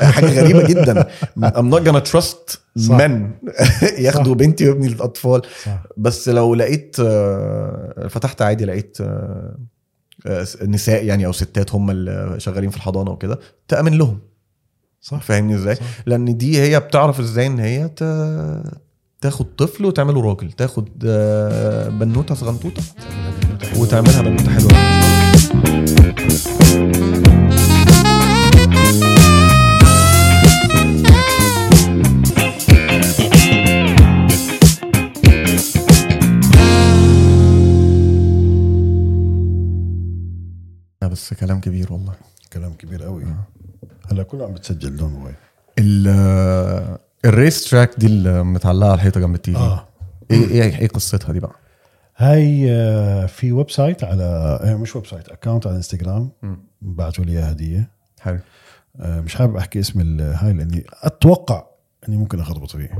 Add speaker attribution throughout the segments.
Speaker 1: حاجه غريبه جدا I'm not gonna trust
Speaker 2: صح.
Speaker 1: men ياخدوا بنتي وابني للاطفال
Speaker 2: صح.
Speaker 1: بس لو لقيت آه، فتحت عادي لقيت آه، آه، نساء يعني او ستات هم اللي شغالين في الحضانه وكده تامن لهم
Speaker 2: صح.
Speaker 1: فاهمني ازاي
Speaker 2: صح.
Speaker 1: لان دي هي بتعرف ازاي ان هي ت... تاخد طفل وتعمله راجل تاخد آه، بنوته صغنطوطه وتعملها بنوته حلوه بس كلام كبير والله
Speaker 3: كلام كبير قوي هلا كله عم بتسجل دون موبايل
Speaker 1: ال الريس تراك دي اللي متعلقه على الحيطه جنب التيفي
Speaker 3: آه.
Speaker 1: ايه ايه ايه قصتها دي بقى؟
Speaker 3: هاي آه، في ويب سايت على آه، مش ويب سايت اكونت على انستغرام
Speaker 1: مم.
Speaker 3: بعثوا لي اياه هديه
Speaker 1: حلو
Speaker 3: آه، مش حابب احكي اسم ال- هاي لاني اتوقع اني ممكن اخربط فيه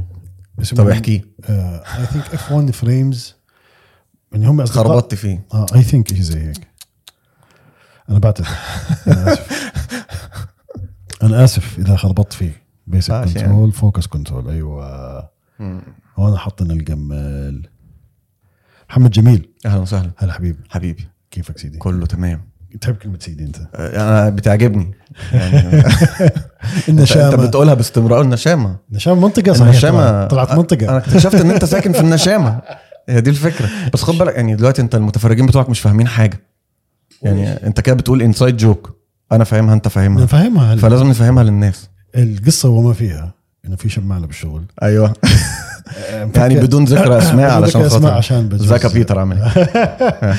Speaker 3: آه،
Speaker 1: طب احكيه
Speaker 3: اي ثينك اف 1 فريمز ان يعني هم أصدقاء-
Speaker 1: خربطت فيه
Speaker 3: اه اي ثينك شيء زي هيك انا بعتذر انا اسف انا اسف اذا خربطت فيه بيسك
Speaker 1: ماشي
Speaker 3: كنترول
Speaker 1: يعني.
Speaker 3: يعني. فوكس كنترول ايوه وانا حاطين الجمال محمد جميل
Speaker 1: اهلا وسهلا
Speaker 3: هلا حبيبي
Speaker 1: حبيبي
Speaker 3: كيفك سيدي
Speaker 1: كله تمام
Speaker 3: تحب كلمه سيدي انت
Speaker 1: آه، انا بتعجبني يعني انت
Speaker 3: النشامه
Speaker 1: بتقولها باستمرار النشامه
Speaker 3: النشامه منطقه صحيح
Speaker 1: النشامه
Speaker 3: طلعت- طلعت
Speaker 1: انا
Speaker 3: منطقه
Speaker 1: اكتشفت ان انت ساكن في النشامه هي دي الفكره بس خد بالك يعني دلوقتي انت المتفرجين بتوعك مش فاهمين حاجه يعني انت كده بتقول انسايد جوك انا فاهمها انت
Speaker 3: انا
Speaker 1: فاهمها
Speaker 3: فاهمها هلا
Speaker 1: فلازم نفهمها للناس
Speaker 3: القصه وما فيها انه في شمعنا بالشغل
Speaker 1: ايوه يعني بدون ذكر اسماء
Speaker 3: بدون
Speaker 1: علشان
Speaker 3: ذكر أسماء
Speaker 1: خاطر
Speaker 3: عشان بجوز-
Speaker 1: زكا بيتر عامل إيه؟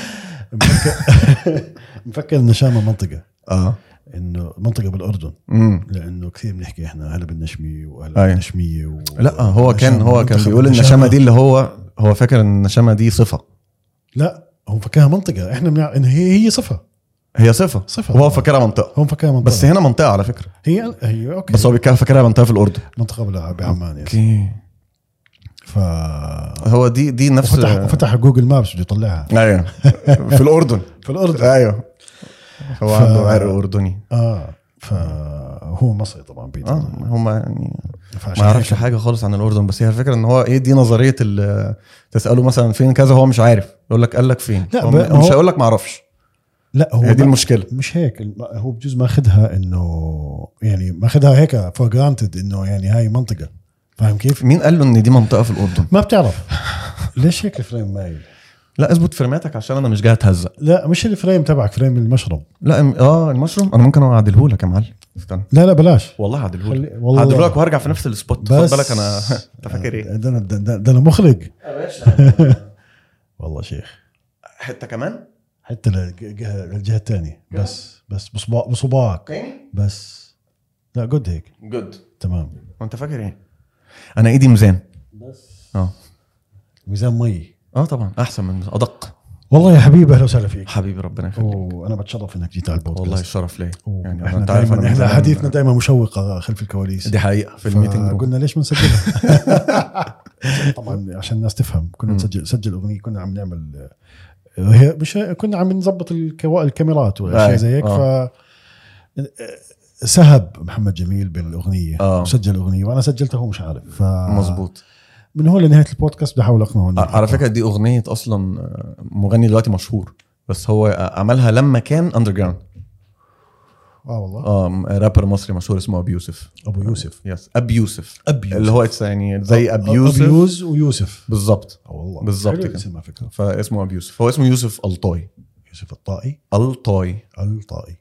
Speaker 3: مفكر- مفكر النشامه منطقه
Speaker 1: اه
Speaker 3: انه منطقه بالاردن
Speaker 1: امم
Speaker 3: لانه كثير بنحكي احنا هلا بالنشميه وهلا
Speaker 1: أيوة.
Speaker 3: بالنشميه و...
Speaker 1: لا هو كان
Speaker 3: والنشامة،
Speaker 1: هو كان
Speaker 3: منطقة
Speaker 1: بيقول
Speaker 3: بالنشامة.
Speaker 1: النشامه دي اللي هو هو فاكر ان النشامه دي صفه
Speaker 3: لا هو مفكرها منطقه احنا بنع... إن هي هي صفه
Speaker 1: هي صفه
Speaker 3: صفة.
Speaker 1: وهو فاكرها منطقه
Speaker 3: هو مفكرها منطقه
Speaker 1: بس هنا منطقه على فكره
Speaker 3: هي هي اوكي
Speaker 1: بس هو بيتكلم فاكرها منطقه في الاردن
Speaker 3: منطقه بلا- بعمان يعني
Speaker 1: اوكي
Speaker 3: ف
Speaker 1: هو دي دي نفس
Speaker 3: وفتح وفتح جوجل مابس بده يطلعها
Speaker 1: ايوه في الاردن
Speaker 3: في الاردن
Speaker 1: ايوه هو
Speaker 3: ف-
Speaker 1: عنده عرق اردني
Speaker 3: اه فهو مصري طبعا بيت
Speaker 1: اه هم يعني ما
Speaker 3: فعشان
Speaker 1: يعرفش
Speaker 3: هيك-
Speaker 1: حاجه خالص عن الاردن بس هي الفكره ان هو ايه دي نظريه ال- تساله مثلا فين كذا هو مش عارف يقول لك قال لك فين
Speaker 3: لا،
Speaker 1: هو
Speaker 3: ب- هو-
Speaker 1: مش هيقول لك ما اعرفش
Speaker 3: لا هو
Speaker 1: هي دي
Speaker 3: ما-
Speaker 1: المشكله
Speaker 3: مش هيك الم- هو بجوز ماخذها انه يعني ماخذها هيك فور جرانتد انه يعني هاي منطقه فاهم كيف؟
Speaker 1: مين قال له ان دي منطقه في الاردن
Speaker 3: ما بتعرف ليش هيك الفريم مايل؟
Speaker 1: لا اثبت فرماتك عشان انا مش جاي اتهزق
Speaker 3: لا مش الفريم تبعك فريم المشروب
Speaker 1: لا ام- اه المشروم انا ممكن اعدله لك يا معلم استنى
Speaker 3: لا لا بلاش
Speaker 1: والله هعدله لك
Speaker 3: خلي- والله.
Speaker 1: هعدله لك وهرجع في نفس السبوت خد
Speaker 3: بس آه،
Speaker 1: بالك انا انت فاكر ايه
Speaker 3: ده انا ده, ده, ده انا مخرج
Speaker 1: يا باشا
Speaker 3: والله شيخ
Speaker 1: حته كمان
Speaker 3: حتى للجهه الجهه الثانيه بس بس بصباع بصباعك
Speaker 1: تاني
Speaker 3: بس لا جود هيك
Speaker 1: جود
Speaker 3: تمام
Speaker 1: وانت فاكر ايه انا ايدي ميزان
Speaker 3: بس
Speaker 1: اه
Speaker 3: ميزان مي
Speaker 1: اه طبعا احسن من ادق
Speaker 3: والله يا حبيبي اهلا وسهلا فيك
Speaker 1: حبيبي ربنا يخليك
Speaker 3: وانا بتشرف انك جيت على البودكاست
Speaker 1: والله الشرف ليا
Speaker 3: و-
Speaker 1: يعني
Speaker 3: احنا
Speaker 1: انت عارف
Speaker 3: دايما
Speaker 1: انا
Speaker 3: احنا
Speaker 1: من زمان-
Speaker 3: احاديثنا دائما مشوقه خلف الكواليس
Speaker 1: دي حقيقه في الميتنج
Speaker 3: قلنا ليش ما نسجلها طبعا عشان الناس تفهم كنا نسجل سجل اغنيه كنا عم نعمل آه، هي مش كنا عم نظبط الكوا... الكاميرات
Speaker 1: أي،
Speaker 3: واشياء زي هيك
Speaker 1: آه.
Speaker 3: ف سهب محمد جميل بالاغنيه
Speaker 1: آه.
Speaker 3: وسجل اغنيه وانا سجلتها هو مش عارف ف
Speaker 1: مظبوط آه،
Speaker 3: من هون لنهايه البودكاست بدي احاول اقنعه إنه-
Speaker 1: على فكره دي اغنيه اصلا مغني دلوقتي مشهور بس هو آه، عملها لما كان اندر جراوند
Speaker 3: اه والله
Speaker 1: اه رابر مصري مشهور اسمه ابي يوسف
Speaker 3: ابو يوسف
Speaker 1: يس ابي يوسف
Speaker 3: ابي
Speaker 1: اللي هو it's يعني زي ابي يوسف
Speaker 3: ابيوز ويوسف
Speaker 1: بالظبط
Speaker 3: اه والله
Speaker 1: بالظبط
Speaker 3: حلو
Speaker 1: كده.
Speaker 3: الاسم على فكره
Speaker 1: فاسمه ابي يوسف هو اسمه يوسف الطاي
Speaker 3: يوسف الطائي
Speaker 1: الطاي
Speaker 3: الطائي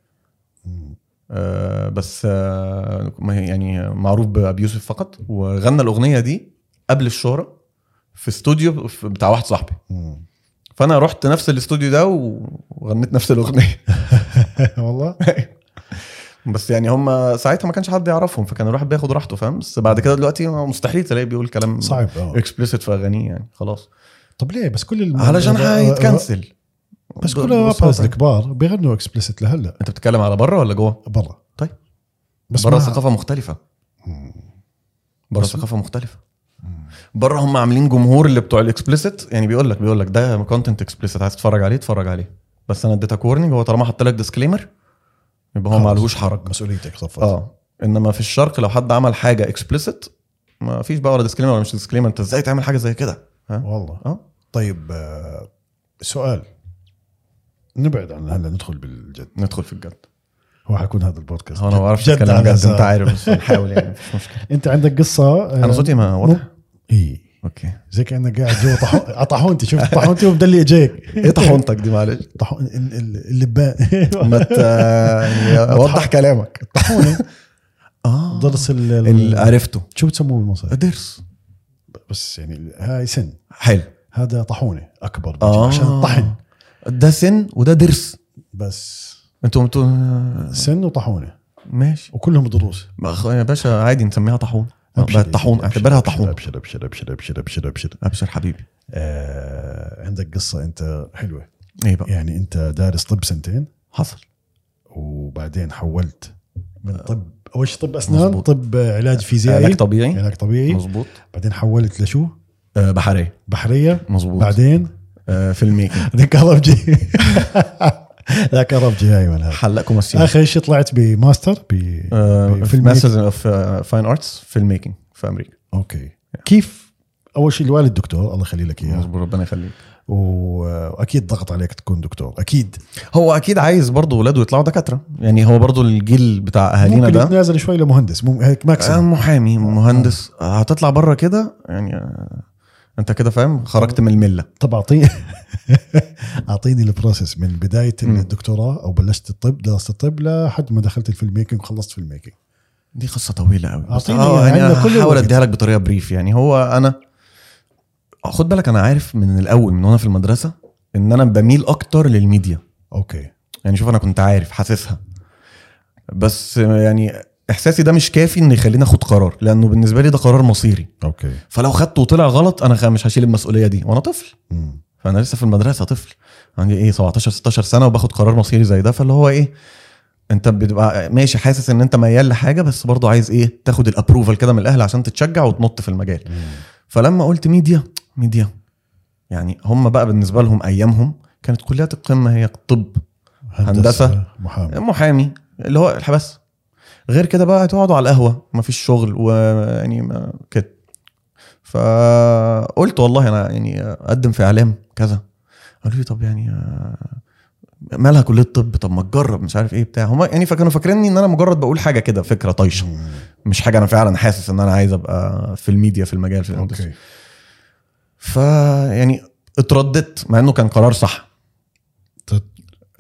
Speaker 3: مم.
Speaker 1: آه بس آه ما هي- يعني معروف بابي يوسف فقط وغنى الاغنيه دي قبل الشهره في استوديو في- بتاع واحد صاحبي
Speaker 3: مم.
Speaker 1: فانا رحت نفس الاستوديو ده وغنيت نفس الاغنيه
Speaker 3: والله
Speaker 1: بس يعني هم ساعتها ما كانش حد يعرفهم فكان الواحد بياخد راحته فاهم بس بعد كده دلوقتي مستحيل تلاقيه بيقول كلام
Speaker 3: صعب اه
Speaker 1: اكسبليسيت في اغانيه يعني خلاص
Speaker 3: طب ليه بس كل الم...
Speaker 1: علشان
Speaker 3: الر-
Speaker 1: هيتكنسل
Speaker 3: بس
Speaker 1: ب-
Speaker 3: كل
Speaker 1: ببساطة
Speaker 3: الرابرز
Speaker 1: يعني.
Speaker 3: الكبار بيغنوا اكسبلسيت لهلا
Speaker 1: انت بتتكلم على بره ولا جوه؟
Speaker 3: برا
Speaker 1: طيب.
Speaker 3: بس
Speaker 1: بره
Speaker 3: بره
Speaker 1: ثقافه مختلفه بره
Speaker 3: بس-
Speaker 1: ثقافه مختلفه بره هم عاملين جمهور اللي بتوع الاكسبليسيت يعني بيقول لك بيقول لك ده كونتنت اكسبليسيت عايز تتفرج عليه اتفرج عليه بس انا اديتك وورنينج هو طالما حط لك ديسكليمر يبقى هو
Speaker 3: خلاص.
Speaker 1: ما لهوش حرج
Speaker 3: مسؤوليتك صفت
Speaker 1: اه انما في الشرق لو حد عمل حاجه اكسبليسيت ما فيش بقى ولا ديسكليمر ولا مش ديسكليمر انت ازاي تعمل حاجه زي كده ها
Speaker 3: والله
Speaker 1: اه
Speaker 3: طيب آه، سؤال نبعد عن هلا ندخل بالجد
Speaker 1: ندخل في الجد
Speaker 3: هو حيكون هذا البودكاست
Speaker 1: هو انا ما بعرفش
Speaker 3: جد
Speaker 1: اتكلم
Speaker 3: على
Speaker 1: جد انت
Speaker 3: زمان.
Speaker 1: عارف بس بنحاول يعني مفيش مشكله
Speaker 3: انت عندك قصه آه،
Speaker 1: انا صوتي ما واضح
Speaker 3: اي
Speaker 1: اوكي
Speaker 3: زي كانك قاعد جوا طحو- على طاحونتي شفت طاحونتي ومدلي اجيك
Speaker 1: ايه طحونتك دي معلش
Speaker 3: طاحون ال- ال- اللبان
Speaker 1: ما ت- يعني وضح كلامك
Speaker 3: طاحونه
Speaker 1: اه
Speaker 3: ضرس ال-
Speaker 1: اللي
Speaker 3: ال-
Speaker 1: عرفته
Speaker 3: شو بتسموه بالمصري
Speaker 1: ضرس
Speaker 3: بس يعني هاي سن
Speaker 1: حلو
Speaker 3: هذا طاحونه اكبر
Speaker 1: اه
Speaker 3: عشان الطحن
Speaker 1: ده سن وده ضرس
Speaker 3: بس
Speaker 1: انتوا انتوا
Speaker 3: سن وطاحونه
Speaker 1: ماشي
Speaker 3: وكلهم ضروس
Speaker 1: ما أخ- يا باشا عادي نسميها طاحون آه، بقت طاحون
Speaker 3: أبشر-
Speaker 1: اعتبرها
Speaker 3: أبشر-
Speaker 1: طاحون
Speaker 3: ابشر ابشر ابشر ابشر ابشر ابشر
Speaker 1: ابشر حبيبي
Speaker 3: آه عندك قصه انت حلوه
Speaker 1: ايه بقى
Speaker 3: يعني انت دارس طب سنتين
Speaker 1: حصل
Speaker 3: وبعدين حولت من طب اول شيء طب اسنان
Speaker 1: مظبوط. آه،
Speaker 3: طب علاج فيزيائي
Speaker 1: علاج طبيعي
Speaker 3: علاج طبيعي
Speaker 1: مظبوط
Speaker 3: بعدين حولت لشو
Speaker 1: يعني إيه؟ آه، بحريه
Speaker 3: بحريه
Speaker 1: مظبوط
Speaker 3: بعدين
Speaker 1: آه، في الميكنج
Speaker 3: بعدين كهربجي لا كهربجي ايوه
Speaker 1: آه.
Speaker 3: لا.
Speaker 1: حلقكم السينما
Speaker 3: اخر شيء طلعت بماستر ب
Speaker 1: آه. في
Speaker 3: بفيلم
Speaker 1: ماسترز اوف فاين ارتس في الميكنج في امريكا
Speaker 3: اوكي كيف اول شيء الوالد دكتور الله يخلي لك اياه
Speaker 1: مظبوط ربنا يخليك
Speaker 3: و- واكيد ضغط عليك تكون دكتور اكيد
Speaker 1: هو اكيد عايز برضه ولاده يطلعوا دكاتره يعني هو برضه الجيل بتاع اهالينا
Speaker 3: ممكن
Speaker 1: ده
Speaker 3: يتنازل شوي لمهندس مم... هيك
Speaker 1: آه،
Speaker 3: ماكسيموم
Speaker 1: محامي مهندس آه، هتطلع بره كده يعني آه، انت كده فاهم
Speaker 3: آه.
Speaker 1: خرجت من المله
Speaker 3: طب اعطيني اعطيني البروسيس من بدايه
Speaker 1: مم.
Speaker 3: الدكتوراه او بلشت الطب دراسه الطب لحد ما دخلت الفيلم ميكنج وخلصت فيلم ميكنج
Speaker 1: دي قصه طويله قوي بس
Speaker 3: أعطيني
Speaker 1: اه يعني
Speaker 3: عندنا كل
Speaker 1: هحاول
Speaker 3: الوقت.
Speaker 1: اديها لك بطريقه بريف يعني هو انا خد بالك انا عارف من الاول من وانا في المدرسه ان انا بميل اكتر للميديا
Speaker 3: اوكي
Speaker 1: يعني شوف انا كنت عارف حاسسها بس يعني احساسي ده مش كافي ان يخليني اخد قرار لانه بالنسبه لي ده قرار مصيري
Speaker 3: اوكي
Speaker 1: فلو خدته وطلع غلط انا خ- مش هشيل المسؤوليه دي وانا طفل
Speaker 3: مم.
Speaker 1: فانا لسه في المدرسه طفل عندي ايه 17 16 سنه وباخد قرار مصيري زي ده فاللي هو ايه انت بتبقى ماشي حاسس ان انت ميال لحاجه بس برضه عايز ايه تاخد الابروفال كده من الاهل عشان تتشجع وتنط في المجال
Speaker 3: مم.
Speaker 1: فلما قلت ميديا ميديا يعني هم بقى بالنسبه لهم ايامهم كانت كليات القمه هي الطب هندسة. آه.
Speaker 3: محامي
Speaker 1: محامي اللي هو الحبس غير كده بقى تقعدوا على القهوه مفيش شغل ويعني ما- كده فقلت والله انا يعني اقدم في اعلام كذا قالوا لي طب يعني آه، مالها كليه الطب طب ما تجرب مش عارف ايه بتاع هم يعني فكانوا فاكريني ان انا مجرد بقول حاجه كده فكره طايشه
Speaker 3: مم.
Speaker 1: مش حاجه انا فعلا حاسس ان انا عايز ابقى في الميديا في المجال في الاندستري
Speaker 3: اوكي
Speaker 1: ف يعني اترددت مع انه كان قرار صح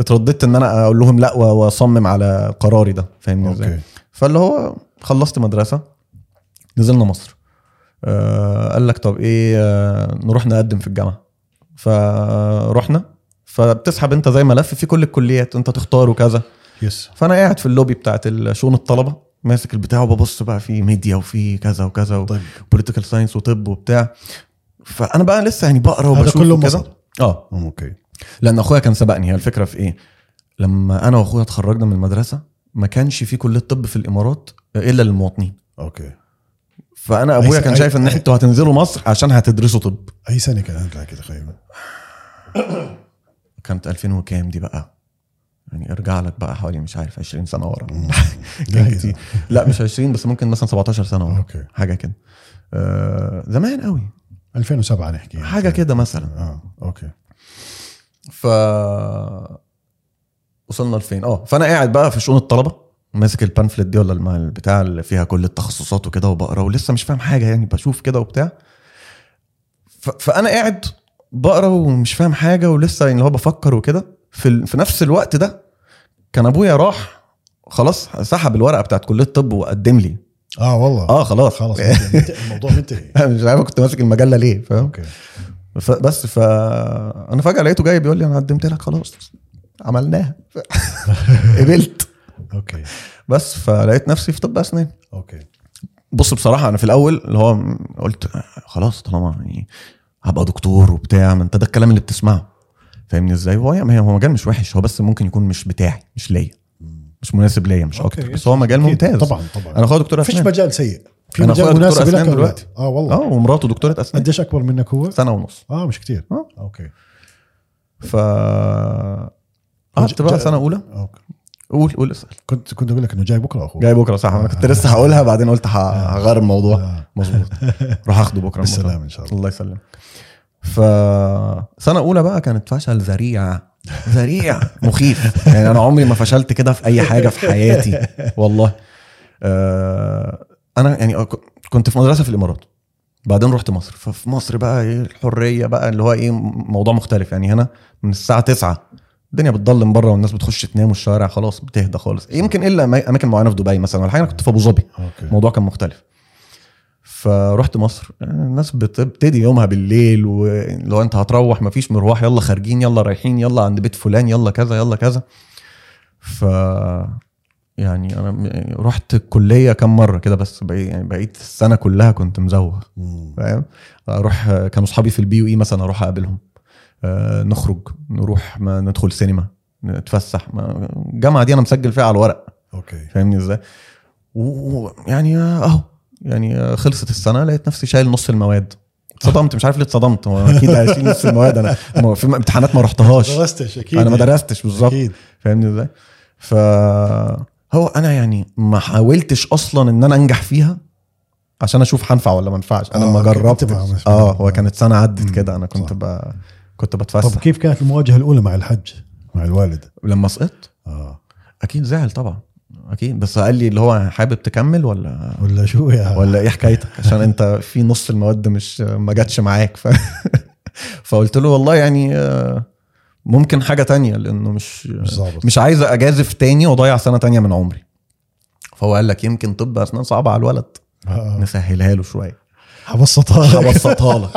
Speaker 1: اترددت ان انا اقول لهم لا و- واصمم على قراري ده فاهمني ازاي
Speaker 3: اوكي
Speaker 1: فاللي هو خلصت مدرسه نزلنا مصر آه قال لك طب ايه آه نروح نقدم في الجامعه فرحنا فبتسحب انت زي ملف في كل الكليات انت تختار وكذا
Speaker 3: يس
Speaker 1: فانا قاعد في اللوبي بتاعت ال- شؤون الطلبه ماسك البتاع وببص بقى في ميديا وفي كذا وكذا
Speaker 3: طيب
Speaker 1: وبوليتيكال ساينس وطب وبتاع فانا بقى لسه يعني بقرا
Speaker 3: هذا
Speaker 1: وبشوف
Speaker 3: كله
Speaker 1: وكذا.
Speaker 3: مصر
Speaker 1: اه
Speaker 3: اوكي
Speaker 1: لان اخويا كان سبقني هي الفكره في ايه لما انا واخويا اتخرجنا من المدرسه ما كانش في كليه طب في الامارات الا للمواطنين
Speaker 3: اوكي
Speaker 1: فانا ابويا كان
Speaker 3: أي-
Speaker 1: شايف ان
Speaker 3: أي-
Speaker 1: انتوا هتنزلوا مصر عشان هتدرسوا طب
Speaker 3: اي سنه كان عندك لك تقريبا
Speaker 1: كانت 2000 وكام دي بقى يعني ارجع لك بقى حوالي مش عارف 20 سنه ورا
Speaker 3: مم.
Speaker 1: كان
Speaker 3: لا،
Speaker 1: كتير. لا مش 20 بس ممكن مثلا 17 سنه ورا
Speaker 3: اوكي
Speaker 1: حاجه كده آه زمان قوي
Speaker 3: 2007 نحكي
Speaker 1: حاجه كده مثلا
Speaker 3: اه اوكي
Speaker 1: ف وصلنا لفين اه فانا قاعد بقى في شؤون الطلبه ماسك البانفلت دي ولا الم- البتاع اللي فيها كل التخصصات وكده وبقرا ولسه مش فاهم حاجه يعني بشوف كده وبتاع ف... فانا قاعد بقرا ومش فاهم حاجه ولسه يعني اللي هو بفكر وكده في ال... في نفس الوقت ده كان ابويا راح خلاص سحب الورقه بتاعت كليه الطب وقدم لي
Speaker 3: اه والله
Speaker 1: اه خلاص
Speaker 3: خلاص منتهي. الموضوع منتهي
Speaker 1: مش عارف كنت ماسك المجله ليه فاهم
Speaker 3: اوكي
Speaker 1: ف- بس ف انا فجاه لقيته جاي بيقول لي انا قدمت لك خلاص عملناها قبلت
Speaker 3: اوكي
Speaker 1: بس فلقيت نفسي في طب اسنان
Speaker 3: اوكي
Speaker 1: بص بصراحه انا في الاول اللي هو م- قلت خلاص طالما يعني هبقى دكتور وبتاع ما انت ده الكلام اللي بتسمعه فاهمني ازاي هو يعني هو مجال مش وحش هو بس ممكن يكون مش بتاعي مش ليا مش مناسب ليا مش
Speaker 3: أوكي.
Speaker 1: اكتر بس هو مجال ممتاز
Speaker 3: طبعا طبعا
Speaker 1: انا اخويا دكتور
Speaker 3: فيش
Speaker 1: اسنان
Speaker 3: مجال سيء في
Speaker 1: أنا أخويا
Speaker 3: مجال
Speaker 1: دكتور
Speaker 3: مناسب
Speaker 1: أسنان
Speaker 3: لك
Speaker 1: دلوقتي.
Speaker 3: دلوقتي اه
Speaker 1: اه
Speaker 3: والله
Speaker 1: ومراته دكتوره اسنان
Speaker 3: قديش اكبر منك هو؟
Speaker 1: سنه ونص
Speaker 3: اه مش كثير
Speaker 1: آه.
Speaker 3: اوكي
Speaker 1: ف قعدت بقى سنه اولى
Speaker 3: اوكي
Speaker 1: قول قول اسال
Speaker 3: كنت كنت اقول لك انه جاي بكره اخوه
Speaker 1: جاي بكره صح انا كنت لسه هقولها بعدين قلت ه- هغير الموضوع
Speaker 3: آه.
Speaker 1: مظبوط راح اخده بكره الموضوع.
Speaker 3: بالسلامه ان شاء الله
Speaker 1: الله يسلم ف سنه اولى بقى كانت فشل ذريع ذريع مخيف يعني انا عمري ما فشلت كده في اي حاجه في حياتي والله آه، انا يعني أك- كنت في مدرسه في الامارات بعدين رحت مصر ففي مصر بقى ايه الحريه بقى اللي هو ايه موضوع مختلف يعني هنا من الساعه 9 الدنيا بتضلم بره والناس بتخش تنام والشوارع خلاص بتهدى خالص يمكن الا أما- اماكن معينه في دبي مثلا ولا حاجه انا كنت في ابو ظبي
Speaker 3: اوكي
Speaker 1: الموضوع كان مختلف فرحت مصر الناس بتبتدي يومها بالليل ولو انت هتروح مفيش مروح يلا خارجين يلا رايحين يلا عند بيت فلان يلا كذا يلا كذا ف يعني انا م- رحت الكليه كم مره كده بس بقي- يعني بقيت السنه كلها كنت مزوغ
Speaker 3: مم.
Speaker 1: فاهم اروح كانوا اصحابي في البي واي مثلا اروح اقابلهم آه، نخرج نروح ما ندخل سينما نتفسح ما- الجامعه دي انا مسجل فيها على الورق
Speaker 3: اوكي
Speaker 1: فاهمني ازاي؟ ويعني اهو يعني خلصت السنه لقيت نفسي شايل نص المواد اتصدمت مش عارف ليه اتصدمت هو اكيد هشيل نص المواد انا ما- في امتحانات ما رحتهاش
Speaker 3: درستش اكيد
Speaker 1: انا ما درستش بالظبط
Speaker 3: اكيد
Speaker 1: فاهمني ازاي؟ ف هو انا يعني ما حاولتش اصلا ان انا انجح فيها عشان اشوف هنفع ولا ما انفعش انا
Speaker 3: آه،
Speaker 1: لما
Speaker 3: أوكي.
Speaker 1: جربت
Speaker 3: أنت ما-
Speaker 1: اه هو كانت سنه عدت كده انا
Speaker 3: صح.
Speaker 1: كنت ب... كنت
Speaker 3: طب
Speaker 1: بتفسح
Speaker 3: كيف كانت المواجهه الاولى مع الحج مع الوالد
Speaker 1: لما سقطت
Speaker 3: اه
Speaker 1: اكيد زعل طبعا اكيد بس قال لي اللي هو حابب تكمل ولا
Speaker 3: ولا شو يا
Speaker 1: آه. ولا ايه حكايتك عشان انت في نص المواد مش ما جاتش معاك ف... فقلت له والله يعني آه، ممكن حاجه تانية لانه مش
Speaker 3: مش ظابط
Speaker 1: مش عايز اجازف تاني واضيع سنه تانية من عمري فهو قال لك يمكن طب اسنان صعبه على الولد
Speaker 3: آه. طيب.
Speaker 1: نسهلها له شويه
Speaker 3: حبسطها لك.
Speaker 1: هبسطها لك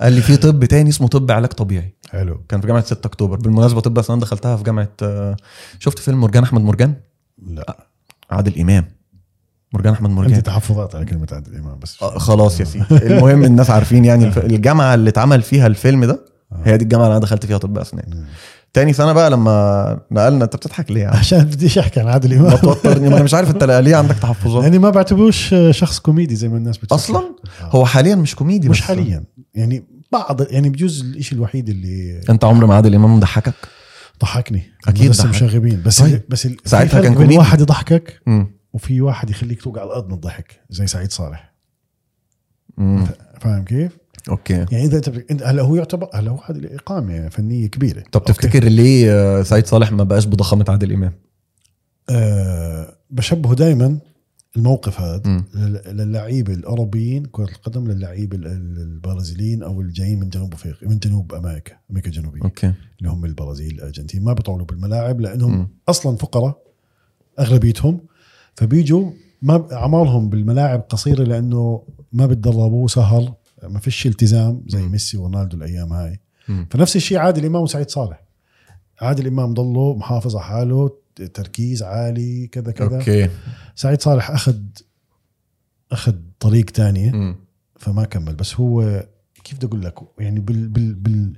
Speaker 1: قال لي في طب تاني اسمه طب علاج طبيعي
Speaker 3: حلو
Speaker 1: كان في جامعه 6 اكتوبر بالمناسبه طب اسنان دخلتها في جامعه آه، شفت فيلم مرجان احمد مرجان
Speaker 3: لا
Speaker 1: عادل امام مرجان احمد مرجان
Speaker 3: عندي تحفظات على كلمه عادل امام بس
Speaker 1: آه، خلاص يا سيدي المهم الناس عارفين يعني الف... الجامعه اللي اتعمل فيها الفيلم ده
Speaker 3: آه.
Speaker 1: هي دي الجامعه اللي انا دخلت فيها طب اسنان
Speaker 3: مم.
Speaker 1: تاني سنه بقى لما نقلنا انت بتضحك ليه يا عم؟
Speaker 3: عشان بديش احكي عن عادل
Speaker 1: ما
Speaker 3: امام
Speaker 1: توترني ما انا مش عارف انت ليه عندك تحفظات
Speaker 3: يعني ما بعتبروش شخص كوميدي زي ما الناس بتفكر
Speaker 1: اصلا هو حاليا مش كوميدي
Speaker 3: مش
Speaker 1: بس.
Speaker 3: حاليا يعني بعض يعني بجوز الشيء الوحيد اللي
Speaker 1: انت عمر ما عادل امام ضحكك
Speaker 3: ضحكني
Speaker 1: أكيد
Speaker 3: بس
Speaker 1: ضحك.
Speaker 3: مشاغبين بس
Speaker 1: طيب.
Speaker 3: بس ال- في
Speaker 1: ساعتها
Speaker 3: فرق
Speaker 1: كان
Speaker 3: بين
Speaker 1: كوميدي.
Speaker 3: واحد يضحكك
Speaker 1: امم
Speaker 3: وفي واحد يخليك توقع على الارض من الضحك زي سعيد صالح فاهم كيف؟
Speaker 1: اوكي
Speaker 3: يعني اذا انت انت- هلا هو يعتبر هلا هو هذه اقامه فنيه كبيره
Speaker 1: طب
Speaker 3: أوكي.
Speaker 1: تفتكر ليه آه، سعيد صالح ما بقاش بضخامه عادل امام
Speaker 3: آه بشبهه دائما الموقف هذا
Speaker 1: مم.
Speaker 3: لل- للعيبه الاوروبيين كره القدم للعيبه ال- ال- البرازيليين او الجايين من جنوب افريقيا من جنوب امريكا امريكا الجنوبيه
Speaker 1: اوكي
Speaker 3: اللي هم البرازيل الارجنتين ما بيطولوا بالملاعب لانهم
Speaker 1: مم.
Speaker 3: اصلا فقراء اغلبيتهم فبيجوا ما اعمارهم بالملاعب قصيره لانه ما بتدربوا سهر ما فيش التزام زي
Speaker 1: مم.
Speaker 3: ميسي ورونالدو الايام هاي
Speaker 1: مم.
Speaker 3: فنفس الشيء عادل امام وسعيد صالح عادل امام ضله محافظ على حاله تركيز عالي كذا كذا
Speaker 1: اوكي
Speaker 3: سعيد صالح اخذ اخذ طريق تانية
Speaker 1: مم.
Speaker 3: فما كمل بس هو كيف بدي اقول لك يعني بال بال بال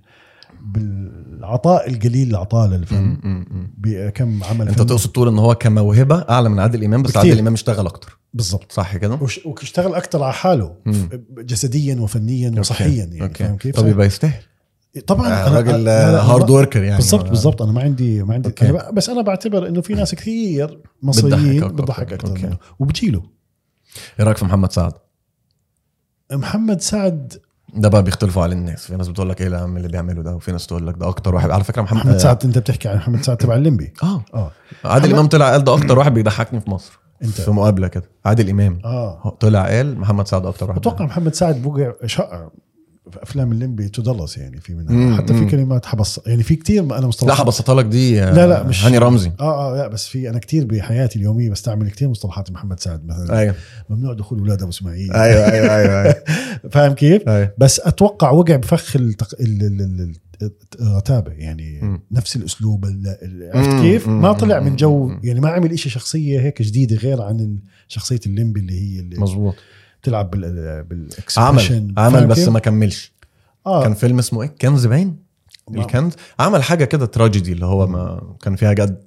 Speaker 3: بالعطاء القليل اللي اعطاه للفن
Speaker 1: مم. مم. مم.
Speaker 3: بكم عمل
Speaker 1: انت
Speaker 3: فني.
Speaker 1: تقصد تقول ان هو كموهبه اعلى من عادل امام بس
Speaker 3: بكتير.
Speaker 1: عادل امام اشتغل اكتر
Speaker 3: بالضبط
Speaker 1: صح كده
Speaker 3: وش- واشتغل اكثر على حاله
Speaker 1: مم.
Speaker 3: جسديا وفنيا وصحيا يعني فاهم كيف؟
Speaker 1: طب يبقى يستاهل
Speaker 3: طبعا
Speaker 1: طيب. آه،
Speaker 3: أنا-
Speaker 1: راجل
Speaker 3: لا، لا،
Speaker 1: هارد وركر يعني
Speaker 3: بالضبط بالضبط انا ما عندي ما عندي
Speaker 1: أوكي.
Speaker 3: أنا ب- بس انا بعتبر انه في ناس كثير
Speaker 1: بتضحك
Speaker 3: مصريين
Speaker 1: أكتر.
Speaker 3: بتضحك اكثر
Speaker 1: أوكي.
Speaker 3: منه وبجيله
Speaker 1: ايه رايك في محمد سعد؟
Speaker 3: محمد سعد
Speaker 1: ده بقى بيختلفوا عليه الناس في ناس بتقول لك ايه يا عم اللي بيعمله ده وفي ناس تقول لك ده اكتر واحد على فكره محمد,
Speaker 3: محمد سعد انت بتحكي عن محمد سعد تبع الليمبي
Speaker 1: اه
Speaker 3: اه
Speaker 1: عادل
Speaker 3: محمد-
Speaker 1: امام طلع قال ده اكتر واحد بيضحكني في مصر
Speaker 3: أنت.
Speaker 1: في مقابله كده عادل امام
Speaker 3: اه
Speaker 1: هو طلع قال محمد سعد اكتر واحد
Speaker 3: اتوقع
Speaker 1: بيضحكني.
Speaker 3: محمد سعد بوقع شقع في افلام الليمبي تدرس يعني في
Speaker 1: مم،
Speaker 3: منها حتى في
Speaker 1: مم.
Speaker 3: كلمات حبص يعني في كثير انا
Speaker 1: لا
Speaker 3: مصطلحات
Speaker 1: حبسطها لك دي آه،
Speaker 3: لا لا مش
Speaker 1: هاني رمزي
Speaker 3: اه اه لا بس في انا كثير بحياتي اليوميه بستعمل كثير مصطلحات محمد سعد مثلا
Speaker 1: ايوه
Speaker 3: ممنوع دخول اولاد ابو اسماعيل
Speaker 1: ايوه ايوه ايوه
Speaker 3: فاهم كيف؟
Speaker 1: ايوه
Speaker 3: بس اتوقع وقع بفخ التق... ال... ال... ال... الت- الرتابه يعني
Speaker 1: مم.
Speaker 3: نفس الاسلوب ال... ال... عرفت
Speaker 1: مم،
Speaker 3: كيف؟ ما
Speaker 1: مم،
Speaker 3: طلع من جو
Speaker 1: مم.
Speaker 3: يعني ما عمل إشي شخصيه هيك جديده غير عن ال- شخصيه الليمبي اللي هي اللي
Speaker 1: مظبوط
Speaker 3: بتلعب بال... بالاكسبريشن
Speaker 1: عمل عمل
Speaker 3: فاهم
Speaker 1: بس
Speaker 3: كيف؟
Speaker 1: ما كملش
Speaker 3: آه.
Speaker 1: كان فيلم اسمه ايه الكنز باين
Speaker 3: ما-
Speaker 1: الكنز عمل حاجه كده تراجيدي اللي هو ما كان فيها جد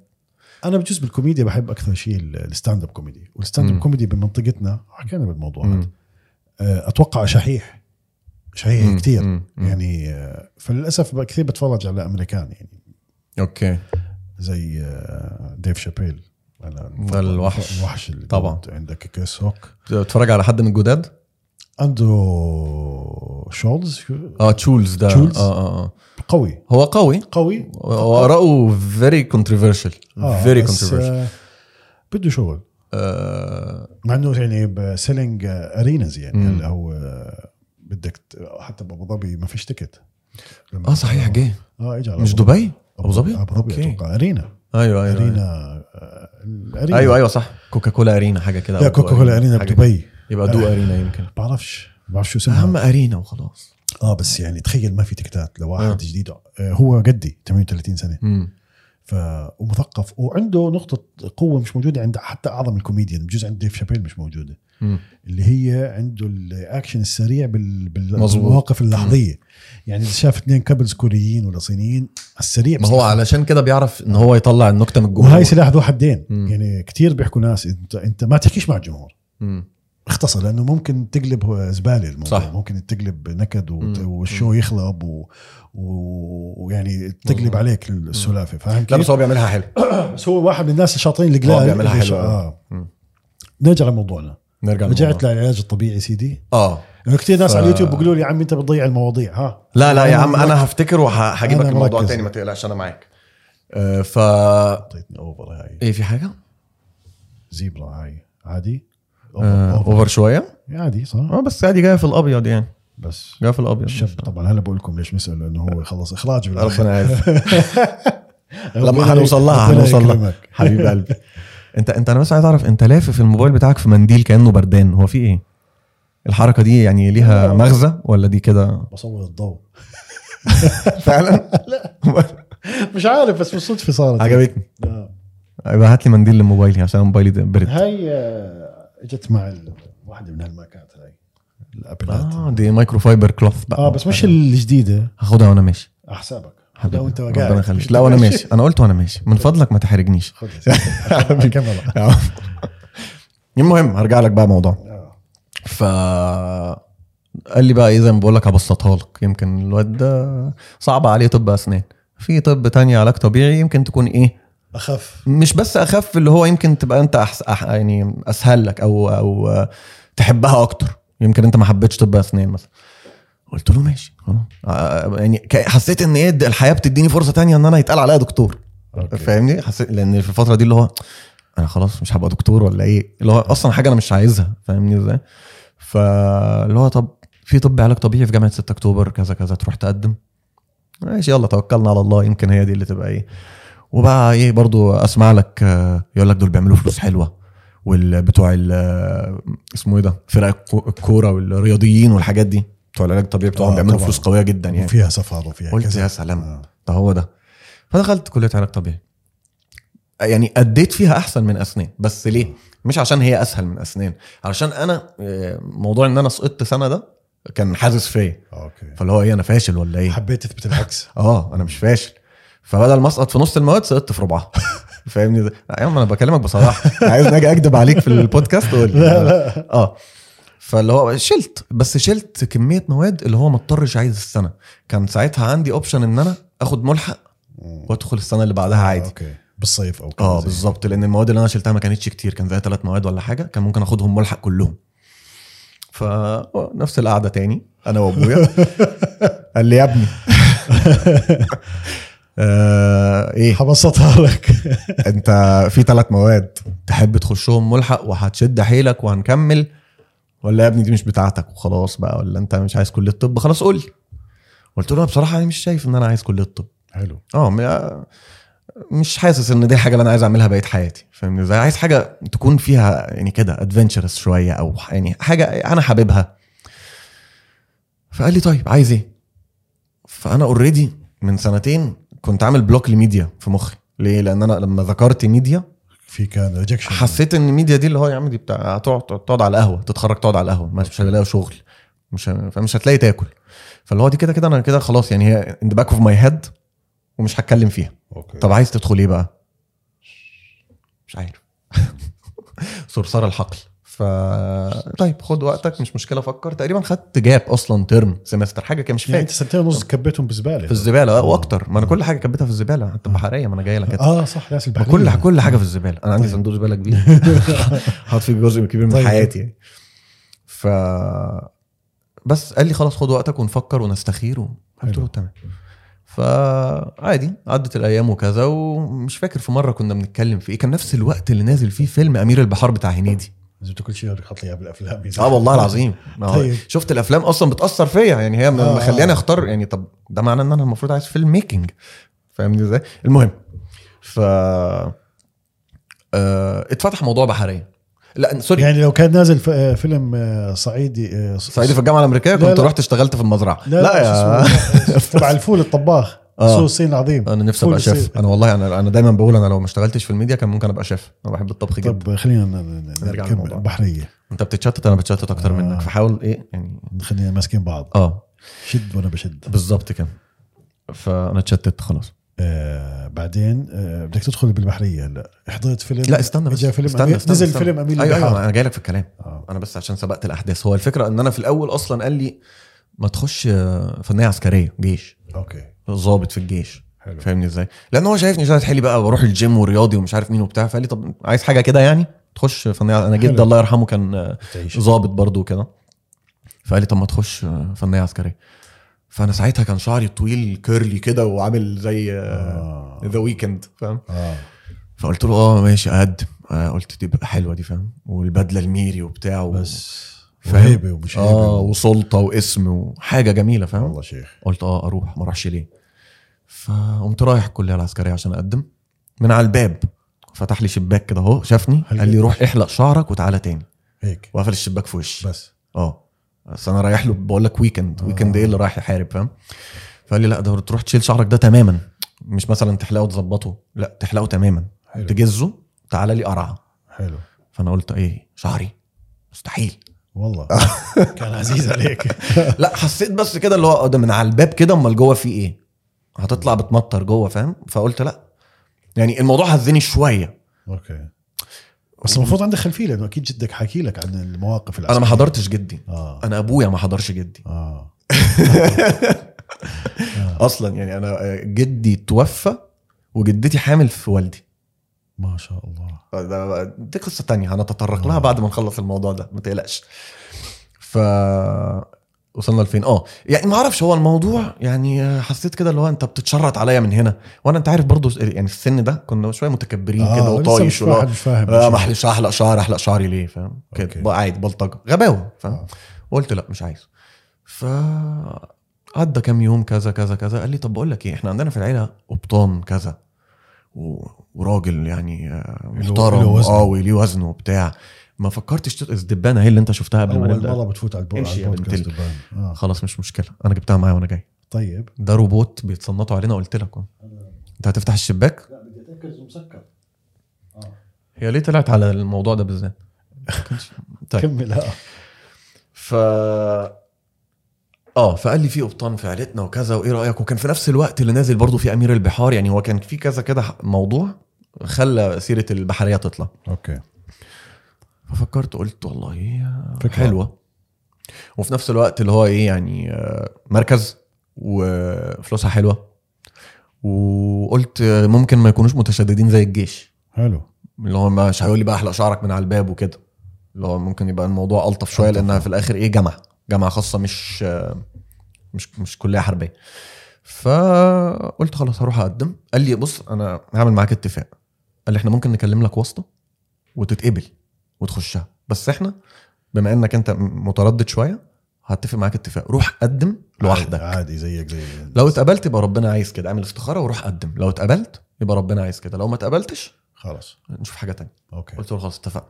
Speaker 3: انا بجوز بالكوميديا بحب اكثر شيء ال- الستاند اب كوميدي والستاند
Speaker 1: مم.
Speaker 3: اب كوميدي بمنطقتنا حكينا بالموضوع هذا
Speaker 1: مم.
Speaker 3: آه، اتوقع شحيح شحيح
Speaker 1: مم.
Speaker 3: كثير
Speaker 1: مم. مم.
Speaker 3: يعني آه، فللاسف ب- كثير بتفرج على امريكان يعني
Speaker 1: اوكي
Speaker 3: زي آه، ديف شابيل أنا
Speaker 1: ده الوحش.
Speaker 3: الوحش اللي
Speaker 1: طبعاً.
Speaker 3: موجود. عندك كريس روك
Speaker 1: بتتفرج على حد من الجداد
Speaker 3: اندرو شولز
Speaker 1: اه تشولز ده
Speaker 3: تشولز؟
Speaker 1: اه اه اه
Speaker 3: قوي
Speaker 1: هو قوي
Speaker 3: قوي
Speaker 1: Oh, وآراءه فيري كونتروفيرشال فيري
Speaker 3: بس،
Speaker 1: كونتروفيرشال
Speaker 3: آه، بده شغل
Speaker 1: آه،
Speaker 3: مع انه يعني سيلينج ارينز يعني
Speaker 1: مم.
Speaker 3: هلا هو آه، بدك ت- حتى بابو ظبي ما فيش تكت لما-
Speaker 1: اه صحيح جه
Speaker 3: اه اجى على
Speaker 1: مش
Speaker 3: أبو ظبي.
Speaker 1: دبي ابو ظبي
Speaker 3: ابو ظبي
Speaker 1: أوكي.
Speaker 3: اتوقع ارينا
Speaker 1: ايوه ايوه
Speaker 3: ارينا
Speaker 1: ايوه
Speaker 3: آه، الارينا
Speaker 1: ايوه, أيوة صح كوكا كولا ارينا حاجه كده
Speaker 3: لا
Speaker 1: أو دو
Speaker 3: كوكا كولا ارينا
Speaker 1: حاجة
Speaker 3: بدبي آه.
Speaker 1: كده. يبقى دو ارينا يمكن
Speaker 3: بعرفش بعرف شو اسمها
Speaker 1: اهم ارينا وخلاص
Speaker 3: اه بس يعني تخيل ما في تكتات لواحد
Speaker 1: آه.
Speaker 3: جديد آه، هو قدي 38 سنه
Speaker 1: امم
Speaker 3: ف ومثقف وعنده نقطه قوه مش موجوده عند حتى اعظم الكوميديان بجوز عند ديف شابيل مش موجوده
Speaker 1: أمم.
Speaker 3: اللي هي عنده الاكشن السريع بال... بال...
Speaker 1: مظبوط.
Speaker 3: بالمواقف اللحظيه يعني اذا شاف اثنين كابلز كوريين ولا صينيين السريع
Speaker 1: ما هو علشان كده بيعرف ان هو يطلع النكته من الجمهور
Speaker 3: وهي سلاح ذو حدين
Speaker 1: مم.
Speaker 3: يعني كثير بيحكوا ناس انت انت ما تحكيش مع الجمهور
Speaker 1: مم.
Speaker 3: اختصر لانه ممكن تقلب هو زباله الموضوع
Speaker 1: صح.
Speaker 3: صح. ممكن تقلب نكد وت-
Speaker 1: مم.
Speaker 3: والشو يخلب و... و... ويعني تقلب عليك السلافه فاهم
Speaker 1: لا بس
Speaker 3: كيف؟
Speaker 1: هو بيعملها حلو
Speaker 3: بس هو واحد من الناس الشاطرين اللي
Speaker 1: هو
Speaker 3: قلال-
Speaker 1: بيعملها
Speaker 3: اللي-
Speaker 1: حلوة.
Speaker 3: آه.
Speaker 1: مم.
Speaker 3: نرجع لموضوعنا
Speaker 1: نرجع
Speaker 3: رجعت
Speaker 1: للموضوع.
Speaker 3: للعلاج الطبيعي سيدي
Speaker 1: اه
Speaker 3: لانه كثير ناس
Speaker 1: ف-
Speaker 3: على اليوتيوب بيقولوا لي يا عم انت بتضيع المواضيع ها
Speaker 1: لا لا يا عم
Speaker 3: مركز.
Speaker 1: انا هفتكر وهجيبك
Speaker 3: أنا
Speaker 1: الموضوع
Speaker 3: مركز.
Speaker 1: تاني ما تقلقش انا معاك آه، ف
Speaker 3: اعطيتني اوفر هاي
Speaker 1: ايه في حاجه
Speaker 3: زيبرا هاي عادي
Speaker 1: آه، اوفر شويه
Speaker 3: عادي صح
Speaker 1: اه بس عادي جايه في الابيض يعني
Speaker 3: بس
Speaker 1: جايه في الابيض
Speaker 3: الشاب طبعا هلا بقول لكم ليش مسأل لانه هو خلص اخراج
Speaker 1: ربنا
Speaker 3: بالاخر
Speaker 1: يعافيك
Speaker 3: ربنا
Speaker 1: لما هنوصل لها
Speaker 3: ربنا
Speaker 1: هنوصل لها
Speaker 3: يكرمك.
Speaker 1: حبيب قلبي انت انت انا بس عايز اعرف انت لافف الموبايل بتاعك في منديل كانه بردان هو في ايه الحركه دي يعني ليها مغزى ولا دي كده
Speaker 3: بصور الضوء
Speaker 1: فعلا لا
Speaker 3: مش عارف بس بالصدفه صارت
Speaker 1: عجبتني
Speaker 3: آه.
Speaker 1: يبقى هات لي منديل لموبايلي عشان موبايلي ده برد
Speaker 3: هاي آه، اجت مع ال- واحده من هالماكات هاي الابلات
Speaker 1: اه دي مايكرو فايبر كلوث بقى
Speaker 3: اه بس مش الجديدة
Speaker 1: هاخدها وانا ماشي
Speaker 3: على حسابك
Speaker 1: حبيبي،
Speaker 3: لا وانت
Speaker 1: ربنا
Speaker 3: قاعد
Speaker 1: يخليك لا وانا ماشي انا قلت وانا ماشي من فضلك ما تحرجنيش
Speaker 3: خذها سيدي. على
Speaker 1: آه،
Speaker 3: الكاميرا
Speaker 1: المهم هرجع لك بقى موضوع
Speaker 3: آه.
Speaker 1: ف قال لي بقى ايه زي ما بقول لك هبسطها لك يمكن الواد ده صعب عليه طب اسنان في طب تاني علاج طبيعي يمكن تكون ايه
Speaker 3: اخف
Speaker 1: مش بس اخف اللي هو يمكن تبقى انت أحس... أح... يعني اسهل لك او او تحبها اكتر يمكن انت ما حبيتش طب اسنان مثلا قلت له ماشي خلاص آه، يعني ك- حسيت ان ايه الحياه بتديني فرصه تانية ان انا يتقال عليا دكتور
Speaker 3: أوكي.
Speaker 1: فاهمني حسيت لان في الفتره دي اللي هو انا خلاص مش هبقى دكتور ولا ايه اللي هو اصلا حاجه انا مش عايزها فاهمني ازاي فاللي هو طب في طب علاج طبيعي في جامعه 6 اكتوبر كذا كذا تروح تقدم ماشي يلا توكلنا على الله يمكن هي دي اللي تبقى ايه وبقى ايه برضو اسمع لك آه، يقول لك دول بيعملوا فلوس حلوه والبتوع ال- آه، اسمه ايه ده فرق الكو- الكوره والرياضيين والحاجات دي بتوع العلاج الطبيعي بتوعهم
Speaker 3: آه،
Speaker 1: بيعملوا
Speaker 3: طبعاً.
Speaker 1: فلوس قويه جدا يعني
Speaker 3: وفيها سفر وفيها
Speaker 1: قلت
Speaker 3: كذا.
Speaker 1: يا سلام.
Speaker 3: آه.
Speaker 1: ده هو ده فدخلت كليه علاج طبيعي يعني اديت فيها احسن من اسنان بس ليه مش عشان هي اسهل من اسنان علشان انا آه، موضوع ان انا سقطت سنه ده كان حاسس فيا
Speaker 3: اوكي
Speaker 1: فاللي هو ايه انا فاشل ولا ايه
Speaker 3: آه، حبيت اثبت العكس
Speaker 1: اه انا مش فاشل فبدل ما اسقط في نص المواد سقطت في ربعها فاهمني ده يا عم انا بكلمك بصراحه عايز اجي اكدب عليك في البودكاست قول لي.
Speaker 3: لا لا
Speaker 1: اه فاللي هو شلت بس شلت كميه مواد اللي هو ما اضطرش عايز السنه كان ساعتها عندي اوبشن ان انا اخد ملحق وادخل السنه اللي بعدها عادي
Speaker 3: اوكي بالصيف او كذا
Speaker 1: اه
Speaker 3: زي-
Speaker 1: بالظبط لان المواد اللي انا شلتها ما كانتش كتير كان زي ثلاث مواد ولا حاجه كان ممكن اخدهم ملحق كلهم فنفس القعده تاني انا وابويا قال لي يا ابني آه ايه
Speaker 3: حبسطها لك
Speaker 1: انت في ثلاث مواد تحب تخشهم ملحق وهتشد حيلك وهنكمل ولا يا ابني دي مش بتاعتك وخلاص بقى ولا انت مش عايز كليه الطب خلاص قول لي قلت له أنا بصراحه انا مش شايف ان انا عايز كليه الطب
Speaker 3: حلو
Speaker 1: اه م- مش حاسس ان دي الحاجه اللي انا عايز اعملها بقيه حياتي فاهمني ازاي عايز حاجه تكون فيها يعني كده ادفنتشرس شويه او ح- يعني حاجه انا حاببها فقال لي طيب عايز ايه فانا اوريدي من سنتين كنت عامل بلوك لميديا في مخي ليه لان انا لما ذكرت ميديا
Speaker 3: في كان ريجكشن
Speaker 1: حسيت ان الميديا دي اللي هو يا عم دي بتاع تقعد تقعد على القهوه تتخرج تقعد على القهوه مش مش هلاقي شغل مش ه- فمش هتلاقي تاكل فاللي هو دي كده كده انا كده خلاص يعني هي ان ذا باك اوف ماي هيد ومش هتكلم فيها
Speaker 3: اوكي
Speaker 1: طب عايز تدخل ايه بقى؟ مش عارف صرصار الحقل ف ف طيب خد وقتك مش مشكله فكر تقريبا خدت جاب اصلا ترم سمستر حاجه كده مش
Speaker 3: يعني انت
Speaker 1: فاكر
Speaker 3: سنتين ونص كبيتهم بزباله
Speaker 1: في الزباله آه، واكتر ما انا كل حاجه كبيتها في الزباله حتى البحريه ما انا جاي لك كده.
Speaker 3: اه صح ناس البحريه
Speaker 1: كل كل حاجه في الزباله انا عندي
Speaker 3: طيب.
Speaker 1: صندوق زباله كبير حاطط فيه جزء كبير من
Speaker 3: طيب.
Speaker 1: حياتي يعني. ف بس قال لي خلاص خد وقتك ونفكر ونستخير و- قلت له
Speaker 3: حلو.
Speaker 1: تمام فعادي عدت الايام وكذا ومش فاكر في مره كنا بنتكلم في ايه كان نفس الوقت اللي نازل فيه فيلم امير البحار بتاع هنيدي
Speaker 3: لازم كل شيء خط لي بالافلام
Speaker 1: اه والله العظيم ما هو
Speaker 3: آه. طيب.
Speaker 1: شفت الافلام اصلا بتاثر فيا يعني هي
Speaker 3: آه، آه.
Speaker 1: مخلياني اختار يعني طب ده معناه ان انا المفروض عايز فيلم ميكنج فاهمني ازاي المهم ف آه، اتفتح موضوع بحريه لا سوري
Speaker 3: يعني لو كان نازل ف- آه، فيلم آه، صعيدي آه، ص-
Speaker 1: صعيدي في الجامعه الامريكيه
Speaker 3: لا،
Speaker 1: كنت
Speaker 3: لا.
Speaker 1: رحت اشتغلت في المزرعه
Speaker 3: لا, لا
Speaker 1: يا
Speaker 3: يا تبع الفول الطباخ
Speaker 1: آه.
Speaker 3: سوق الصين العظيم
Speaker 1: انا نفسي ابقى
Speaker 3: فول
Speaker 1: شيف
Speaker 3: الصين.
Speaker 1: انا والله انا انا دايما بقول انا لو ما اشتغلتش في الميديا كان ممكن ابقى شيف انا بحب الطبخ جدا
Speaker 3: طب طيب، خلينا ن- ن-
Speaker 1: طيب. نرجع
Speaker 3: نكمل
Speaker 1: للموضوع.
Speaker 3: البحريه
Speaker 1: انت بتتشتت انا بتشتت اكتر
Speaker 3: آه.
Speaker 1: منك فحاول ايه يعني
Speaker 3: خلينا ماسكين بعض
Speaker 1: اه
Speaker 3: شد وانا بشد
Speaker 1: بالظبط كده فانا اتشتت خلاص
Speaker 3: آه بعدين آه بدك تدخل بالبحريه هلا حضرت فيلم
Speaker 1: لا استنى بس
Speaker 3: جاء فيلم
Speaker 1: استنى
Speaker 3: أمير-
Speaker 1: استنى
Speaker 3: نزل
Speaker 1: استنى.
Speaker 3: فيلم أمير
Speaker 1: ايوه ايوه
Speaker 3: البحار.
Speaker 1: انا جاي لك في الكلام
Speaker 3: آه.
Speaker 1: انا بس عشان سبقت الاحداث هو الفكره ان انا في الاول اصلا قال لي ما تخش آه، فنيه عسكريه جيش
Speaker 3: اوكي
Speaker 1: ضابط في الجيش
Speaker 3: حلو
Speaker 1: فاهمني ازاي لان هو شايفني شايف حيلي بقى بروح الجيم ورياضي ومش عارف مين وبتاع فقال لي طب عايز حاجه كده يعني تخش فنيه انا جدي
Speaker 3: حلو.
Speaker 1: الله يرحمه كان آه،
Speaker 3: تعيش
Speaker 1: ظابط برضو كده فقال لي طب ما تخش آه، فنيه عسكريه فانا ساعتها كان شعري طويل كيرلي كده وعامل زي
Speaker 3: آه.
Speaker 1: ذا ويكند فاهم
Speaker 3: اه
Speaker 1: فقلت له اه ماشي اقدم آه، قلت دي بقى حلوه دي فاهم والبدله الميري وبتاع و...
Speaker 3: بس
Speaker 1: فاهم؟
Speaker 3: وهيبه ومش هيبه
Speaker 1: اه
Speaker 3: و-
Speaker 1: وسلطه واسم وحاجه جميله فاهم
Speaker 3: والله شيخ
Speaker 1: قلت اه اروح ما اروحش ليه فقمت رايح الكليه العسكريه عشان اقدم من على الباب فتح لي شباك كده اهو شافني
Speaker 3: هل
Speaker 1: قال لي
Speaker 3: جد؟
Speaker 1: روح احلق شعرك وتعالى تاني
Speaker 3: هيك
Speaker 1: وقفل الشباك في وشي
Speaker 3: بس
Speaker 1: اه بس انا رايح له بقول لك ويكند
Speaker 3: آه.
Speaker 1: ويكند ايه اللي رايح يحارب فاهم فقال لي لا ده تروح تشيل شعرك ده تماما مش مثلا تحلقه وتظبطه لا تحلقه تماما
Speaker 3: حلو
Speaker 1: تجزه تعالى لي قرعه
Speaker 3: حلو
Speaker 1: فانا قلت ايه شعري مستحيل
Speaker 3: والله كان عزيز عليك
Speaker 1: لا حسيت بس كده اللي هو آه، ده من على الباب كده امال جوه في ايه هتطلع بتمطر جوه فاهم فقلت لا يعني الموضوع هزني شويه
Speaker 3: اوكي بس المفروض عندك خلفيه لانه اكيد جدك حكي لك عن المواقف
Speaker 1: انا
Speaker 3: العسكريه
Speaker 1: ما حضرتش جدي
Speaker 3: اه
Speaker 1: انا ابويا ما حضرش جدي
Speaker 3: اه آه.
Speaker 1: اصلا يعني انا جدي توفى وجدتي حامل في والدي
Speaker 3: ما شاء الله
Speaker 1: ده- طيب، آه، دي قصه تانية هنتطرق لها
Speaker 3: آه.
Speaker 1: بعد ما نخلص الموضوع ده ما تقلقش ف وصلنا لفين اه يعني ما اعرفش هو الموضوع يعني حسيت كده اللي هو انت بتتشرط عليا من هنا وانا انت عارف برضو يعني السن ده كنا شويه متكبرين آه كده
Speaker 3: آه لسه
Speaker 1: وطايش
Speaker 3: مش
Speaker 1: ولا
Speaker 3: واحد مش فاهم
Speaker 1: لا ما احلقش احلق شعر احلق شعري ليه فاهم
Speaker 3: أوكي.
Speaker 1: كده بقى عادي بلطجه غباوه فاهم
Speaker 3: آه.
Speaker 1: قلت لا مش عايز ف عدى كام يوم كذا كذا كذا قال لي طب بقول لك ايه احنا عندنا في العيله قبطان كذا و... وراجل يعني آه، محترم
Speaker 3: له وزنه.
Speaker 1: اه وليه وزنه وبتاع ما فكرتش تت- الدبانه هي اللي انت شفتها قبل ما
Speaker 3: اول
Speaker 1: نبدا
Speaker 3: مره بتفوت على البو-
Speaker 1: امشي
Speaker 3: على
Speaker 1: يا بنت
Speaker 3: البودكاست
Speaker 1: ال-
Speaker 3: البان. آه.
Speaker 1: خلاص مش مشكله انا جبتها معايا وانا جاي
Speaker 3: طيب
Speaker 1: ده روبوت بيتصنطوا علينا قلت لك أهو. انت هتفتح الشباك
Speaker 3: لا بدي اتاكد مسكر
Speaker 1: هي ليه طلعت على الموضوع ده بالذات ما كانش- طيب
Speaker 3: كمل اه
Speaker 1: ف اه فقال لي في قبطان في عيلتنا وكذا وايه رايك وكان في نفس الوقت اللي نازل برضه في امير البحار يعني هو كان في كذا كده موضوع خلى سيره البحريه تطلع
Speaker 3: اوكي
Speaker 1: ففكرت قلت والله
Speaker 3: فكرة.
Speaker 1: حلوه وفي نفس الوقت اللي هو ايه يعني آه، مركز وفلوسها حلوه وقلت آه، ممكن ما يكونوش متشددين زي الجيش
Speaker 3: حلو
Speaker 1: اللي هو مش هيقول لي بقى احلق شعرك من على الباب وكده اللي هو ممكن يبقى الموضوع الطف شويه
Speaker 3: ألطف.
Speaker 1: لانها في الاخر ايه جامعه جامعه خاصه مش مش مش كليه حربيه فقلت خلاص هروح اقدم قال لي بص انا هعمل معاك اتفاق قال لي احنا ممكن نكلم لك واسطه وتتقبل وتخشها بس احنا بما انك انت متردد شويه هتفق معاك اتفاق روح قدم لوحدك
Speaker 3: عادي- عادي زيك زي
Speaker 1: لو اتقبلت يبقى ربنا عايز كده اعمل استخاره وروح قدم لو اتقبلت يبقى ربنا عايز كده لو ما اتقبلتش
Speaker 3: خلاص
Speaker 1: نشوف حاجه تانية
Speaker 3: اوكي
Speaker 1: قلت له خلاص اتفقنا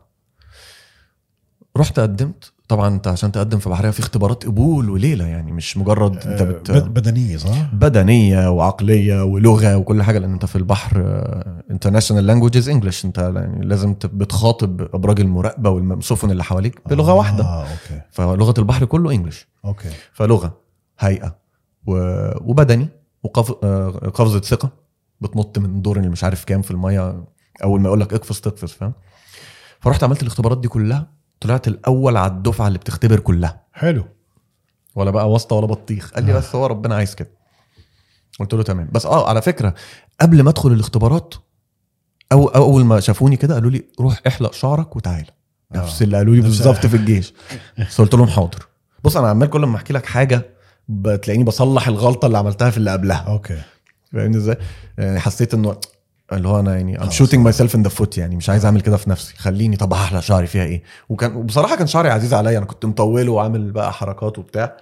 Speaker 1: رحت قدمت طبعا انت عشان تقدم في بحريه في اختبارات قبول وليله يعني مش مجرد انت
Speaker 3: آه،
Speaker 1: بت...
Speaker 3: بد- بدنيه صح؟
Speaker 1: بدنيه وعقليه ولغه وكل حاجه لان انت في البحر آه، انترناشونال لانجوجز انجلش انت يعني لازم ت- بتخاطب ابراج المراقبه والسفن اللي حواليك بلغه
Speaker 3: آه،
Speaker 1: واحده
Speaker 3: اه اوكي
Speaker 1: فلغه البحر كله انجلش
Speaker 3: اوكي
Speaker 1: فلغه هيئه و... وبدني وقف... آه، قفزه ثقه بتنط من دور اللي مش عارف كام في الميه اول ما يقول لك اقفز تقفز فاهم فرحت عملت الاختبارات دي كلها طلعت الاول على الدفعه اللي بتختبر كلها
Speaker 3: حلو
Speaker 1: ولا بقى واسطه ولا بطيخ قال لي بس هو ربنا عايز كده قلت له تمام بس اه على فكره قبل ما ادخل الاختبارات أو أو اول ما شافوني كده قالوا لي روح احلق شعرك وتعالى
Speaker 3: آه.
Speaker 1: نفس اللي قالوا لي
Speaker 3: نفس-
Speaker 1: بالظبط في الجيش بس قلت لهم حاضر بص انا عمال كل ما احكي لك حاجه بتلاقيني بصلح الغلطه اللي عملتها في اللي قبلها
Speaker 3: اوكي
Speaker 1: فاهمني ازاي؟ يعني حسيت انه اللي هو انا يعني ام
Speaker 3: خلاص.
Speaker 1: شوتنج ماي سيلف ان ذا فوت يعني مش عايز اعمل كده في نفسي خليني طب احلق شعري فيها ايه؟ وكان وبصراحه كان شعري عزيز عليا انا كنت مطوله وعامل بقى حركات وبتاع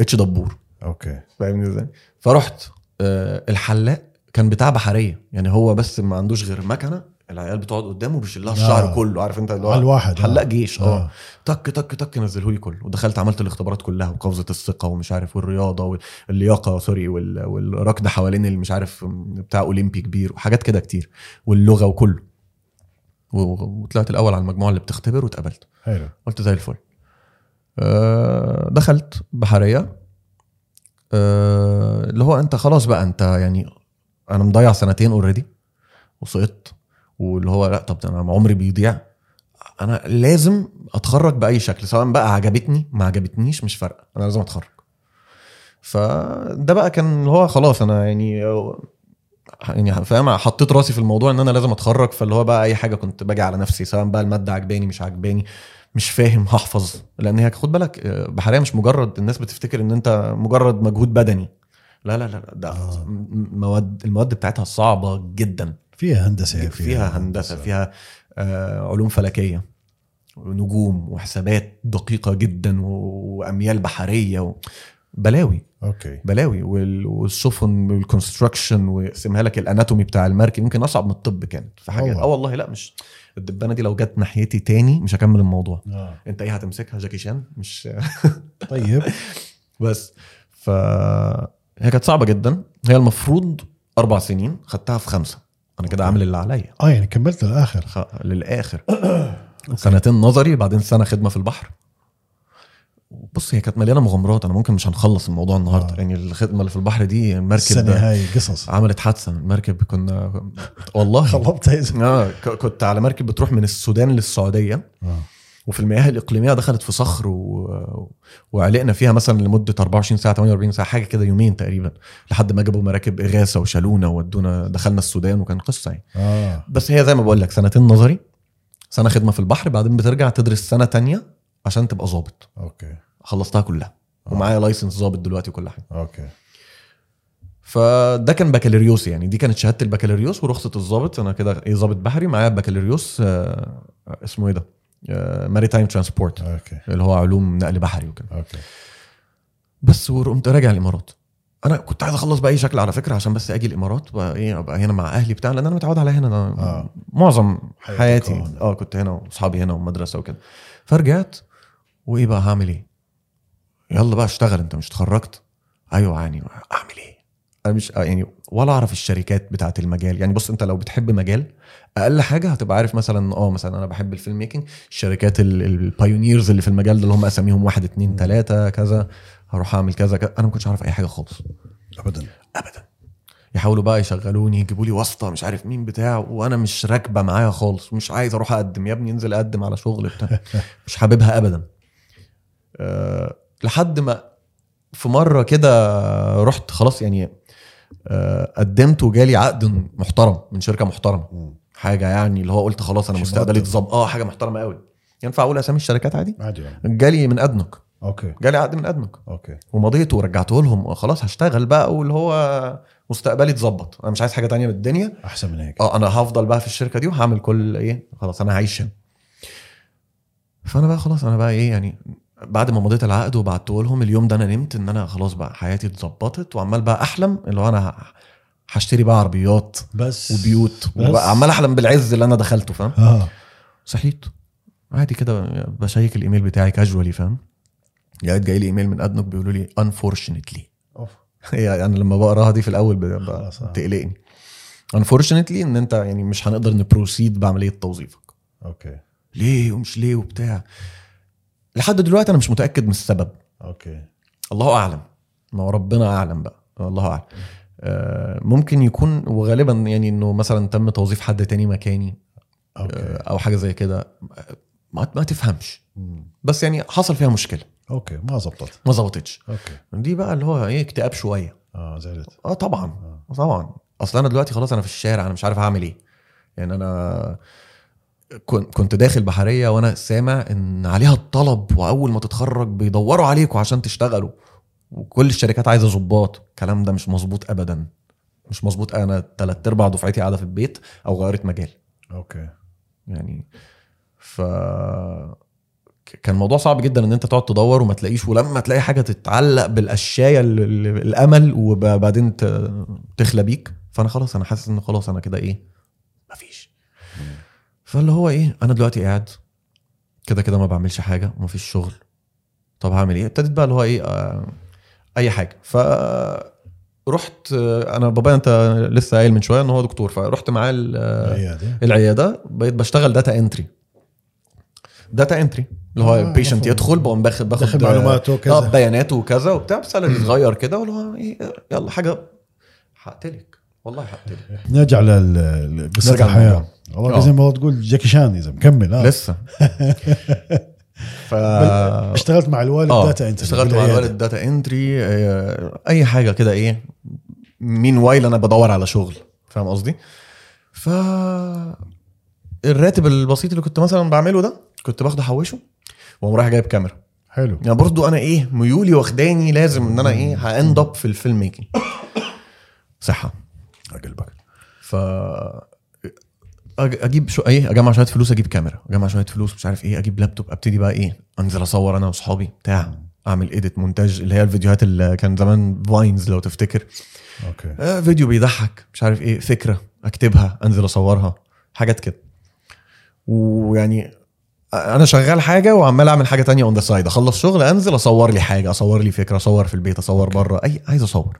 Speaker 1: اتش دبور
Speaker 3: اوكي
Speaker 1: فاهمني ازاي؟ فرحت آه الحلاق كان بتاع بحريه يعني هو بس ما عندوش غير مكنه العيال بتقعد قدامه بيشيل لها الشعر
Speaker 3: آه.
Speaker 1: كله عارف انت اللي
Speaker 3: على
Speaker 1: هو
Speaker 3: الواحد
Speaker 1: حلاق جيش اه
Speaker 3: اه
Speaker 1: تك تك تك نزله لي كله ودخلت عملت الاختبارات كلها وقفزه الثقه ومش عارف والرياضه واللياقه سوري وال- والركض حوالين اللي مش عارف بتاع اولمبي كبير وحاجات كده كتير واللغه وكله و- وطلعت الاول على المجموعه اللي بتختبر واتقبلت
Speaker 3: حلو
Speaker 1: قلت زي الفل آه، دخلت بحريه آه، اللي هو انت خلاص بقى انت يعني انا مضيع سنتين اوريدي وسقطت واللي هو لا طب ده انا عمري بيضيع انا لازم اتخرج باي شكل سواء بقى عجبتني ما عجبتنيش مش فارقه انا لازم اتخرج فده بقى كان اللي هو خلاص انا يعني يعني فاهم حطيت راسي في الموضوع ان انا لازم اتخرج فاللي هو بقى اي حاجه كنت باجي على نفسي سواء بقى الماده عجباني مش عجباني مش فاهم هحفظ لان هي خد بالك آه، بحريه مش مجرد الناس بتفتكر ان انت مجرد مجهود بدني لا لا لا ده
Speaker 3: آه.
Speaker 1: م- مواد المواد بتاعتها صعبه جدا
Speaker 3: فيها هندسه
Speaker 1: فيها هندسه فيها آه، علوم فلكيه ونجوم وحسابات دقيقه جدا و- واميال بحريه و... بلاوي
Speaker 3: اوكي
Speaker 1: بلاوي وال- والسفن والكونستراكشن واسمها لك الاناتومي بتاع المركب يمكن اصعب من الطب كانت في حاجات
Speaker 3: والله.
Speaker 1: اه والله لا مش الدبانه دي لو جت ناحيتي تاني مش هكمل الموضوع
Speaker 3: آه.
Speaker 1: انت ايه هتمسكها جاكي شان مش
Speaker 3: طيب
Speaker 1: بس ف هي كانت صعبه جدا هي المفروض اربع سنين خدتها في خمسه انا كده
Speaker 3: أوكي.
Speaker 1: عامل اللي عليا
Speaker 3: اه يعني كملت للاخر
Speaker 1: خ- للاخر سنتين نظري بعدين سنه خدمه في البحر بص هي كانت مليانه مغامرات انا ممكن مش هنخلص الموضوع النهارده
Speaker 3: آه.
Speaker 1: يعني الخدمه اللي في البحر دي المركب
Speaker 3: السنه
Speaker 1: ده
Speaker 3: هاي قصص
Speaker 1: عملت حادثه المركب كنا والله
Speaker 3: خلبتها
Speaker 1: اه ك- كنت على مركب بتروح من السودان للسعوديه
Speaker 3: آه.
Speaker 1: وفي المياه الاقليميه دخلت في صخر و... وعلقنا فيها مثلا لمده 24 ساعه 48 ساعه حاجه كده يومين تقريبا لحد ما جابوا مراكب اغاثه وشالونا وودونا دخلنا السودان وكان قصه يعني
Speaker 3: اه
Speaker 1: بس هي زي ما بقول لك سنتين نظري سنه خدمه في البحر بعدين بترجع تدرس سنه تانية عشان تبقى ظابط
Speaker 3: اوكي
Speaker 1: خلصتها كلها ومعايا لايسنس ظابط دلوقتي وكل حاجه
Speaker 3: اوكي
Speaker 1: فده كان بكالوريوس يعني دي كانت شهاده البكالوريوس ورخصه الضابط انا كده ايه ضابط بحري معايا بكالوريوس آه، اسمه ايه ده ماريتايم ترانسبورت
Speaker 3: اوكي
Speaker 1: اللي هو علوم نقل بحري وكده
Speaker 3: اوكي
Speaker 1: بس وقمت راجع الامارات انا كنت عايز اخلص باي شكل على فكره عشان بس اجي الامارات بقى ايه ابقى هنا مع اهلي بتاع لان انا متعود على هنا أنا
Speaker 3: آه.
Speaker 1: معظم
Speaker 3: حياتك
Speaker 1: حياتي
Speaker 3: هنا.
Speaker 1: اه كنت هنا واصحابي هنا والمدرسه وكده فرجعت وايه بقى هعمل ايه يلا بقى اشتغل انت مش اتخرجت ايوه يعني اعمل ايه انا مش آه يعني ولا اعرف الشركات بتاعه المجال يعني بص انت لو بتحب مجال اقل حاجه هتبقى عارف مثلا اه مثلا انا بحب الفيلم ميكنج الشركات البايونيرز اللي في المجال ده اللي هم اساميهم واحد اتنين تلاته كذا هروح اعمل كذا كذا انا ما كنتش عارف اي حاجه خالص
Speaker 3: ابدا
Speaker 1: ابدا يحاولوا بقى يشغلوني يجيبوا لي واسطه مش عارف مين بتاع وانا مش راكبه معايا خالص مش عايز اروح اقدم يا ابني انزل اقدم على شغل بتاع مش حاببها ابدا أه لحد ما في مره كده رحت خلاص يعني أه قدمت وجالي عقد محترم من شركه محترمه
Speaker 3: مم.
Speaker 1: حاجه يعني اللي هو قلت خلاص انا
Speaker 3: مش
Speaker 1: مستقبلي
Speaker 3: مرتب.
Speaker 1: اتظبط اه حاجه محترمه قوي ينفع اقول اسامي الشركات عادي
Speaker 3: عادي يعني
Speaker 1: جالي من ادنك
Speaker 3: اوكي
Speaker 1: جالي عقد من ادنك
Speaker 3: اوكي
Speaker 1: ومضيته ورجعته لهم آه، خلاص هشتغل بقى واللي هو مستقبلي اتظبط انا مش عايز حاجه تانية من الدنيا
Speaker 3: احسن من هيك
Speaker 1: اه انا هفضل بقى في الشركه دي وهعمل كل ايه خلاص انا عايش هنا فانا بقى خلاص انا بقى ايه يعني بعد ما مضيت العقد وبعته لهم اليوم ده انا نمت ان انا خلاص بقى حياتي اتظبطت وعمال بقى احلم اللي هو انا ه- هشتري بقى عربيات
Speaker 3: بس
Speaker 1: وبيوت
Speaker 3: بس.
Speaker 1: وبقى عمال احلم بالعز اللي انا دخلته فاهم
Speaker 3: اه
Speaker 1: صحيت عادي كده بشيك الايميل بتاعي كاجوالي فاهم لقيت جاي لي ايميل من ادنك بيقولوا لي unfortunately
Speaker 3: اوف
Speaker 1: يعني انا لما بقراها دي في الاول ب- ب-
Speaker 3: خلاص، آه.
Speaker 1: بتقلقني انفورشنتلي ان انت يعني مش هنقدر نبروسيد بعمليه توظيفك
Speaker 3: اوكي
Speaker 1: ليه ومش ليه وبتاع لحد دلوقتي انا مش متاكد من السبب
Speaker 3: اوكي
Speaker 1: الله اعلم ما هو ربنا اعلم بقى الله اعلم آه، ممكن يكون وغالبا يعني انه مثلا تم توظيف حد تاني مكاني آه،
Speaker 3: اوكي
Speaker 1: او حاجه زي كده آه، ما ما تفهمش بس يعني حصل فيها مشكله
Speaker 3: اوكي ما زبطت
Speaker 1: ما ظبطتش
Speaker 3: اوكي
Speaker 1: دي بقى اللي هو ايه اكتئاب شويه
Speaker 3: اه زعلت
Speaker 1: اه طبعا
Speaker 3: آه.
Speaker 1: طبعا اصل انا دلوقتي خلاص انا في الشارع انا مش عارف هعمل ايه يعني انا كن- كنت داخل بحريه وانا سامع ان عليها الطلب واول ما تتخرج بيدوروا عليكم عشان تشتغلوا وكل الشركات عايزه ظباط الكلام ده مش مظبوط ابدا مش مظبوط انا تلات ارباع دفعتي قاعده في البيت او غيرت مجال
Speaker 3: اوكي
Speaker 1: يعني ف ك- كان موضوع صعب جدا ان انت تقعد تدور وما تلاقيش ولما تلاقي حاجه تتعلق بالقشايه ال- ال- الامل وبعدين ت- تخلى بيك فانا خلاص انا حاسس ان خلاص انا كده ايه مفيش فاللي هو ايه انا دلوقتي قاعد كده كده ما بعملش حاجه ومفيش شغل طب هعمل ايه ابتديت بقى اللي هو ايه آه اي حاجه ف رحت آه، انا بابايا انت لسه قايل من شويه ان هو دكتور فرحت معاه ال- آه،
Speaker 3: العياده
Speaker 1: العياده بقيت بشتغل داتا انتري داتا انتري اللي هو
Speaker 3: آه،
Speaker 1: بيشنت
Speaker 3: مفهوم.
Speaker 1: يدخل بقوم باخد باخد
Speaker 3: داخل معلوماته
Speaker 1: آه،
Speaker 3: وكذا
Speaker 1: بياناته وكذا وبتاع سالري صغير كده واللي هو إيه، يلا حاجه هقتلك والله هقتلك
Speaker 3: نرجع لقصه
Speaker 1: نرجع
Speaker 3: الحياه
Speaker 1: للموضوع.
Speaker 3: والله
Speaker 1: آه.
Speaker 3: زي ما تقول جاكي شان اذا مكمل آه.
Speaker 1: لسه ف
Speaker 3: بل- اشتغلت مع الوالد
Speaker 1: آه،
Speaker 3: داتا انت
Speaker 1: اشتغلت مع الوالد داتا انتري آه، اي حاجه كده ايه مين وايل انا بدور على شغل فاهم قصدي ف الراتب البسيط اللي كنت مثلا بعمله ده كنت باخده احوشه واقوم رايح جايب كاميرا
Speaker 3: حلو
Speaker 1: يعني برضو انا ايه ميولي واخداني لازم ان انا ايه هاند اب في الفيلم ميكنج صحه آه.
Speaker 3: قلبك
Speaker 1: ف أج- اجيب شو ايه اجمع شويه فلوس اجيب كاميرا اجمع شويه فلوس مش عارف ايه اجيب لابتوب ابتدي بقى ايه انزل اصور انا واصحابي بتاع اعمل اديت مونتاج اللي هي الفيديوهات اللي كان زمان فاينز لو تفتكر
Speaker 3: اوكي
Speaker 1: آه فيديو بيضحك مش عارف ايه فكره اكتبها انزل اصورها حاجات كده ويعني انا شغال حاجه وعمال اعمل حاجه تانية اون ذا سايد اخلص شغل انزل اصور لي حاجه اصور لي فكره اصور في البيت اصور بره اي عايز اصور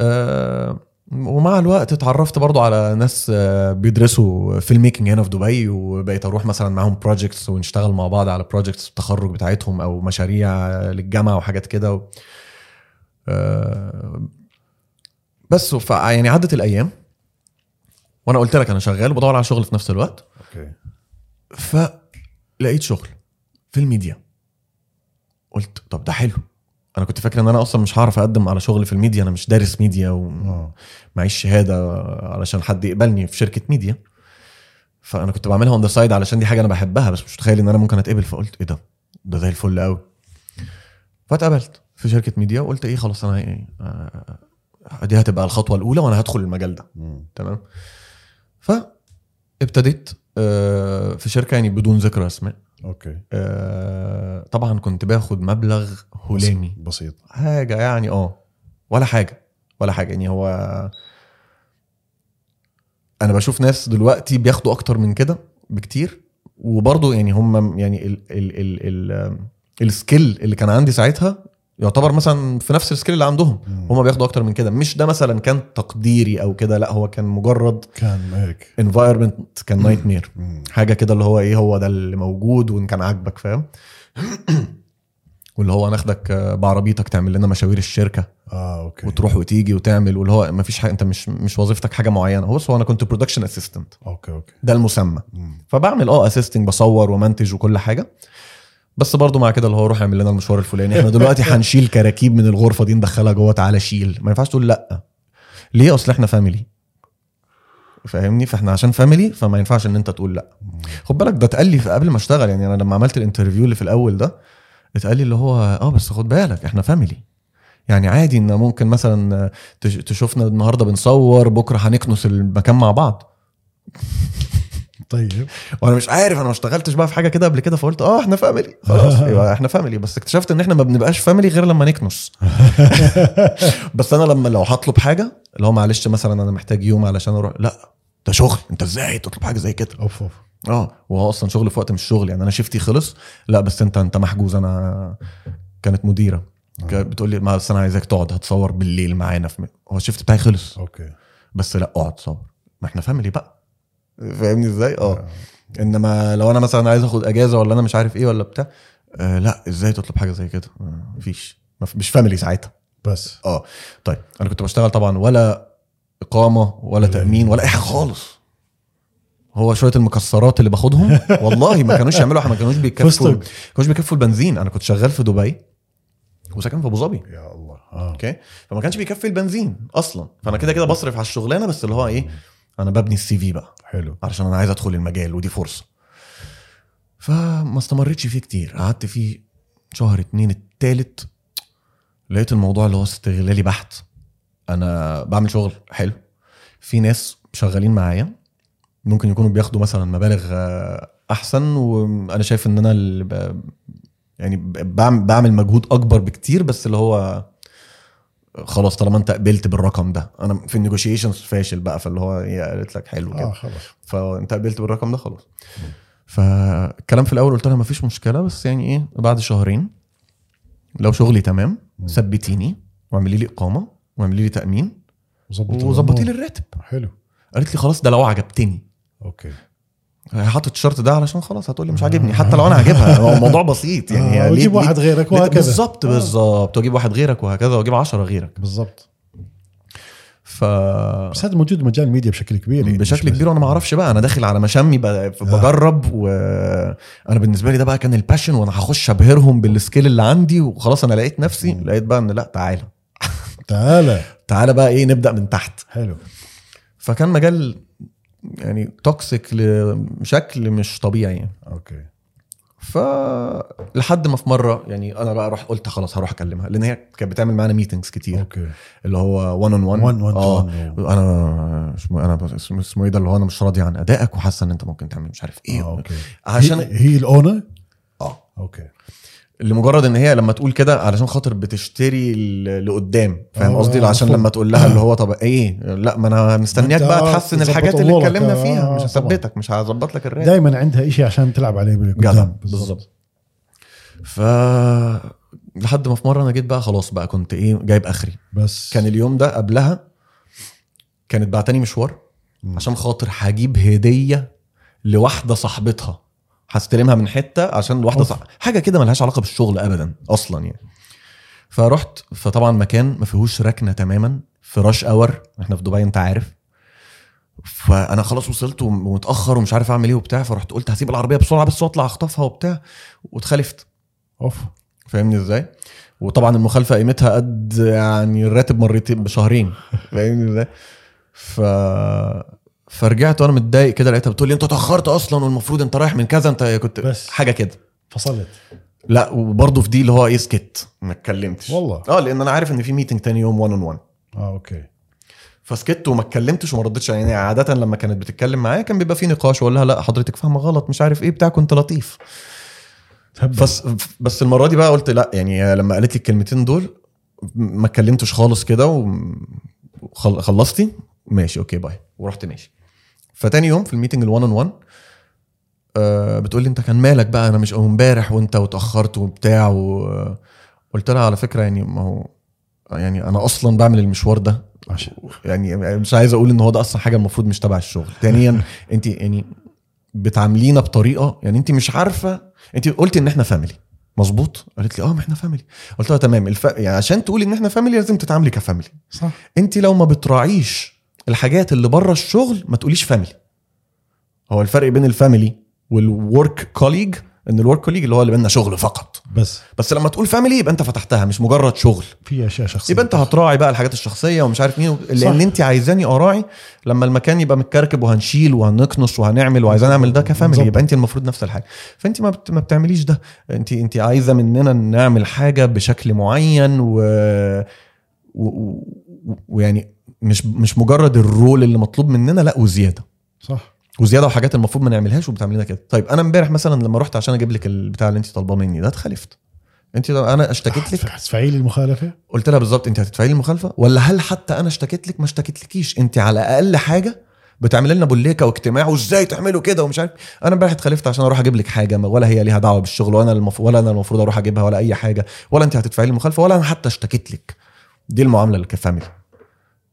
Speaker 1: آه، ومع الوقت اتعرفت برضو على ناس آه، بيدرسوا فيلم ميكنج هنا في دبي وبقيت اروح مثلا معاهم بروجكتس ونشتغل مع بعض على بروجكتس التخرج بتاعتهم او مشاريع للجامعه وحاجات كده و... آه، بس ف... يعني عدت الايام وانا قلت لك انا شغال وبدور على شغل في نفس الوقت
Speaker 3: اوكي
Speaker 1: فلقيت شغل في الميديا قلت طب ده حلو انا كنت فاكر ان انا اصلا مش هعرف اقدم على شغل في الميديا انا مش دارس ميديا
Speaker 3: اه
Speaker 1: ومعيش شهاده علشان حد يقبلني في شركه ميديا فانا كنت بعملها اون ذا سايد علشان دي حاجه انا بحبها بس مش متخيل ان انا ممكن اتقبل فقلت ايه ده ده زي الفل قوي فاتقبلت في شركه ميديا وقلت ايه خلاص انا إيه آه، دي هتبقى الخطوه الاولى وانا هدخل المجال ده
Speaker 3: مم.
Speaker 1: تمام فابتديت آه، في شركه يعني بدون ذكر اسماء
Speaker 3: اوكي
Speaker 1: آه، طبعا كنت باخد مبلغ هلامي
Speaker 3: بسيط
Speaker 1: حاجه يعني اه ولا حاجه ولا حاجه يعني هو انا بشوف ناس دلوقتي بياخدوا اكتر من كده بكتير وبرضه يعني هم يعني ال ال ال ال السكيل اللي كان عندي ساعتها يعتبر مثلا في نفس السكيل اللي عندهم
Speaker 3: مم.
Speaker 1: هم بياخدوا اكتر من كده مش ده مثلا كان تقديري او كده لا هو كان مجرد
Speaker 3: كان هيك
Speaker 1: انفايرمنت كان نايت مير
Speaker 3: مم.
Speaker 1: حاجه كده اللي هو ايه هو ده اللي موجود وان كان عاجبك فاهم واللي هو ناخدك بعربيتك تعمل لنا مشاوير الشركه
Speaker 3: اه اوكي
Speaker 1: وتروح وتيجي وتعمل واللي هو ما فيش حاجه انت مش مش وظيفتك حاجه معينه هو بس هو انا كنت برودكشن اسيستنت
Speaker 3: اوكي اوكي
Speaker 1: ده المسمى
Speaker 3: مم.
Speaker 1: فبعمل اه اسيستنج بصور ومنتج وكل حاجه بس برضه مع كده اللي هو روح اعمل لنا المشوار الفلاني احنا دلوقتي هنشيل كراكيب من الغرفه دي ندخلها جوه تعالى شيل ما ينفعش تقول لا ليه اصل احنا فاميلي فاهمني فاحنا عشان فاميلي فما ينفعش ان انت تقول لا
Speaker 3: مم.
Speaker 1: خد بالك ده اتقال لي في- قبل ما اشتغل يعني انا لما عملت الانترفيو اللي في الاول ده اتقال لي اللي هو اه بس خد بالك احنا فاميلي يعني عادي ان ممكن مثلا تش- تشوفنا النهارده بنصور بكره هنكنس المكان مع بعض
Speaker 3: طيب
Speaker 1: وانا مش عارف انا ما اشتغلتش بقى في حاجه كده قبل كده فقلت اه احنا فاميلي خلاص ايوه احنا فاميلي بس اكتشفت ان احنا ما بنبقاش فاميلي غير لما نكنس بس انا لما لو هطلب حاجه اللي هو معلش مثلا انا محتاج يوم علشان اروح لا ده شغل انت ازاي تطلب حاجه زي كده
Speaker 3: اوف اوف
Speaker 1: اه وهو اصلا شغل في وقت مش شغل يعني انا شفتي خلص لا بس انت انت محجوز انا كانت مديره كانت بتقول لي ما بس انا عايزاك تقعد هتصور بالليل معانا في م- هو الشفت بتاعي خلص
Speaker 3: اوكي
Speaker 1: بس لا اقعد صور ما احنا فاميلي بقى فاهمني ازاي اه
Speaker 3: آه.
Speaker 1: انما لو انا مثلا عايز اخد اجازه ولا انا مش عارف ايه ولا بتاع آه لا ازاي تطلب حاجه زي كده آه، مفيش مف- مش فاميلي ساعتها
Speaker 3: بس
Speaker 1: طيب انا كنت بشتغل طبعا ولا اقامه ولا
Speaker 3: ولا-
Speaker 1: تامين ولا اي حاجه خالص هو شويه المكسرات اللي باخدهم والله ما كانوش يعملوا ما كانوش بيكفوا ما
Speaker 3: فستق.
Speaker 1: كانوش بيكفوا البنزين انا كنت شغال في دبي وساكن في ابو ظبي
Speaker 3: يا الله اه
Speaker 1: اوكي فما كانش بيكفي البنزين اصلا فانا كده كده بصرف على الشغلانه بس اللي هو ايه انا ببني السي في بقى
Speaker 3: حلو
Speaker 1: علشان انا عايز ادخل المجال ودي فرصه فما استمرتش فيه كتير قعدت فيه شهر اتنين التالت لقيت الموضوع اللي هو استغلالي بحت انا بعمل شغل حلو في ناس شغالين معايا ممكن يكونوا بياخدوا مثلا مبالغ آه، احسن وانا شايف ان انا اللي ب... يعني ب- بعمل بعمل مجهود اكبر بكتير بس اللي هو خلاص طالما انت قبلت بالرقم ده انا في النيجوشيشنز فاشل بقى فاللي هو هي قالت لك حلو كده
Speaker 3: اه خلاص
Speaker 1: فانت قبلت بالرقم ده خلاص فالكلام في الاول قلت لها مفيش مشكله بس يعني ايه بعد شهرين لو شغلي تمام
Speaker 3: مم.
Speaker 1: ثبتيني واعملي لي اقامه واعملي لي تامين
Speaker 3: وظبط
Speaker 1: وظبطي لي
Speaker 3: الأمور.
Speaker 1: الراتب
Speaker 3: حلو
Speaker 1: قالت لي خلاص ده لو عجبتني
Speaker 3: اوكي
Speaker 1: يعني حاطط الشرط ده علشان خلاص هتقول لي مش عاجبني حتى لو انا عاجبها هو الموضوع بسيط يعني هي
Speaker 3: يعني آه
Speaker 1: ليه-
Speaker 3: وتجيب
Speaker 1: ليه-
Speaker 3: واحد غيرك
Speaker 1: ليه-
Speaker 3: وهكذا
Speaker 1: بالظبط
Speaker 3: آه،
Speaker 1: بالظبط واجيب واحد غيرك وهكذا واجيب 10 غيرك
Speaker 3: بالظبط
Speaker 1: آه. ف
Speaker 3: بس هذا موجود مجال الميديا بشكل كبير يعني
Speaker 1: بشكل
Speaker 3: مش آه. بس-
Speaker 1: كبير وانا ما اعرفش بقى انا داخل على مشمي بقى بجرب وانا بالنسبه لي ده بقى كان الباشن وانا هخش ابهرهم بالسكيل اللي عندي وخلاص انا لقيت نفسي
Speaker 3: مم.
Speaker 1: لقيت بقى ان لا تعالى
Speaker 3: تعالى
Speaker 1: تعالى بقى ايه نبدا من تحت
Speaker 3: حلو
Speaker 1: فكان مجال يعني توكسيك لشكل مش طبيعي يعني
Speaker 3: اوكي
Speaker 1: فلحد ما في مره يعني انا بقى رحت قلت خلاص هروح اكلمها لان هي كانت بتعمل معانا ميتنجز كتير
Speaker 3: اوكي
Speaker 1: اللي هو 1 اون 1
Speaker 3: 1 1
Speaker 1: اه انا اسمه انا بس- اسمه اسمه ايه ده اللي هو انا مش راضي عن ادائك وحاسه ان انت ممكن تعمل مش عارف ايه
Speaker 3: اوكي
Speaker 1: عشان
Speaker 3: آه، هي, هي الاونر
Speaker 1: اه
Speaker 3: اوكي
Speaker 1: لمجرد ان هي لما تقول كده علشان خاطر بتشتري ال- لقدام فاهم
Speaker 3: آه،
Speaker 1: قصدي عشان
Speaker 3: مفهوم.
Speaker 1: لما تقول لها اللي هو طب ايه لا ما انا مستنياك
Speaker 3: أنت
Speaker 1: بقى
Speaker 3: آه،
Speaker 1: تحسن
Speaker 3: تظبط
Speaker 1: الحاجات اللي
Speaker 3: أمورك،
Speaker 1: اتكلمنا
Speaker 3: آه،
Speaker 1: فيها مش
Speaker 3: طبعاً.
Speaker 1: هثبتك مش هظبط لك الراتب
Speaker 3: دايما عندها شيء عشان تلعب عليه
Speaker 1: جدع
Speaker 3: قدام
Speaker 1: بالظبط ف لحد ما في مره انا جيت بقى خلاص بقى كنت ايه جايب اخري
Speaker 3: بس
Speaker 1: كان اليوم ده قبلها كانت بعتني مشوار
Speaker 3: مم.
Speaker 1: عشان خاطر هجيب هديه لواحده صاحبتها هستلمها من حته عشان واحده
Speaker 3: أوف.
Speaker 1: صاحب... حاجه كده ملهاش علاقه بالشغل ابدا اصلا يعني فرحت فطبعا مكان ما فيهوش ركنه تماما في راش اور احنا في دبي انت عارف فانا خلاص وصلت وم- ومتاخر ومش عارف اعمل ايه وبتاع فرحت قلت هسيب العربيه بسرعه بس واطلع اخطفها وبتاع واتخلفت
Speaker 3: اوف
Speaker 1: فاهمني ازاي؟ وطبعا المخالفه قيمتها قد يعني الراتب مرتين بشهرين فاهمني ازاي؟ ف فرجعت وانا متضايق كده لقيتها بتقول لي انت اتاخرت اصلا والمفروض انت رايح من كذا انت كنت
Speaker 3: بس.
Speaker 1: حاجه كده
Speaker 3: فصلت
Speaker 1: لا وبرضه في دي اللي هو ايه سكت ما اتكلمتش
Speaker 3: والله
Speaker 1: اه لان انا عارف ان في ميتنج تاني يوم 1 اون 1
Speaker 3: اه اوكي
Speaker 1: فسكت وما اتكلمتش وما ردتش يعني عاده لما كانت بتتكلم معايا كان بيبقى في نقاش واقول لها لا حضرتك فاهمه غلط مش عارف ايه بتاع كنت لطيف
Speaker 3: تهبل
Speaker 1: بس بس المره دي بقى قلت لا يعني لما قالت لي الكلمتين دول ما اتكلمتش خالص كده وخلصتي ماشي اوكي باي ورحت ماشي فتاني يوم في الميتنج ال1 اون 1 آه، بتقول لي انت كان مالك بقى انا مش امبارح وانت واتاخرت وبتاع وقلت لها على فكره يعني ما هو يعني انا اصلا بعمل المشوار ده
Speaker 3: عشان
Speaker 1: يعني مش عايز اقول ان هو ده اصلا حاجه المفروض مش تبع الشغل ثانيا انت يعني بتعاملينا بطريقه يعني انت مش عارفه انت قلت ان احنا فاميلي مظبوط قالت لي اه ما احنا فاميلي قلت لها تمام الف... يعني عشان تقولي ان احنا فاميلي لازم تتعاملي كفاميلي
Speaker 3: صح
Speaker 1: انت لو ما بتراعيش الحاجات اللي بره الشغل ما تقوليش فاميلي هو الفرق بين الفاميلي والورك كوليج ان الورك كوليج اللي هو اللي بينا شغل فقط
Speaker 3: بس
Speaker 1: بس لما تقول فاميلي يبقى انت فتحتها مش مجرد شغل
Speaker 3: في اشياء شخصيه
Speaker 1: يبقى انت هتراعي بقى الحاجات الشخصيه ومش عارف مين لان
Speaker 3: صح.
Speaker 1: انت عايزاني اراعي لما المكان يبقى متكركب وهنشيل وهنكنس وهنعمل وعايزاني اعمل ده كفاميلي
Speaker 3: بالظبط.
Speaker 1: يبقى انت المفروض نفس الحاجه فانت ما بت- ما بتعمليش ده انت انت عايزه مننا نعمل حاجه بشكل معين و و- و- ويعني مش مش مجرد الرول اللي مطلوب مننا لا وزياده
Speaker 3: صح
Speaker 1: وزياده وحاجات المفروض ما نعملهاش وبتعمل لنا كده طيب انا امبارح مثلا لما رحت عشان اجيب لك البتاع اللي انت طالباه مني ده اتخلفت انت انا اشتكيت لك
Speaker 3: هتدفعي لي المخالفه
Speaker 1: قلت لها بالظبط انت هتدفعي لي المخالفه ولا هل حتى انا اشتكيت لك ما اشتكيتلكيش انت على اقل حاجه بتعمل لنا بوليكه واجتماع وازاي تعملوا كده ومش عارف انا امبارح اتخلفت عشان اروح اجيب لك حاجه ما- ولا هي ليها دعوه بالشغل ولا انا المف... ولا انا المفروض اروح اجيبها ولا اي حاجه ولا انت هتدفعي لي المخالفه ولا انا حتى اشتكيت لك دي المعامله اللي كفاميلي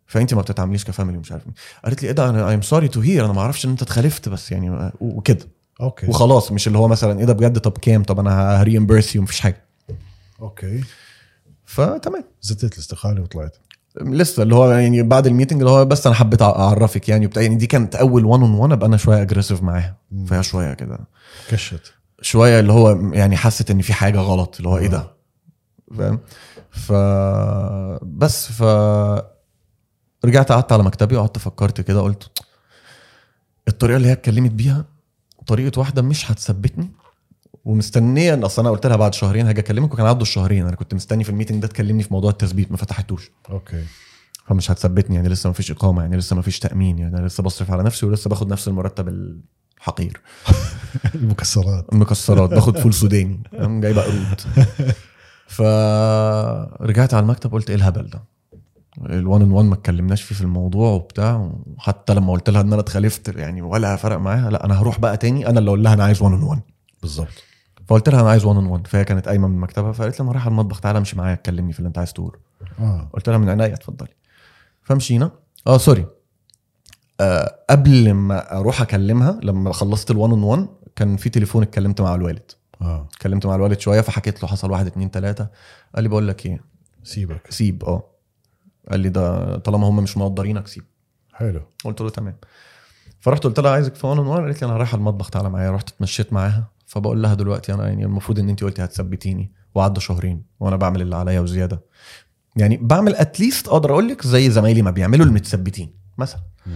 Speaker 1: فانت ما بتتعامليش كفاميلي ومش عارف مين. قالت لي ايه ده انا ايم سوري تو هير انا ما اعرفش ان انت اتخلفت بس يعني و- وكده
Speaker 3: اوكي
Speaker 1: وخلاص مش اللي هو مثلا ايه ده بجد طب كام طب انا هريمبرس يو مفيش حاجه
Speaker 3: اوكي
Speaker 1: فتمام
Speaker 3: زتت الاستقاله وطلعت
Speaker 1: لسه اللي هو يعني بعد الميتنج اللي هو بس انا حبيت اعرفك يعني وبتاع يعني دي كانت اول 1 اون 1 ابقى انا شويه اجريسيف معاها
Speaker 3: مم.
Speaker 1: فيها شويه كده
Speaker 3: كشت
Speaker 1: شويه اللي هو يعني حست ان في حاجه غلط اللي هو ايه ده فاهم ف بس ف رجعت قعدت على مكتبي وقعدت فكرت كده قلت الطريقه اللي هي اتكلمت بيها طريقه واحده مش هتثبتني ومستنيه ان اصل انا قلت لها بعد شهرين هاجي اكلمك وكان عدوا الشهرين انا كنت مستني في الميتنج ده تكلمني في موضوع التثبيت ما فتحتوش
Speaker 3: اوكي
Speaker 1: فمش هتثبتني يعني لسه ما فيش اقامه يعني لسه ما فيش تامين يعني انا لسه بصرف على نفسي ولسه باخد نفس المرتب الحقير
Speaker 3: المكسرات
Speaker 1: مكسرات باخد فول سوداني فاهم؟ جايب قرود فرجعت على المكتب قلت ايه الهبل ده الوان ان وان ما اتكلمناش فيه في الموضوع وبتاع وحتى لما قلت لها ان انا اتخلفت يعني ولا فرق معاها لا انا هروح بقى تاني انا اللي اقول لها انا عايز وان ان وان
Speaker 3: بالظبط
Speaker 1: فقلت لها انا عايز وان ان وان فهي كانت قايمه من مكتبها فقالت لي انا رايح المطبخ تعالى امشي معايا اتكلمني في اللي انت عايز تقوله
Speaker 3: اه
Speaker 1: قلت لها من عينيا اتفضلي فمشينا اه سوري آه قبل ما اروح اكلمها لما خلصت الوان اون وان كان في تليفون اتكلمت مع الوالد
Speaker 3: اه
Speaker 1: اتكلمت مع الوالد شويه فحكيت له حصل واحد اتنين تلاته قال لي بقول لك ايه
Speaker 3: سيبك
Speaker 1: سيب اه قال لي ده طالما هم مش مقدرينك سيب
Speaker 3: حلو
Speaker 1: قلت له تمام فرحت قلت لها عايزك في وان اون وان قالت لي انا رايحه المطبخ تعالى معايا رحت اتمشيت معاها فبقول لها دلوقتي انا يعني المفروض ان انت قلتي هتثبتيني وعدى شهرين وانا بعمل اللي عليا وزياده يعني بعمل اتليست اقدر اقول لك زي زمايلي ما بيعملوا المتثبتين مثلا
Speaker 3: مم.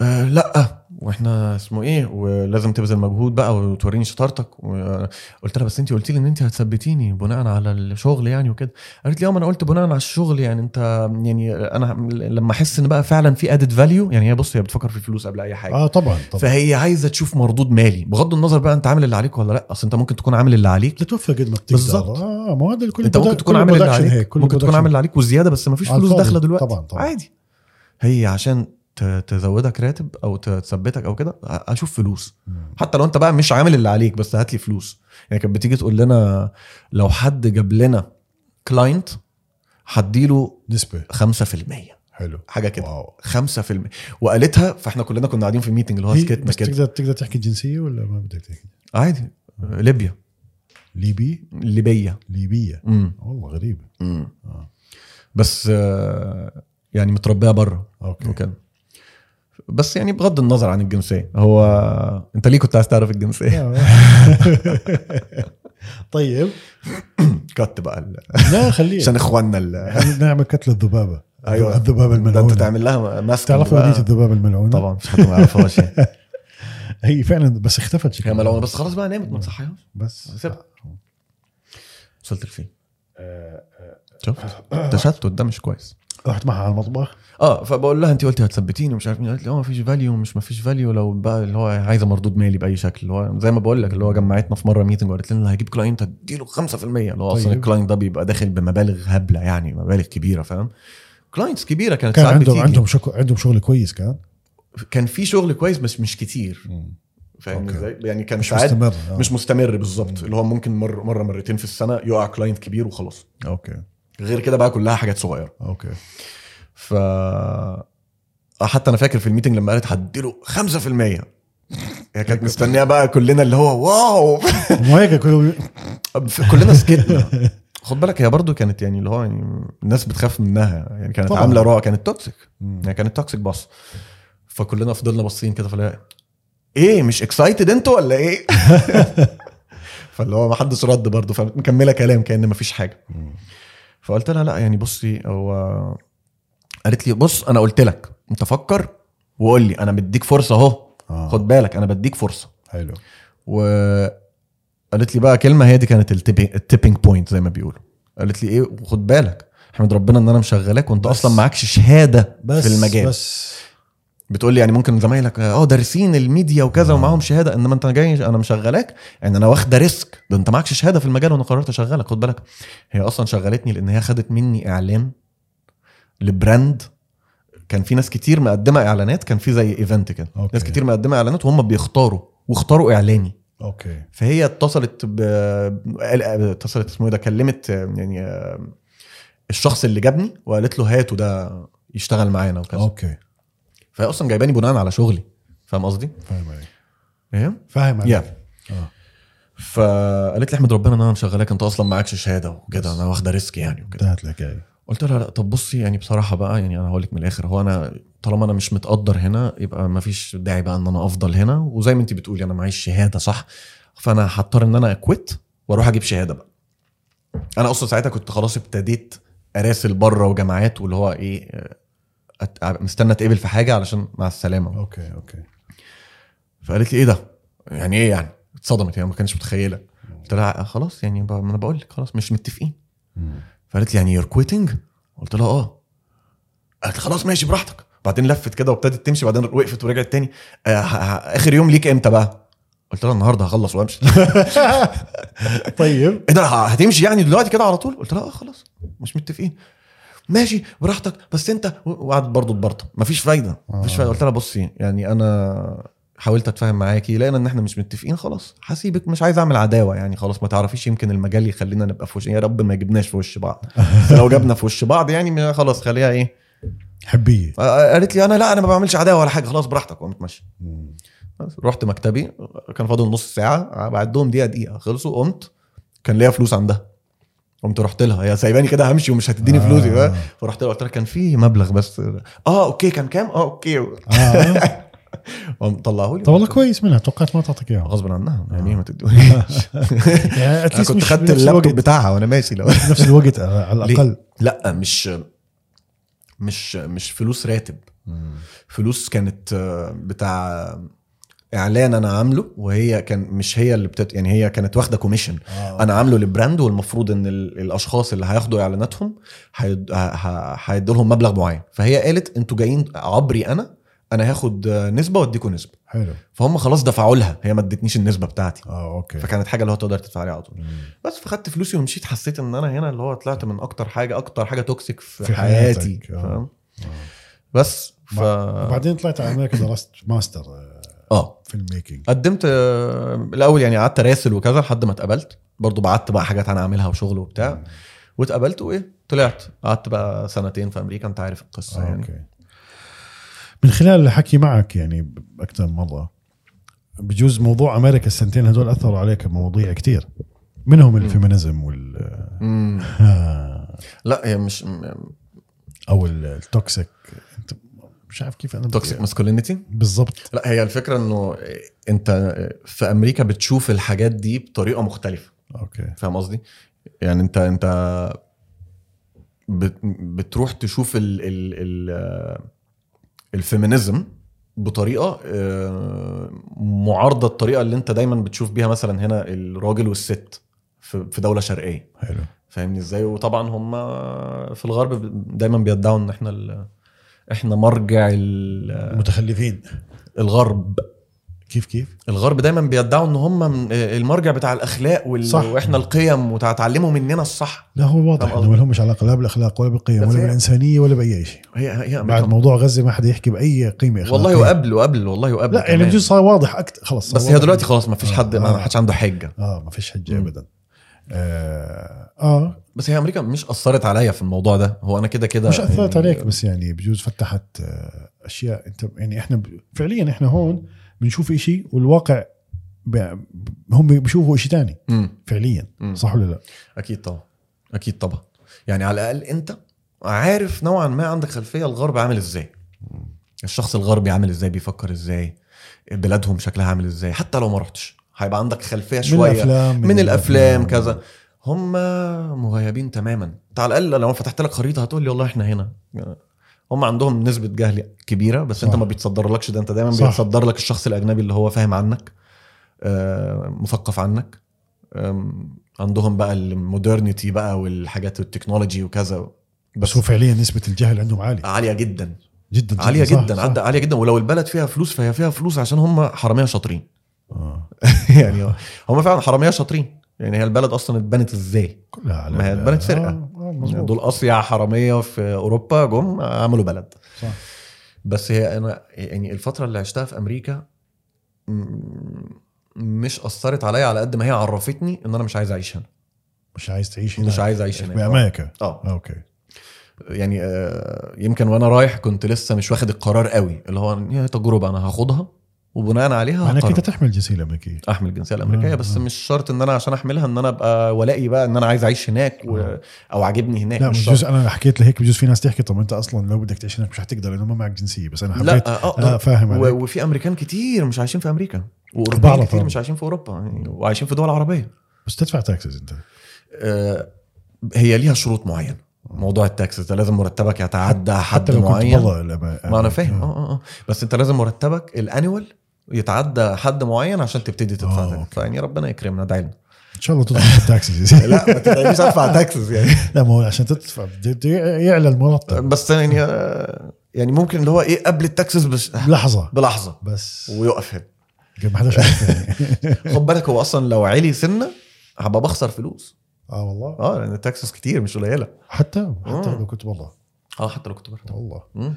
Speaker 1: آه لا واحنا اسمه ايه ولازم تبذل مجهود بقى وتوريني شطارتك و- قلت لها بس انت قلت لي ان انت هتثبتيني بناء على الشغل يعني وكده قالت لي اه ما انا قلت بناء على الشغل يعني انت يعني انا لما احس ان بقى فعلا في ادد فاليو يعني هي بص هي بتفكر في الفلوس قبل اي حاجه
Speaker 3: اه طبعا طبعا
Speaker 1: فهي عايزه تشوف مردود مالي بغض النظر بقى انت عامل اللي عليك ولا لا اصل انت ممكن تكون عامل اللي عليك
Speaker 3: تتوفى قد ما بتقدر
Speaker 1: بالظبط.
Speaker 3: اه ما هو هذا الكل
Speaker 1: انت ممكن تكون عامل اللي عليك ممكن تكون عامل اللي عليك وزياده بس مفيش
Speaker 3: على
Speaker 1: فلوس
Speaker 3: الفاضي.
Speaker 1: داخله دلوقتي
Speaker 3: آه، طبعاً، طبعاً.
Speaker 1: عادي هي عشان ت- تزودك راتب او ت- تثبتك او كده أ- اشوف فلوس
Speaker 3: مم.
Speaker 1: حتى لو انت بقى مش عامل اللي عليك بس هات لي فلوس يعني كانت بتيجي تقول لنا لو حد جاب لنا كلاينت هديله
Speaker 3: نسبه
Speaker 1: 5%
Speaker 3: حلو
Speaker 1: حاجه كده
Speaker 3: واو
Speaker 1: 5% وقالتها فاحنا كلنا كنا قاعدين في ميتنج اللي هو
Speaker 3: هي-
Speaker 1: سكتنا
Speaker 3: بس
Speaker 1: كده
Speaker 3: تقدر تقدر تحكي جنسيه ولا ما بدك تحكي؟
Speaker 1: عادي ليبيا
Speaker 3: ليبي
Speaker 1: ليبيا
Speaker 3: ليبيه
Speaker 1: امم
Speaker 3: والله غريبه آه.
Speaker 1: بس آه، يعني متربيه بره
Speaker 3: اوكي
Speaker 1: وكده بس يعني بغض النظر عن الجنسيه هو انت ليه كنت عايز تعرف الجنسيه؟
Speaker 3: طيب
Speaker 1: كت بقى ال-
Speaker 3: لا خليه
Speaker 1: عشان اخواننا ال-
Speaker 3: نعمل كتل الذبابه
Speaker 1: أيوة.
Speaker 3: الذبابه
Speaker 1: ده انت
Speaker 3: الملعونه
Speaker 1: تعمل لها ماسك
Speaker 3: تعرف
Speaker 1: بقى.
Speaker 3: اغنيه الذبابه الملعونه؟
Speaker 1: طبعا مفيش حد ما يعرفهاش يعني.
Speaker 3: هي فعلا بس اختفت شكلها
Speaker 1: هي ملعونه بس خلاص بقى نامت ما تصحيهاش
Speaker 3: بس
Speaker 1: سيبها. وصلت لفين؟
Speaker 3: آه،
Speaker 1: شفت؟ تشتت ده مش كويس
Speaker 3: رحت معها على المطبخ
Speaker 1: اه فبقول لها انت قلتي هتثبتيني ومش عارف مين قالت لي اه مفيش فاليو مش مفيش فاليو لو بقى اللي هو عايزه مردود مالي باي شكل اللي هو زي ما بقول لك اللي هو جمعتنا في مره ميتنج وقالت لنا اللي هجيب كلاينت هديله 5% اللي هو اصلا
Speaker 3: طيب.
Speaker 1: الكلاينت ده بيبقى داخل بمبالغ هبله يعني مبالغ كبيره فاهم كلاينتس كبيره كانت
Speaker 3: كان
Speaker 1: ساعات
Speaker 3: عندهم
Speaker 1: بتيجي
Speaker 3: عندهم شغل عندهم شغل كويس كان
Speaker 1: كان في شغل كويس بس مش كتير فاهم
Speaker 3: أوكي.
Speaker 1: ازاي يعني كان
Speaker 3: مش
Speaker 1: ساعات
Speaker 3: مستمر آه.
Speaker 1: مش مستمر بالظبط
Speaker 3: مم.
Speaker 1: اللي هو ممكن مر مره مرتين في السنه يقع كلاينت كبير وخلاص
Speaker 3: اوكي
Speaker 1: غير كده بقى كلها حاجات صغيره
Speaker 3: اوكي
Speaker 1: ف حتى انا فاكر في الميتنج لما قالت هديله 5% هي كانت مستنيه بقى كلنا اللي هو واو
Speaker 3: مو هيك كلهم
Speaker 1: كلنا سكتنا خد بالك هي برضو كانت يعني اللي هو يعني الناس بتخاف منها يعني كانت
Speaker 3: طبعاً.
Speaker 1: عامله رعب كانت توكسيك
Speaker 3: مم.
Speaker 1: يعني كانت توكسيك باص فكلنا فضلنا باصين كده فلا ايه مش اكسايتد انتوا ولا ايه؟ فاللي هو ما حدش رد برضه فمكمله كلام كان ما فيش حاجه
Speaker 3: مم.
Speaker 1: فقلت لها لا يعني بصي هو قالت لي بص انا قلت لك انت فكر وقول لي انا بديك فرصه اهو
Speaker 3: آه.
Speaker 1: خد بالك انا بديك فرصه
Speaker 3: حلو
Speaker 1: وقالت لي بقى كلمه هي دي كانت التيبنج بوينت زي ما بيقولوا قالت لي ايه وخد بالك احمد ربنا ان انا مشغلاك وانت
Speaker 3: بس.
Speaker 1: اصلا معكش شهاده
Speaker 3: بس
Speaker 1: في المجال
Speaker 3: بس
Speaker 1: بتقول لي يعني ممكن زمايلك اه دارسين الميديا وكذا ومعاهم شهاده انما انت جاي انا مشغلاك يعني انا واخده ريسك ده انت معكش شهاده في المجال وانا قررت اشغلك خد بالك هي اصلا شغلتني لان هي خدت مني اعلان لبراند كان في ناس كتير مقدمه اعلانات كان في زي ايفنت كده
Speaker 3: أوكي.
Speaker 1: ناس كتير مقدمه اعلانات وهم بيختاروا واختاروا اعلاني
Speaker 3: اوكي
Speaker 1: فهي اتصلت ب... اتصلت اسمه ايه ده كلمت يعني الشخص اللي جابني وقالت له هاته ده يشتغل معانا وكذا
Speaker 3: اوكي
Speaker 1: فهي اصلا جايباني بناء على شغلي فاهم قصدي؟
Speaker 3: فاهم عليك
Speaker 1: فاهم؟
Speaker 3: فاهم
Speaker 1: يا
Speaker 3: عليك آه.
Speaker 1: فقالت لي احمد ربنا ان انا مشغلاك انت اصلا معكش شهاده وكده انا واخده ريسك يعني وكده
Speaker 3: انتهت الحكايه
Speaker 1: قلت لها لا طب بصي يعني بصراحه بقى يعني انا هقول لك من الاخر هو انا طالما انا مش متقدر هنا يبقى ما فيش داعي بقى ان انا افضل هنا وزي ما انت بتقولي انا معيش شهاده صح فانا هضطر ان انا اكويت واروح اجيب شهاده بقى انا اصلا ساعتها كنت خلاص ابتديت اراسل بره وجامعات واللي هو ايه أت- مستني اتقبل في حاجه علشان مع السلامه
Speaker 3: اوكي اوكي
Speaker 1: فقالت لي ايه ده؟ يعني ايه يعني؟ اتصدمت هي ما كانتش متخيله قلت لها خلاص يعني ب- ما انا بقول لك خلاص مش متفقين فقالت لي يعني يور كويتنج؟ قلت لها اه قالت لي خلاص ماشي براحتك بعدين لفت كده وابتدت تمشي بعدين وقفت ورجعت تاني آه ه- ه- اخر يوم ليك امتى بقى؟ قلت لها النهارده هخلص وامشي
Speaker 3: طيب
Speaker 1: ايه ده ه- هتمشي يعني دلوقتي كده على طول؟ قلت لها اه خلاص مش متفقين ماشي براحتك بس انت و- وقعدت برضه تبرطم مفيش فايده مفيش
Speaker 3: آه.
Speaker 1: فايده قلت لها بصي يعني انا حاولت اتفاهم معاكي لقينا ان احنا مش متفقين خلاص هسيبك مش عايز اعمل عداوه يعني خلاص ما تعرفيش يمكن المجال يخلينا نبقى في وش يا رب ما يجيبناش في وش بعض بس لو جابنا في وش بعض يعني ما- خلاص خليها ايه
Speaker 3: حبيه
Speaker 1: آه، قالت لي انا لا انا ما بعملش عداوه ولا حاجه خلاص براحتك وقمت ماشي
Speaker 3: مم.
Speaker 1: بس رحت مكتبي كان فاضل نص ساعه بعدهم دقيقه دقيقه خلصوا قمت كان ليا فلوس عندها قمت رحت لها هي سايباني كده همشي ومش هتديني
Speaker 3: آه.
Speaker 1: فلوسي بقى فرحت لها قلت لها كان في مبلغ بس اه اوكي كان كام اه اوكي
Speaker 3: آه.
Speaker 1: قام طلعه لي
Speaker 3: طب والله كويس منها توقعت ما تعطيك اياها
Speaker 1: غصب عنها يعني إيه ما تدونيش
Speaker 3: يعني
Speaker 1: انا
Speaker 3: at least
Speaker 1: كنت خدت
Speaker 3: آه. مش بنفس الوقت.
Speaker 1: اللابتوب بتاعها وانا ماشي لو
Speaker 3: في نفس الوقت آه، على
Speaker 1: ليه؟
Speaker 3: الاقل
Speaker 1: لا مش مش مش فلوس راتب فلوس كانت آه، بتاع اعلان انا عامله وهي كان مش هي اللي بتت يعني هي كانت واخده كوميشن
Speaker 3: آه.
Speaker 1: انا عامله للبراند والمفروض ان ال- الاشخاص اللي هياخدوا اعلاناتهم هيد- ه- ه- هيدوا لهم مبلغ معين فهي قالت انتوا جايين عبري انا انا هاخد آه، نسبه واديكم نسبه
Speaker 3: حلو
Speaker 1: فهم خلاص دفعوا لها هي ما ادتنيش النسبه بتاعتي
Speaker 3: اه اوكي
Speaker 1: فكانت حاجه اللي هو تقدر تدفع عليها على طول
Speaker 3: مم.
Speaker 1: بس فخدت فلوسي ومشيت حسيت ان انا هنا اللي هو طلعت من اكتر حاجه اكتر حاجه توكسيك في,
Speaker 3: في حياتك،
Speaker 1: حياتي
Speaker 3: آه.
Speaker 1: فاهم بس ف
Speaker 3: وبعدين طلعت على امريكا درست ماستر آه،
Speaker 1: اه
Speaker 3: فيلم ميكينج
Speaker 1: قدمت آه، الاول يعني قعدت راسل وكذا لحد ما اتقبلت برضو بعت بقى حاجات انا عاملها وشغل وبتاع واتقبلت وايه طلعت قعدت بقى سنتين في امريكا انت عارف القصه يعني
Speaker 3: اوكي آه، من خلال حكي معك يعني اكثر من مره بجوز موضوع امريكا السنتين هذول اثروا عليك بمواضيع كثير منهم الفيمينيزم وال
Speaker 1: مم. لا هي مش
Speaker 3: او التوكسيك انت مش عارف كيف انا
Speaker 1: توكسيك ماسكولينيتي
Speaker 3: بالضبط
Speaker 1: لا هي الفكره انه انت في امريكا بتشوف الحاجات دي بطريقه مختلفه
Speaker 3: اوكي
Speaker 1: فاهم قصدي؟ يعني انت انت بت- بتروح تشوف ال ال ال الفيمينيزم بطريقه آه، معارضه الطريقه اللي انت دايما بتشوف بيها مثلا هنا الراجل والست في في دوله شرقيه
Speaker 3: حلو
Speaker 1: فاهمني ازاي وطبعا هم في الغرب ب- دايما بيدعوا ان احنا ال- احنا مرجع ال-
Speaker 3: متخلفين
Speaker 1: الغرب
Speaker 3: كيف كيف؟
Speaker 1: الغرب دايما بيدعوا ان هم من- المرجع بتاع الاخلاق وال...
Speaker 3: صح.
Speaker 1: واحنا القيم وتعلموا مننا الصح
Speaker 3: لا هو واضح
Speaker 1: فاهم
Speaker 3: انه ما لهمش علاقه لا بالاخلاق ولا بالقيم
Speaker 1: بس
Speaker 3: ولا
Speaker 1: هي-
Speaker 3: بالانسانيه ولا باي شيء
Speaker 1: هي هي
Speaker 3: بعد
Speaker 1: أمريكا
Speaker 3: موضوع غزه ما حدا يحكي باي قيمه اخلاقيه
Speaker 1: والله وقبل وقبل والله وقبل
Speaker 3: لا يعني
Speaker 1: كمان.
Speaker 3: بجوز صار واضح اكثر خلص صار
Speaker 1: بس هي
Speaker 3: واضح.
Speaker 1: دلوقتي خلاص ما فيش حد
Speaker 3: آه.
Speaker 1: ما حدش عنده حجه
Speaker 3: اه ما فيش حجه
Speaker 1: مم.
Speaker 3: ابدا آه, اه
Speaker 1: بس هي امريكا مش اثرت عليا في الموضوع ده هو انا كده كده
Speaker 3: مش اثرت
Speaker 1: يعني-
Speaker 3: عليك بس يعني بجوز فتحت آه اشياء انت يعني احنا ب... فعليا احنا هون بنشوف إشي والواقع ب... هم بيشوفوا إشي تاني
Speaker 1: مم.
Speaker 3: فعليا
Speaker 1: مم.
Speaker 3: صح ولا لا؟
Speaker 1: اكيد طبعا اكيد طبعا يعني على الاقل انت عارف نوعا ما عندك خلفيه الغرب عامل ازاي الشخص الغربي عامل ازاي بيفكر ازاي بلادهم شكلها عامل ازاي حتى لو ما رحتش هيبقى عندك خلفيه
Speaker 3: من
Speaker 1: شويه
Speaker 3: الافلام
Speaker 1: من الافلام كذا هم مغيبين تماما انت على الاقل لو فتحت لك خريطه هتقول لي والله احنا هنا هم عندهم نسبه جهل كبيره بس صح. انت
Speaker 3: صح.
Speaker 1: ما بيتصدرلكش ده انت دايما
Speaker 3: صح.
Speaker 1: بيتصدر لك الشخص الاجنبي اللي هو فاهم عنك آه، مثقف عنك آم، عندهم بقى المودرنيتي بقى والحاجات والتكنولوجي وكذا
Speaker 3: بس هو فعليا نسبه الجهل عندهم عاليه
Speaker 1: عاليه جدا
Speaker 3: جدا, جداً
Speaker 1: عاليه
Speaker 3: صح،
Speaker 1: جدا
Speaker 3: صح.
Speaker 1: عد- عاليه جدا ولو البلد فيها فلوس فهي فيها فلوس عشان هم حراميه شاطرين
Speaker 3: آه.
Speaker 1: يعني هم فعلا حراميه شاطرين يعني هي البلد اصلا اتبنت ازاي
Speaker 3: كلها على
Speaker 1: ما هي اتبنت فرقة. يعني
Speaker 3: آه. آه مزبوط.
Speaker 1: دول اصيع حراميه في اوروبا جم عملوا بلد
Speaker 3: صح.
Speaker 1: بس هي انا يعني الفتره اللي عشتها في امريكا م- مش اثرت عليا على قد ما هي عرفتني ان انا مش عايز اعيش هنا
Speaker 3: مش عايز تعيش هنا
Speaker 1: مش عايز اعيش هنا
Speaker 3: بامريكا
Speaker 1: اه
Speaker 3: اوكي
Speaker 1: يعني آه، يمكن وانا رايح كنت لسه مش واخد القرار قوي اللي هو هي تجربه انا هاخدها وبناء عليها
Speaker 3: معناك
Speaker 1: هقرر.
Speaker 3: انت تحمل الجنسيه الامريكيه
Speaker 1: احمل الجنسيه الامريكيه
Speaker 3: آه،
Speaker 1: بس
Speaker 3: آه.
Speaker 1: مش شرط ان انا عشان احملها ان انا ابقى ولائي بقى ان انا عايز اعيش هناك و... او عاجبني هناك
Speaker 3: آه. لا
Speaker 1: مش
Speaker 3: مش
Speaker 1: شرط.
Speaker 3: بجوز انا حكيت لهيك بجوز في ناس تحكي طب انت اصلا لو بدك تعيش هناك مش حتقدر لانه ما معك جنسيه بس انا حبيت
Speaker 1: لا آه،
Speaker 3: لا
Speaker 1: اقدر
Speaker 3: فاهم
Speaker 1: و...
Speaker 3: عليك.
Speaker 1: وفي امريكان كتير مش عايشين في امريكا
Speaker 3: بعرف
Speaker 1: واوروبيين كتير
Speaker 3: طبعاً.
Speaker 1: مش عايشين في اوروبا يعني وعايشين في دول عربيه
Speaker 3: بس تدفع تاكسز انت
Speaker 1: آه، هي ليها شروط معينه موضوع التاكسس ده لازم مرتبك يتعدى حد
Speaker 3: حتى لو كنت
Speaker 1: معين
Speaker 3: برا الأما-
Speaker 1: ما انا فاهم اه اه آه. بس انت لازم مرتبك الانيوال يتعدى حد معين عشان تبتدي
Speaker 3: آه،
Speaker 1: تدفع
Speaker 3: أوكي.
Speaker 1: تاكس فيعني ربنا يكرمنا دعي لنا
Speaker 3: ان شاء الله تدفع تاكسز
Speaker 1: لا ما تدعيليش ادفع تاكسس يعني
Speaker 3: لا ما هو عشان تدفع بده- بده يعلى المرتب
Speaker 1: بس يعني آه، يعني ممكن اللي هو ايه قبل التاكسس بس
Speaker 3: لحظه
Speaker 1: بلحظه
Speaker 3: بس
Speaker 1: ويقف هنا
Speaker 3: ما حداش عارف يعني.
Speaker 1: خد بالك هو اصلا لو علي سنه هبقى بخسر فلوس
Speaker 3: اه والله
Speaker 1: اه لان التاكسس كتير مش قليله
Speaker 3: حتى حتى
Speaker 1: آه.
Speaker 3: لو كنت والله
Speaker 1: اه حتى لو كنت برا
Speaker 3: والله
Speaker 1: مم.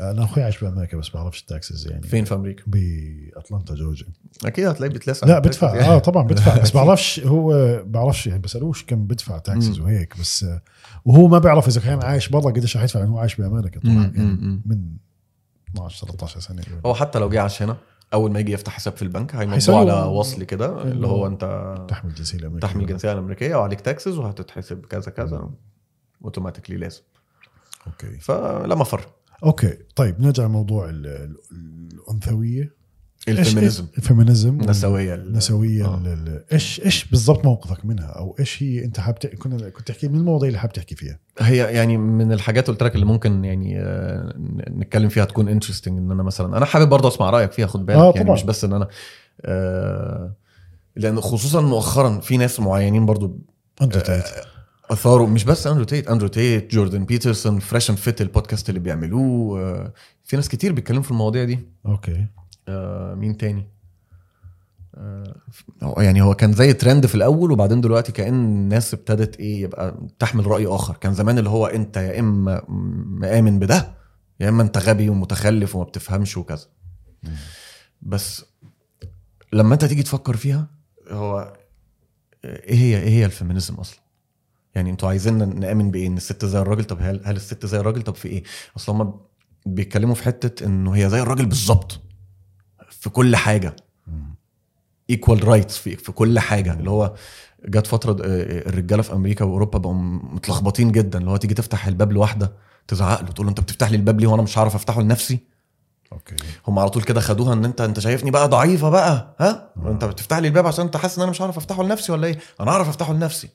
Speaker 3: انا اخوي عايش بامريكا بس ما بعرفش التاكسز يعني
Speaker 1: فين في امريكا
Speaker 3: باتلانتا جورجيا
Speaker 1: اكيد هتلاقيه بيتلسع
Speaker 3: لا
Speaker 1: من التاكسس
Speaker 3: بدفع
Speaker 1: يعني.
Speaker 3: اه طبعا بدفع بس بعرفش هو بعرفش يعني بسالوش كم بدفع تاكسز
Speaker 1: مم.
Speaker 3: وهيك بس آه، وهو ما بيعرف اذا كان عايش برا قديش رح يدفع لانه هو عايش بامريكا طبعا
Speaker 1: مم، مم،
Speaker 3: يعني
Speaker 1: مم.
Speaker 3: من 12 13 سنه
Speaker 1: هو حتى لو جه عشان هنا اول ما يجي يفتح حساب في البنك هيمضوا
Speaker 3: هيسألوا-
Speaker 1: على وصل كده اللي هو انت
Speaker 3: تحمل الجنسيه الامريكيه
Speaker 1: تحمل الجنسيه الامريكيه وعليك تاكسز وهتتحسب كذا كذا اوتوماتيكلي لازم
Speaker 3: اوكي
Speaker 1: فلا مفر
Speaker 3: اوكي طيب نرجع لموضوع ال- ال- الانثويه
Speaker 1: الفيمينيزم
Speaker 3: إيش- الفيمينيزم
Speaker 1: النسويه ال-
Speaker 3: النسويه
Speaker 1: آه.
Speaker 3: ال- ال- ايش ايش بالضبط موقفك منها او ايش هي انت حاب تح- كنا كنت تحكي من المواضيع اللي حاب تحكي فيها
Speaker 1: هي يعني من الحاجات قلت لك اللي ممكن يعني آه، نتكلم فيها تكون انترستنج ان انا مثلا انا حابب برضه اسمع رايك فيها خد بالك
Speaker 3: آه،
Speaker 1: يعني
Speaker 3: طبعاً.
Speaker 1: مش بس ان انا آه، لان خصوصا مؤخرا في ناس معينين برضه آه،
Speaker 3: انت تايت
Speaker 1: اثاروا مش بس اندرو تيت اندرو تيت جوردن بيترسون فريش اند فيت البودكاست اللي بيعملوه آه، في ناس كتير بيتكلموا في المواضيع دي
Speaker 3: اوكي
Speaker 1: آه، مين تاني آه، هو- يعني هو كان زي ترند في الاول وبعدين دلوقتي كان الناس ابتدت ايه يبقى تحمل راي اخر كان زمان اللي هو انت يا اما مآمن بده يا اما انت غبي ومتخلف وما بتفهمش وكذا بس لما انت تيجي تفكر فيها هو ايه هي ايه هي الفيمينيزم اصلا يعني انتوا عايزيننا نامن بايه ان الست زي الراجل طب هل هل الست زي الراجل طب في ايه اصل هم بيتكلموا في حته انه هي زي الراجل بالظبط في كل حاجه ايكوال رايتس في في كل حاجه اللي هو جت فتره آه، الرجاله في امريكا واوروبا بقوا متلخبطين جدا اللي هو تيجي تفتح الباب لواحده تزعق له تقول له انت بتفتح لي الباب ليه وانا مش هعرف افتحه لنفسي
Speaker 3: اوكي
Speaker 1: هم على طول كده خدوها ان انت انت شايفني بقى ضعيفه بقى ها انت بتفتح لي الباب عشان انت حاسس ان انا مش هعرف افتحه لنفسي ولا ايه انا اعرف افتحه لنفسي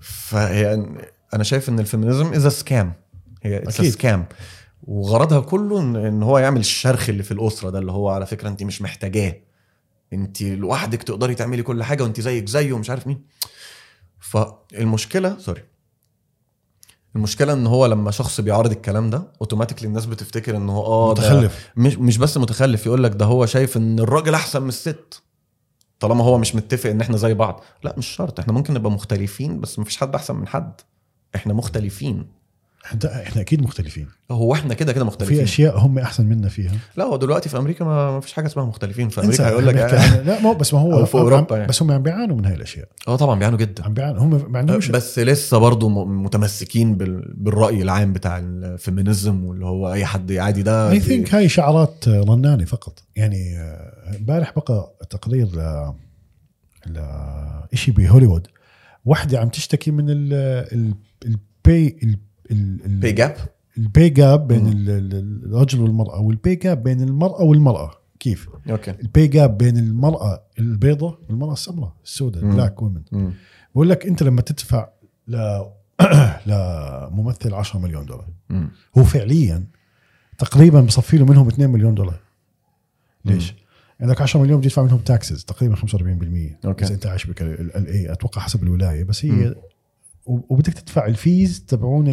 Speaker 1: فيعني انا شايف ان الفيمينيزم از سكام هي اتس
Speaker 3: أكيد.
Speaker 1: سكام وغرضها كله ان- ان هو يعمل الشرخ اللي في الاسره ده اللي هو على فكره انت مش محتاجاه انت لوحدك تقدري تعملي كل حاجه وانت زيك زيه ومش عارف مين فالمشكله سوري المشكله ان هو لما شخص بيعارض الكلام ده اوتوماتيكلي الناس بتفتكر ان هو اه ده-
Speaker 3: متخلف
Speaker 1: مش مش بس متخلف يقول لك ده هو شايف ان الراجل احسن من الست طالما هو مش متفق ان احنا زي بعض لا مش شرط احنا ممكن نبقى مختلفين بس مفيش حد احسن من حد احنا مختلفين
Speaker 3: احنا احنا اكيد مختلفين
Speaker 1: هو احنا كده كده
Speaker 3: في
Speaker 1: مختلفين
Speaker 3: اشياء هم احسن منا فيها
Speaker 1: لا هو دلوقتي في امريكا ما مفيش حاجه اسمها مختلفين في
Speaker 3: انسى
Speaker 1: امريكا هيقول لك
Speaker 3: هنحكي
Speaker 1: اه
Speaker 3: عن- لا ما هو- بس ما هو
Speaker 1: أو في أوروبا يعني.
Speaker 3: بس هم عم بيعانوا من هاي الاشياء
Speaker 1: آه طبعا بيعانوا جدا
Speaker 3: عم بيعانوا هم ما عندهمش
Speaker 1: بس لسه برضه متمسكين بال- بالراي العام بتاع الفيمينيزم واللي هو اي حد عادي ده
Speaker 3: اي ثينك هاي شعارات رنانه فقط يعني آه، امبارح بقى تقرير ل ل شيء بهوليوود وحده عم تشتكي من ال ال البي ال-
Speaker 1: بي
Speaker 3: ال
Speaker 1: جاب
Speaker 3: البي جاب بين
Speaker 1: مم.
Speaker 3: ال- ال- الرجل والمراه والبي جاب بين المراه والمراه كيف
Speaker 1: اوكي
Speaker 3: البي جاب بين المراه البيضاء والمراه السمراء السوداء
Speaker 1: مم.
Speaker 3: بلاك وومن
Speaker 1: مم.
Speaker 3: بقول لك انت لما تدفع ل لممثل 10 مليون دولار
Speaker 1: مم.
Speaker 3: هو فعليا تقريبا بصفي له منهم 2 مليون دولار ليش؟ عندك 10 مليون بتدفع منهم تاكسز تقريبا 45%
Speaker 1: أوكي.
Speaker 3: بس انت عايش ال اي اتوقع حسب الولايه بس
Speaker 1: مم.
Speaker 3: هي و- وبدك تدفع الفيز تبعون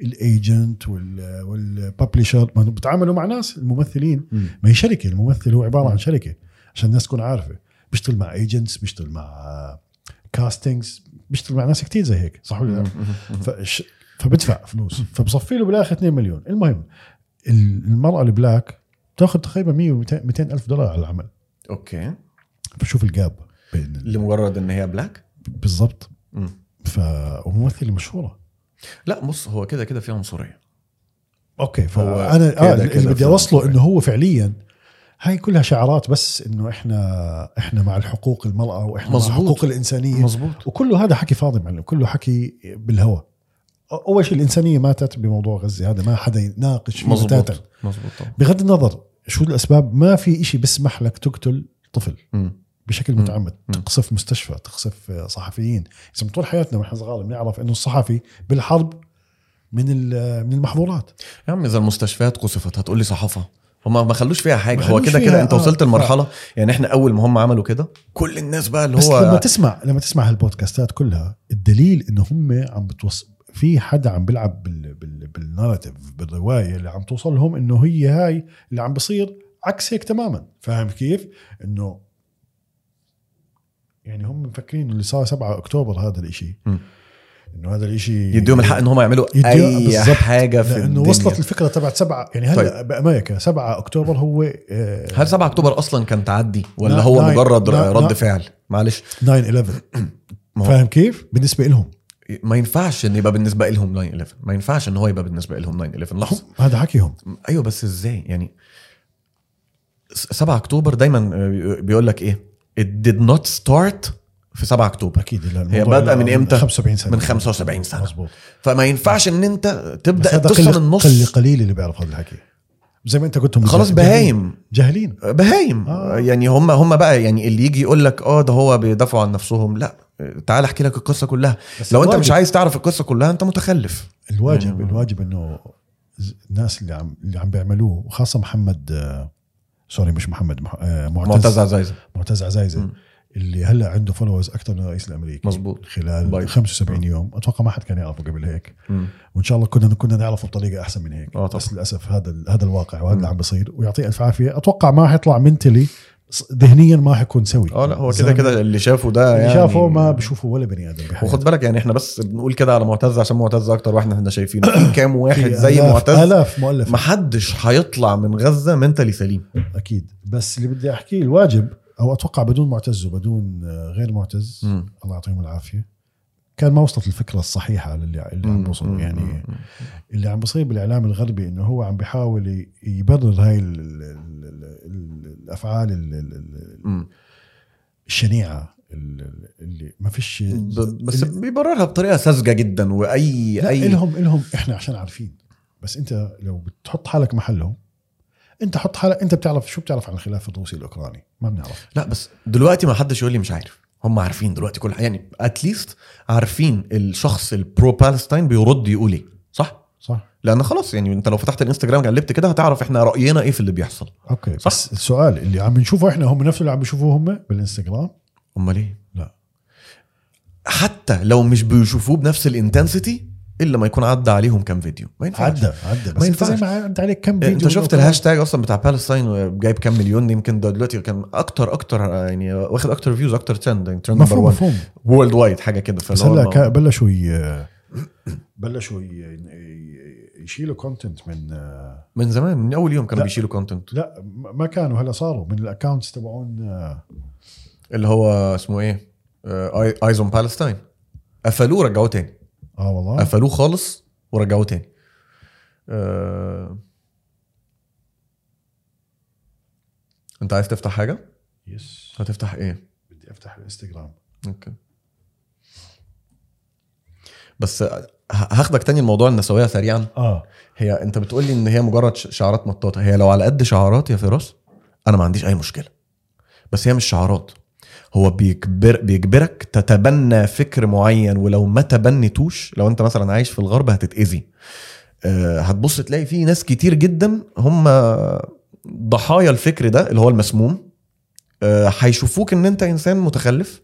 Speaker 3: الايجنت والببلشر ما هم بتعاملوا مع ناس الممثلين
Speaker 1: مم.
Speaker 3: ما هي شركه الممثل هو عباره عن شركه عشان الناس تكون عارفه بيشتغل مع ايجنتس بيشتغل مع كاستنجز بيشتغل مع ناس كتير زي هيك صح
Speaker 1: Mm-hmm.
Speaker 3: ولا لا؟ فش... فبدفع فلوس فبصفي له بالاخر 2 مليون المهم ال- المراه البلاك بتاخذ تقريبا 100 200 الف دولار على العمل
Speaker 1: اوكي
Speaker 3: فشوف الجاب بين ال...
Speaker 1: لمجرد ان هي بلاك
Speaker 3: بالضبط
Speaker 1: مم.
Speaker 3: ف وممثله مشهوره
Speaker 1: لا بص هو كده كده في عنصريه
Speaker 3: اوكي فهو
Speaker 1: هو
Speaker 3: انا
Speaker 1: كده
Speaker 3: آه
Speaker 1: كده
Speaker 3: اللي بدي
Speaker 1: فعلاً.
Speaker 3: اوصله انه هو فعليا هاي كلها شعارات بس انه احنا احنا مع الحقوق المراه واحنا مع
Speaker 1: مظبوط.
Speaker 3: الحقوق الانسانيه
Speaker 1: مظبوط
Speaker 3: وكله هذا حكي فاضي معلم كله حكي بالهوى اول شيء الانسانيه ماتت بموضوع غزه هذا ما حدا يناقش فيه
Speaker 1: مظبوط
Speaker 3: بتاتا.
Speaker 1: مظبوط طبعا
Speaker 3: بغض النظر شو الاسباب ما في إشي بسمح لك تقتل طفل
Speaker 1: مم.
Speaker 3: بشكل
Speaker 1: مم.
Speaker 3: متعمد تقصف مستشفى تقصف آه، صحفيين إذا طول حياتنا واحنا صغار بنعرف انه الصحفي بالحرب من ال- من المحظورات
Speaker 1: يا عم اذا المستشفيات قصفت هتقول لي صحافه هما ما خلوش فيها حاجه
Speaker 3: ما
Speaker 1: هو
Speaker 3: خلوش
Speaker 1: كده كده
Speaker 3: فيها،
Speaker 1: انت
Speaker 3: آه،
Speaker 1: وصلت
Speaker 3: ف-
Speaker 1: لمرحله يعني احنا اول ما هم عملوا كده كل الناس بقى اللي
Speaker 3: بس لما
Speaker 1: هو
Speaker 3: تسمع لما تسمع هالبودكاستات كلها الدليل انه هم عم بتوصل في حدا عم بيلعب بال... بال... بالناراتيف بالروايه اللي عم توصل لهم انه هي هاي اللي عم بصير عكس هيك تماما فاهم كيف انه يعني هم مفكرين اللي صار 7 اكتوبر هذا الاشي
Speaker 1: م.
Speaker 3: انه هذا الاشي
Speaker 1: يديهم الحق ان هم يعملوا
Speaker 3: يديهم-
Speaker 1: اي
Speaker 3: بالظبط.
Speaker 1: حاجه في
Speaker 3: لانه
Speaker 1: الدنيا.
Speaker 3: وصلت الفكره تبعت سبعة يعني هلا
Speaker 1: طيب.
Speaker 3: بامريكا 7 اكتوبر هو آه،
Speaker 1: هل 7 اكتوبر اصلا كان تعدي ولا
Speaker 3: لا،
Speaker 1: هو
Speaker 3: لا،
Speaker 1: مجرد
Speaker 3: لا،
Speaker 1: رد
Speaker 3: لا.
Speaker 1: فعل معلش
Speaker 3: 9 11
Speaker 1: ما هو-
Speaker 3: فاهم كيف بالنسبه لهم
Speaker 1: ما ينفعش ان يبقى بالنسبه لهم 9 11 ما ينفعش ان هو يبقى بالنسبه لهم 9 11 لحظه
Speaker 3: هم- هذا حكيهم
Speaker 1: ايوه بس ازاي يعني 7 اكتوبر دايما آه، بيقول لك ايه it did not start في 7 اكتوبر
Speaker 3: اكيد لا،
Speaker 1: هي
Speaker 3: الموضوع
Speaker 1: بادئة من إمتى؟
Speaker 3: 75 سنه
Speaker 1: من 75 سنة.
Speaker 3: مظبوط
Speaker 1: فما ينفعش ان انت
Speaker 3: بس
Speaker 1: تبدا
Speaker 3: هذا
Speaker 1: تدخل
Speaker 3: قل قل
Speaker 1: النص
Speaker 3: قليل اللي بيعرف هذا الحكي زي ما انت قلت هم
Speaker 1: خلاص
Speaker 3: جاهلين-
Speaker 1: بهايم
Speaker 3: جاهلين
Speaker 1: بهايم
Speaker 3: آه.
Speaker 1: يعني هم هم بقى يعني اللي يجي يقول لك اه ده هو بيدافعوا عن نفسهم لا تعال احكي لك القصه كلها
Speaker 3: بس
Speaker 1: لو انت
Speaker 3: الواجب-
Speaker 1: مش عايز تعرف القصه كلها انت متخلف
Speaker 3: الواجب
Speaker 1: يعني-
Speaker 3: الواجب انه ز- الناس اللي عم اللي عم بيعملوه وخاصه محمد آه، سوري مش محمد مح- آه،
Speaker 1: معتز
Speaker 3: معتز
Speaker 1: عزايزه
Speaker 3: معتز عزايزه
Speaker 1: مم.
Speaker 3: اللي هلا عنده فولورز اكثر من الرئيس الامريكي
Speaker 1: مظبوط
Speaker 3: خلال
Speaker 1: بايدن.
Speaker 3: 75 يوم اتوقع ما حد كان يعرفه قبل هيك
Speaker 1: مم.
Speaker 3: وان شاء الله كنا كنا نعرفه بطريقه احسن من هيك
Speaker 1: آه طبعاً.
Speaker 3: بس للاسف هذا ال- هذا الواقع وهذا
Speaker 1: مم.
Speaker 3: اللي عم بيصير ويعطيه الف عافيه اتوقع ما حيطلع منتلي ذهنيا ما حيكون سوي
Speaker 1: اه لا هو كده
Speaker 3: الزلمة
Speaker 1: كده اللي شافه ده
Speaker 3: اللي
Speaker 1: يعني
Speaker 3: شافه ما بشوفه ولا بني ادم بحياته.
Speaker 1: وخد بالك يعني احنا بس بنقول كده على معتز عشان معتز اكتر واحد احنا شايفينه في كام
Speaker 3: في
Speaker 1: واحد زي
Speaker 3: آلاف-
Speaker 1: معتز
Speaker 3: الاف مؤلف
Speaker 1: محدش هيطلع من غزه منتلي سليم
Speaker 3: اكيد بس اللي بدي احكيه الواجب او اتوقع بدون معتز وبدون آه، غير معتز
Speaker 1: مم.
Speaker 3: الله يعطيهم العافيه كان ما وصلت الفكره الصحيحه للي اللي عم بوصلوا يعني اللي عم بصير بالاعلام الغربي انه هو عم بيحاول ي- يبرر هاي ال- ال- ال- ال- ال- الافعال ال- ال- ال-
Speaker 1: مم.
Speaker 3: الشنيعه ال- اللي ما فيش
Speaker 1: ب- بس بيبررها بطريقه ساذجه جدا واي
Speaker 3: لا
Speaker 1: اي
Speaker 3: الهم الهم احنا عشان عارفين بس انت لو بتحط حالك محلهم انت حط حالك انت بتعرف شو بتعرف عن الخلاف الروسي الاوكراني ما بنعرف
Speaker 1: لا بس دلوقتي ما حدش يقول لي مش عارف هم عارفين دلوقتي كل حاجة. يعني اتليست عارفين الشخص البرو بالستاين بيرد يقول ايه صح
Speaker 3: صح
Speaker 1: لان خلاص يعني انت لو فتحت الانستجرام قلبت كده هتعرف احنا راينا ايه في اللي بيحصل صح.
Speaker 3: اوكي صح. بس السؤال اللي عم نشوفه احنا هم نفسه اللي عم بيشوفوه هم بالانستغرام
Speaker 1: امال ايه
Speaker 3: لا
Speaker 1: حتى لو مش بيشوفوه بنفس الانتنسيتي الا ما يكون عدى عليهم كام فيديو ما ينفعش
Speaker 3: عدى عدى بس
Speaker 1: ما
Speaker 3: ما
Speaker 1: ينفعش.
Speaker 3: ينفعش زي ما عدى عليك كم فيديو
Speaker 1: انت شفت
Speaker 3: بالأوكران.
Speaker 1: الهاشتاج اصلا بتاع بالستاين جايب كام مليون يمكن ده دلوقتي كان اكتر اكتر يعني واخد اكتر فيوز اكتر ترند يعني ترند نمبر
Speaker 3: مفهوم
Speaker 1: 1
Speaker 3: مفهوم
Speaker 1: وورلد وايد حاجه كده
Speaker 3: بس
Speaker 1: فاللي هو
Speaker 3: هلا
Speaker 1: ما-
Speaker 3: كا- بلشوا ي-
Speaker 1: آه،
Speaker 3: بلشوا ي- ي- يشيلوا كونتنت من آه،
Speaker 1: من زمان من اول يوم كانوا
Speaker 3: لا.
Speaker 1: بيشيلوا كونتنت
Speaker 3: لا ما ما كانوا هلا صاروا من الاكونتس تبعون آه،
Speaker 1: اللي هو اسمه ايه ايز اون بالستاين قفلوه ورجعوه تاني
Speaker 3: اه والله
Speaker 1: قفلوه خالص ورجعوه تاني آه، انت عايز تفتح حاجه
Speaker 3: يس
Speaker 1: هتفتح ايه
Speaker 3: بدي افتح الانستغرام
Speaker 1: اوكي بس ه- هاخدك تاني الموضوع النسويه سريعا
Speaker 3: اه
Speaker 1: هي انت بتقول لي ان هي مجرد ش- شعارات مطاطه هي لو على قد شعارات يا فراس انا ما عنديش اي مشكله بس هي مش شعارات هو بيجبر بيجبرك تتبنى فكر معين ولو ما تبنيتوش لو انت مثلا عايش في الغرب هتتاذي آه، هتبص تلاقي في ناس كتير جدا هم ضحايا الفكر ده اللي هو المسموم آه، هيشوفوك ان انت انسان متخلف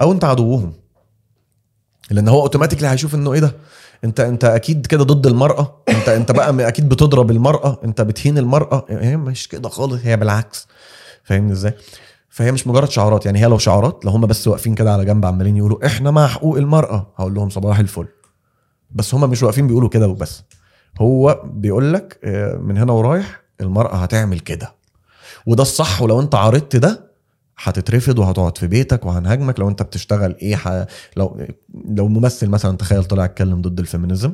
Speaker 1: او انت عدوهم لان هو اوتوماتيكلي هيشوف انه ايه ده انت انت اكيد كده ضد المراه انت انت بقى اكيد بتضرب المراه انت بتهين المراه هي مش كده خالص هي بالعكس فاهمني ازاي فهي مش مجرد شعارات يعني هي لو شعارات لو هم بس واقفين كده على جنب عمالين يقولوا احنا مع حقوق المراه هقول لهم صباح الفل بس هم مش واقفين بيقولوا كده وبس هو بيقول لك آه، من هنا ورايح المراه هتعمل كده وده الصح ولو انت عارضت ده هتترفض وهتقعد في بيتك وهنهاجمك لو انت بتشتغل ايه ح... لو لو ممثل مثلا تخيل طلع اتكلم ضد الفيمينيزم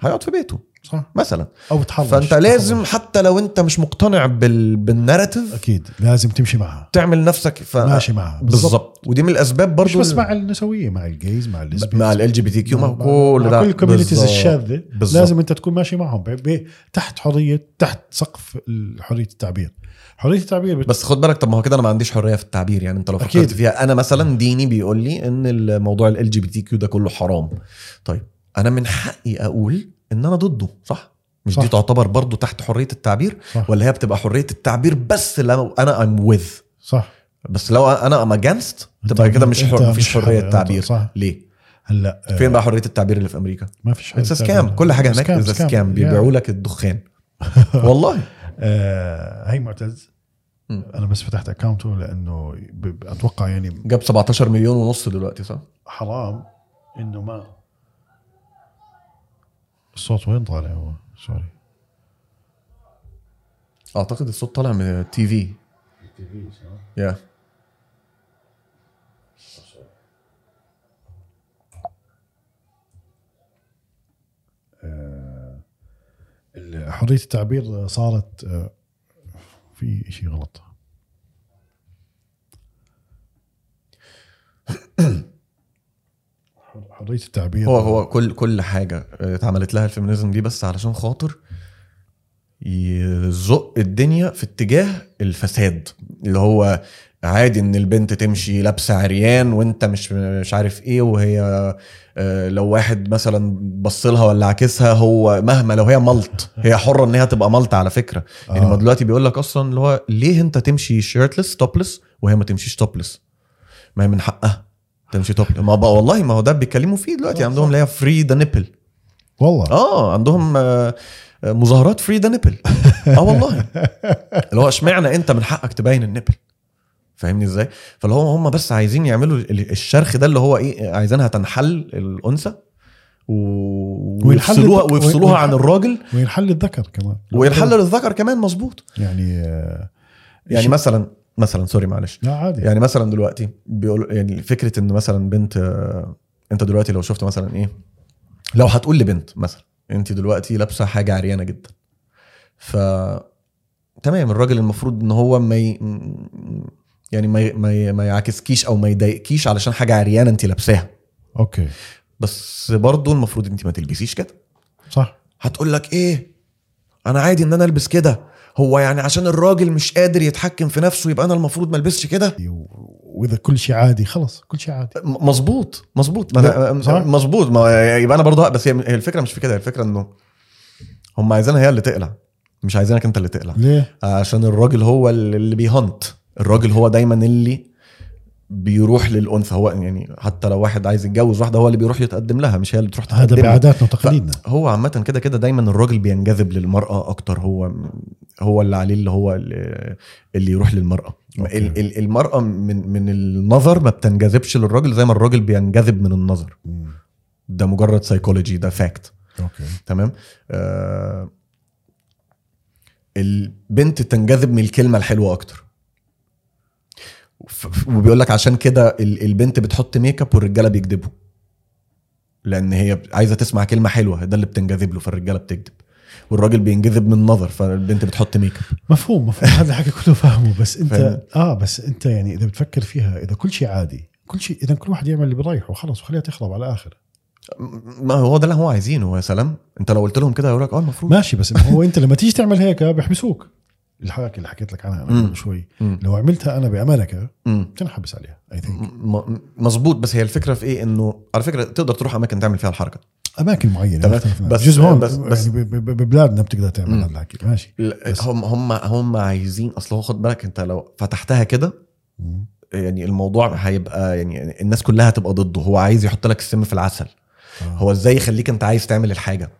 Speaker 1: هيقعد في بيته
Speaker 3: صح
Speaker 1: مثلا
Speaker 3: او تحرش
Speaker 1: فانت لازم حتى لو انت مش مقتنع بال...
Speaker 3: تحرش.
Speaker 1: بالناريتيف
Speaker 3: اكيد لازم تمشي معها
Speaker 1: تعمل نفسك ف...
Speaker 3: ماشي معها
Speaker 1: بالظبط ودي من الاسباب برضو
Speaker 3: مش بس مع النسويه مع الجيز مع الليزبيز
Speaker 1: مع ال جي بي تي كيو مع كل
Speaker 3: مع
Speaker 1: ده.
Speaker 3: كل الكوميونيتيز
Speaker 1: بالظبط.
Speaker 3: الشاذه
Speaker 1: بالظبط.
Speaker 3: لازم انت تكون ماشي معهم ب- ب- تحت حريه تحت سقف ال- حريه التعبير حريه التعبير بت...
Speaker 1: بس خد بالك طب ما هو كده انا ما عنديش حريه في التعبير يعني انت لو فكرت
Speaker 3: أكيد.
Speaker 1: فيها انا مثلا ديني بيقول لي ان الموضوع ال جي بي تي كيو ده كله حرام طيب انا من حقي اقول ان انا ضده صح مش
Speaker 3: صح.
Speaker 1: دي تعتبر برضو تحت حريه التعبير
Speaker 3: صح.
Speaker 1: ولا هي بتبقى حريه التعبير بس لو انا ام وذ
Speaker 3: صح
Speaker 1: بس لو انا ام اجينست تبقى
Speaker 3: أنت-
Speaker 1: كده مش
Speaker 3: طيب، أنت
Speaker 1: حر
Speaker 3: مش
Speaker 1: مفيش
Speaker 3: حر-
Speaker 1: حريه
Speaker 3: أنت-
Speaker 1: تعبير
Speaker 3: صح.
Speaker 1: ليه
Speaker 3: هلا آه،
Speaker 1: فين بقى حريه التعبير اللي في امريكا
Speaker 3: ما فيش حرية
Speaker 1: اتس
Speaker 3: تعبير.
Speaker 1: سكام كل حاجه هناك
Speaker 3: سكام،
Speaker 1: اتس
Speaker 3: سكام.
Speaker 1: سكام
Speaker 3: يعني،
Speaker 1: بيبيعوا لك الدخان والله
Speaker 3: آه، هي معتز
Speaker 1: مم.
Speaker 3: انا بس فتحت اكونته لانه ب- ب- اتوقع يعني
Speaker 1: جاب 17 مليون ونص دلوقتي صح
Speaker 3: حرام انه ما الصوت وين طالع هو سوري
Speaker 1: اعتقد الصوت طالع من التي في يا
Speaker 3: حريه آه، التعبير صارت آه، في شيء غلط حريه التعبير
Speaker 1: هو هو كل كل حاجه اتعملت لها الفيمينيزم دي بس علشان خاطر يزق الدنيا في اتجاه الفساد اللي هو عادي ان البنت تمشي لابسه عريان وانت مش مش عارف ايه وهي آه، لو واحد مثلا بص لها ولا عاكسها هو مهما لو هي ملط هي حره ان هي تبقى ملط على فكره يعني
Speaker 3: آه.
Speaker 1: ما دلوقتي بيقول لك اصلا اللي هو ليه انت تمشي شيرتلس توبلس وهي ما تمشيش توبلس ما هي من حقها تمشي توبلس ما بقى والله ما هو ده بيتكلموا فيه دلوقتي
Speaker 3: صح،
Speaker 1: عندهم
Speaker 3: آه، صح.
Speaker 1: اللي هي فري ذا نيبل
Speaker 3: والله
Speaker 1: اه عندهم آه، آه، مظاهرات فري ذا نيبل اه والله اللي هو اشمعنى انت من حقك تبين النبل فاهمني ازاي فاللي هو هم بس عايزين يعملوا ال- الشرخ ده اللي هو ايه عايزينها تنحل الانثى و...
Speaker 3: وينحل
Speaker 1: ويفصلوها
Speaker 3: الذكر-
Speaker 1: ويفصلوها عن
Speaker 3: وينحل-
Speaker 1: الراجل
Speaker 3: وينحل الذكر كمان
Speaker 1: وينحل للذكر كمان مظبوط
Speaker 3: يعني آه،
Speaker 1: يعني مثلا مثلا سوري معلش
Speaker 3: لا عادي
Speaker 1: يعني مثلا دلوقتي بيقول يعني فكره ان مثلا بنت آه، انت دلوقتي لو شفت مثلا ايه لو هتقول لبنت مثلا انت دلوقتي لابسه حاجه عريانه جدا ف تمام الراجل المفروض ان هو ما ي... يعني ما ي... ما, ي... ما يعاكسكيش او ما يضايقكيش علشان حاجه عريانه انت لابساها
Speaker 3: اوكي
Speaker 1: بس برضه المفروض انت ما تلبسيش كده
Speaker 3: صح
Speaker 1: هتقول لك ايه انا عادي ان انا البس كده هو يعني عشان الراجل مش قادر يتحكم في نفسه يبقى انا المفروض ما البسش كده
Speaker 3: و- واذا كل شيء عادي خلص كل شيء عادي
Speaker 1: م- مظبوط مظبوط ما أنا- آه،
Speaker 3: صح؟
Speaker 1: مظبوط ما يبقى انا برضه بس هي هي الفكره مش في كده هي الفكره انه هم عايزينها هي اللي تقلع مش عايزينك انت اللي تقلع
Speaker 3: ليه؟
Speaker 1: عشان الراجل هو اللي بيهنت الراجل هو دايما اللي بيروح للانثى هو يعني حتى لو واحد عايز يتجوز واحده هو اللي بيروح يتقدم لها مش هي اللي تروح
Speaker 3: هذا
Speaker 1: تتقدم له.
Speaker 3: بعاداتنا وتقاليدنا
Speaker 1: هو عامه كده كده دايما الراجل بينجذب للمراه اكتر هو هو اللي عليه اللي هو اللي اللي يروح للمراه
Speaker 3: أوكي.
Speaker 1: ال- ال- المراه من من النظر ما بتنجذبش للراجل زي ما الراجل بينجذب من النظر
Speaker 3: مم.
Speaker 1: ده مجرد سايكولوجي ده فاكت
Speaker 3: اوكي
Speaker 1: تمام آه البنت تنجذب من الكلمه الحلوه اكتر ف- ف- وبيقول لك عشان كده ال- البنت بتحط ميك اب والرجاله بيكذبوا لان هي ب- عايزه تسمع كلمه حلوه ده اللي بتنجذب له فالرجاله بتكذب والراجل بينجذب من النظر فالبنت بتحط ميك اب
Speaker 3: مفهوم مفهوم هذا الحكي كله فاهمه بس انت
Speaker 1: فاهم.
Speaker 3: اه بس انت يعني اذا بتفكر فيها اذا كل شيء عادي كل شيء اذا كل واحد يعمل اللي بريحه وخلص وخليها تخرب على اخره
Speaker 1: م- ما هو ده اللي هو عايزينه يا سلام انت لو قلت لهم كده هيقول لك اه المفروض
Speaker 3: ماشي بس هو انت لما تيجي تعمل هيك بيحبسوك الحركه اللي حكيت لك عنها انا
Speaker 1: مم.
Speaker 3: قبل شوي
Speaker 1: مم.
Speaker 3: لو عملتها انا بامانك
Speaker 1: مم.
Speaker 3: بتنحبس عليها اي ثينك
Speaker 1: م- مظبوط بس هي الفكره في ايه انه على فكره تقدر تروح اماكن تعمل فيها الحركه
Speaker 3: اماكن معينه
Speaker 1: تمام.
Speaker 3: مختلفة.
Speaker 1: بس-
Speaker 3: جزء هون
Speaker 1: بس-
Speaker 3: بس
Speaker 1: بس-
Speaker 3: يعني ب- ب- ببلادنا بتقدر تعمل
Speaker 1: مم.
Speaker 3: هذا الحكي ماشي
Speaker 1: لا،
Speaker 3: بس-
Speaker 1: هم هم هم عايزين اصل هو خد بالك انت لو فتحتها كده
Speaker 3: مم.
Speaker 1: يعني الموضوع هيبقى يعني الناس كلها هتبقى ضده هو عايز يحط لك السم في العسل
Speaker 3: آه.
Speaker 1: هو ازاي يخليك انت عايز تعمل الحاجه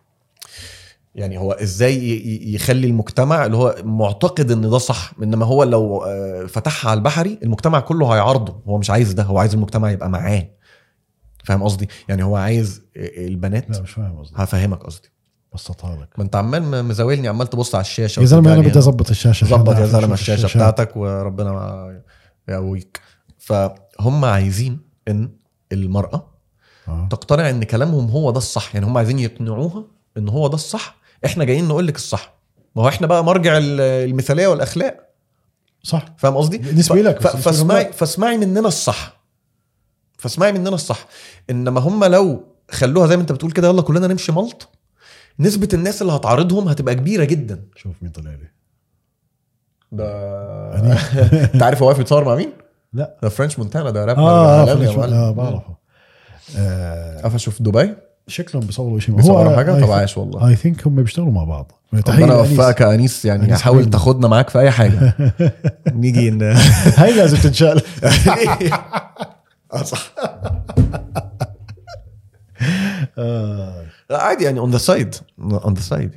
Speaker 1: يعني هو ازاي ي- ي- يخلي المجتمع اللي هو معتقد ان ده صح انما هو لو آه، فتحها على البحري المجتمع كله هيعارضه هو مش عايز ده هو عايز المجتمع يبقى معاه فاهم قصدي يعني هو عايز البنات
Speaker 3: لا مش فاهم قصدي
Speaker 1: هفهمك قصدي
Speaker 3: بسطها لك
Speaker 1: ما انت عمال مزاولني عمال تبص على الشاشه
Speaker 3: يا زلمه انا
Speaker 1: وترجعني.
Speaker 3: بدي اظبط الشاشه عشان
Speaker 1: يعني؟ ظبط يا
Speaker 3: أعرف
Speaker 1: زلمه
Speaker 3: أشوف
Speaker 1: الشاشه بتاعتك وربنا ما يقويك فهم عايزين ان المراه
Speaker 3: آه.
Speaker 1: تقتنع ان كلامهم هو ده الصح يعني هم عايزين يقنعوها ان هو ده الصح احنا جايين نقول لك الصح ما هو احنا بقى مرجع ال- المثاليه والاخلاق
Speaker 3: صح
Speaker 1: فاهم قصدي
Speaker 3: بالنسبة
Speaker 1: ف-
Speaker 3: لك، بس
Speaker 1: ف-
Speaker 3: بالنسبة لهم
Speaker 1: فاسمعي
Speaker 3: لا.
Speaker 1: فاسمعي مننا الصح فاسمعي مننا الصح انما هم لو خلوها زي ما انت بتقول كده يلا كلنا نمشي ملط نسبه الناس اللي هتعارضهم هتبقى كبيره جدا
Speaker 3: شوف مين طلع لي
Speaker 1: ده
Speaker 3: أنا-
Speaker 1: انت عارف هو واقف يتصور مع مين؟
Speaker 3: لا.
Speaker 1: ده فرنش مونتانا ده رابر
Speaker 3: اه
Speaker 1: عالمي يا
Speaker 3: آه،
Speaker 1: معلم.
Speaker 3: آه، بعرفه آه،
Speaker 1: قفشه في دبي
Speaker 3: شكلهم بيصوروا شيء
Speaker 1: بيصوروا
Speaker 3: أيوة.
Speaker 1: حاجه طب عاش والله
Speaker 3: اي ثينك هم بيشتغلوا مع بعض تحية
Speaker 1: ربنا
Speaker 3: لأنيس.
Speaker 1: يوفقك يا انيس يعني
Speaker 3: أنيس
Speaker 1: حاول
Speaker 3: حبيبي.
Speaker 1: تاخدنا معاك في اي حاجه نيجي ن...
Speaker 3: هاي لازم تنشال
Speaker 1: آه، صح
Speaker 3: آه،
Speaker 1: لا عادي يعني اون ذا سايد اون ذا سايد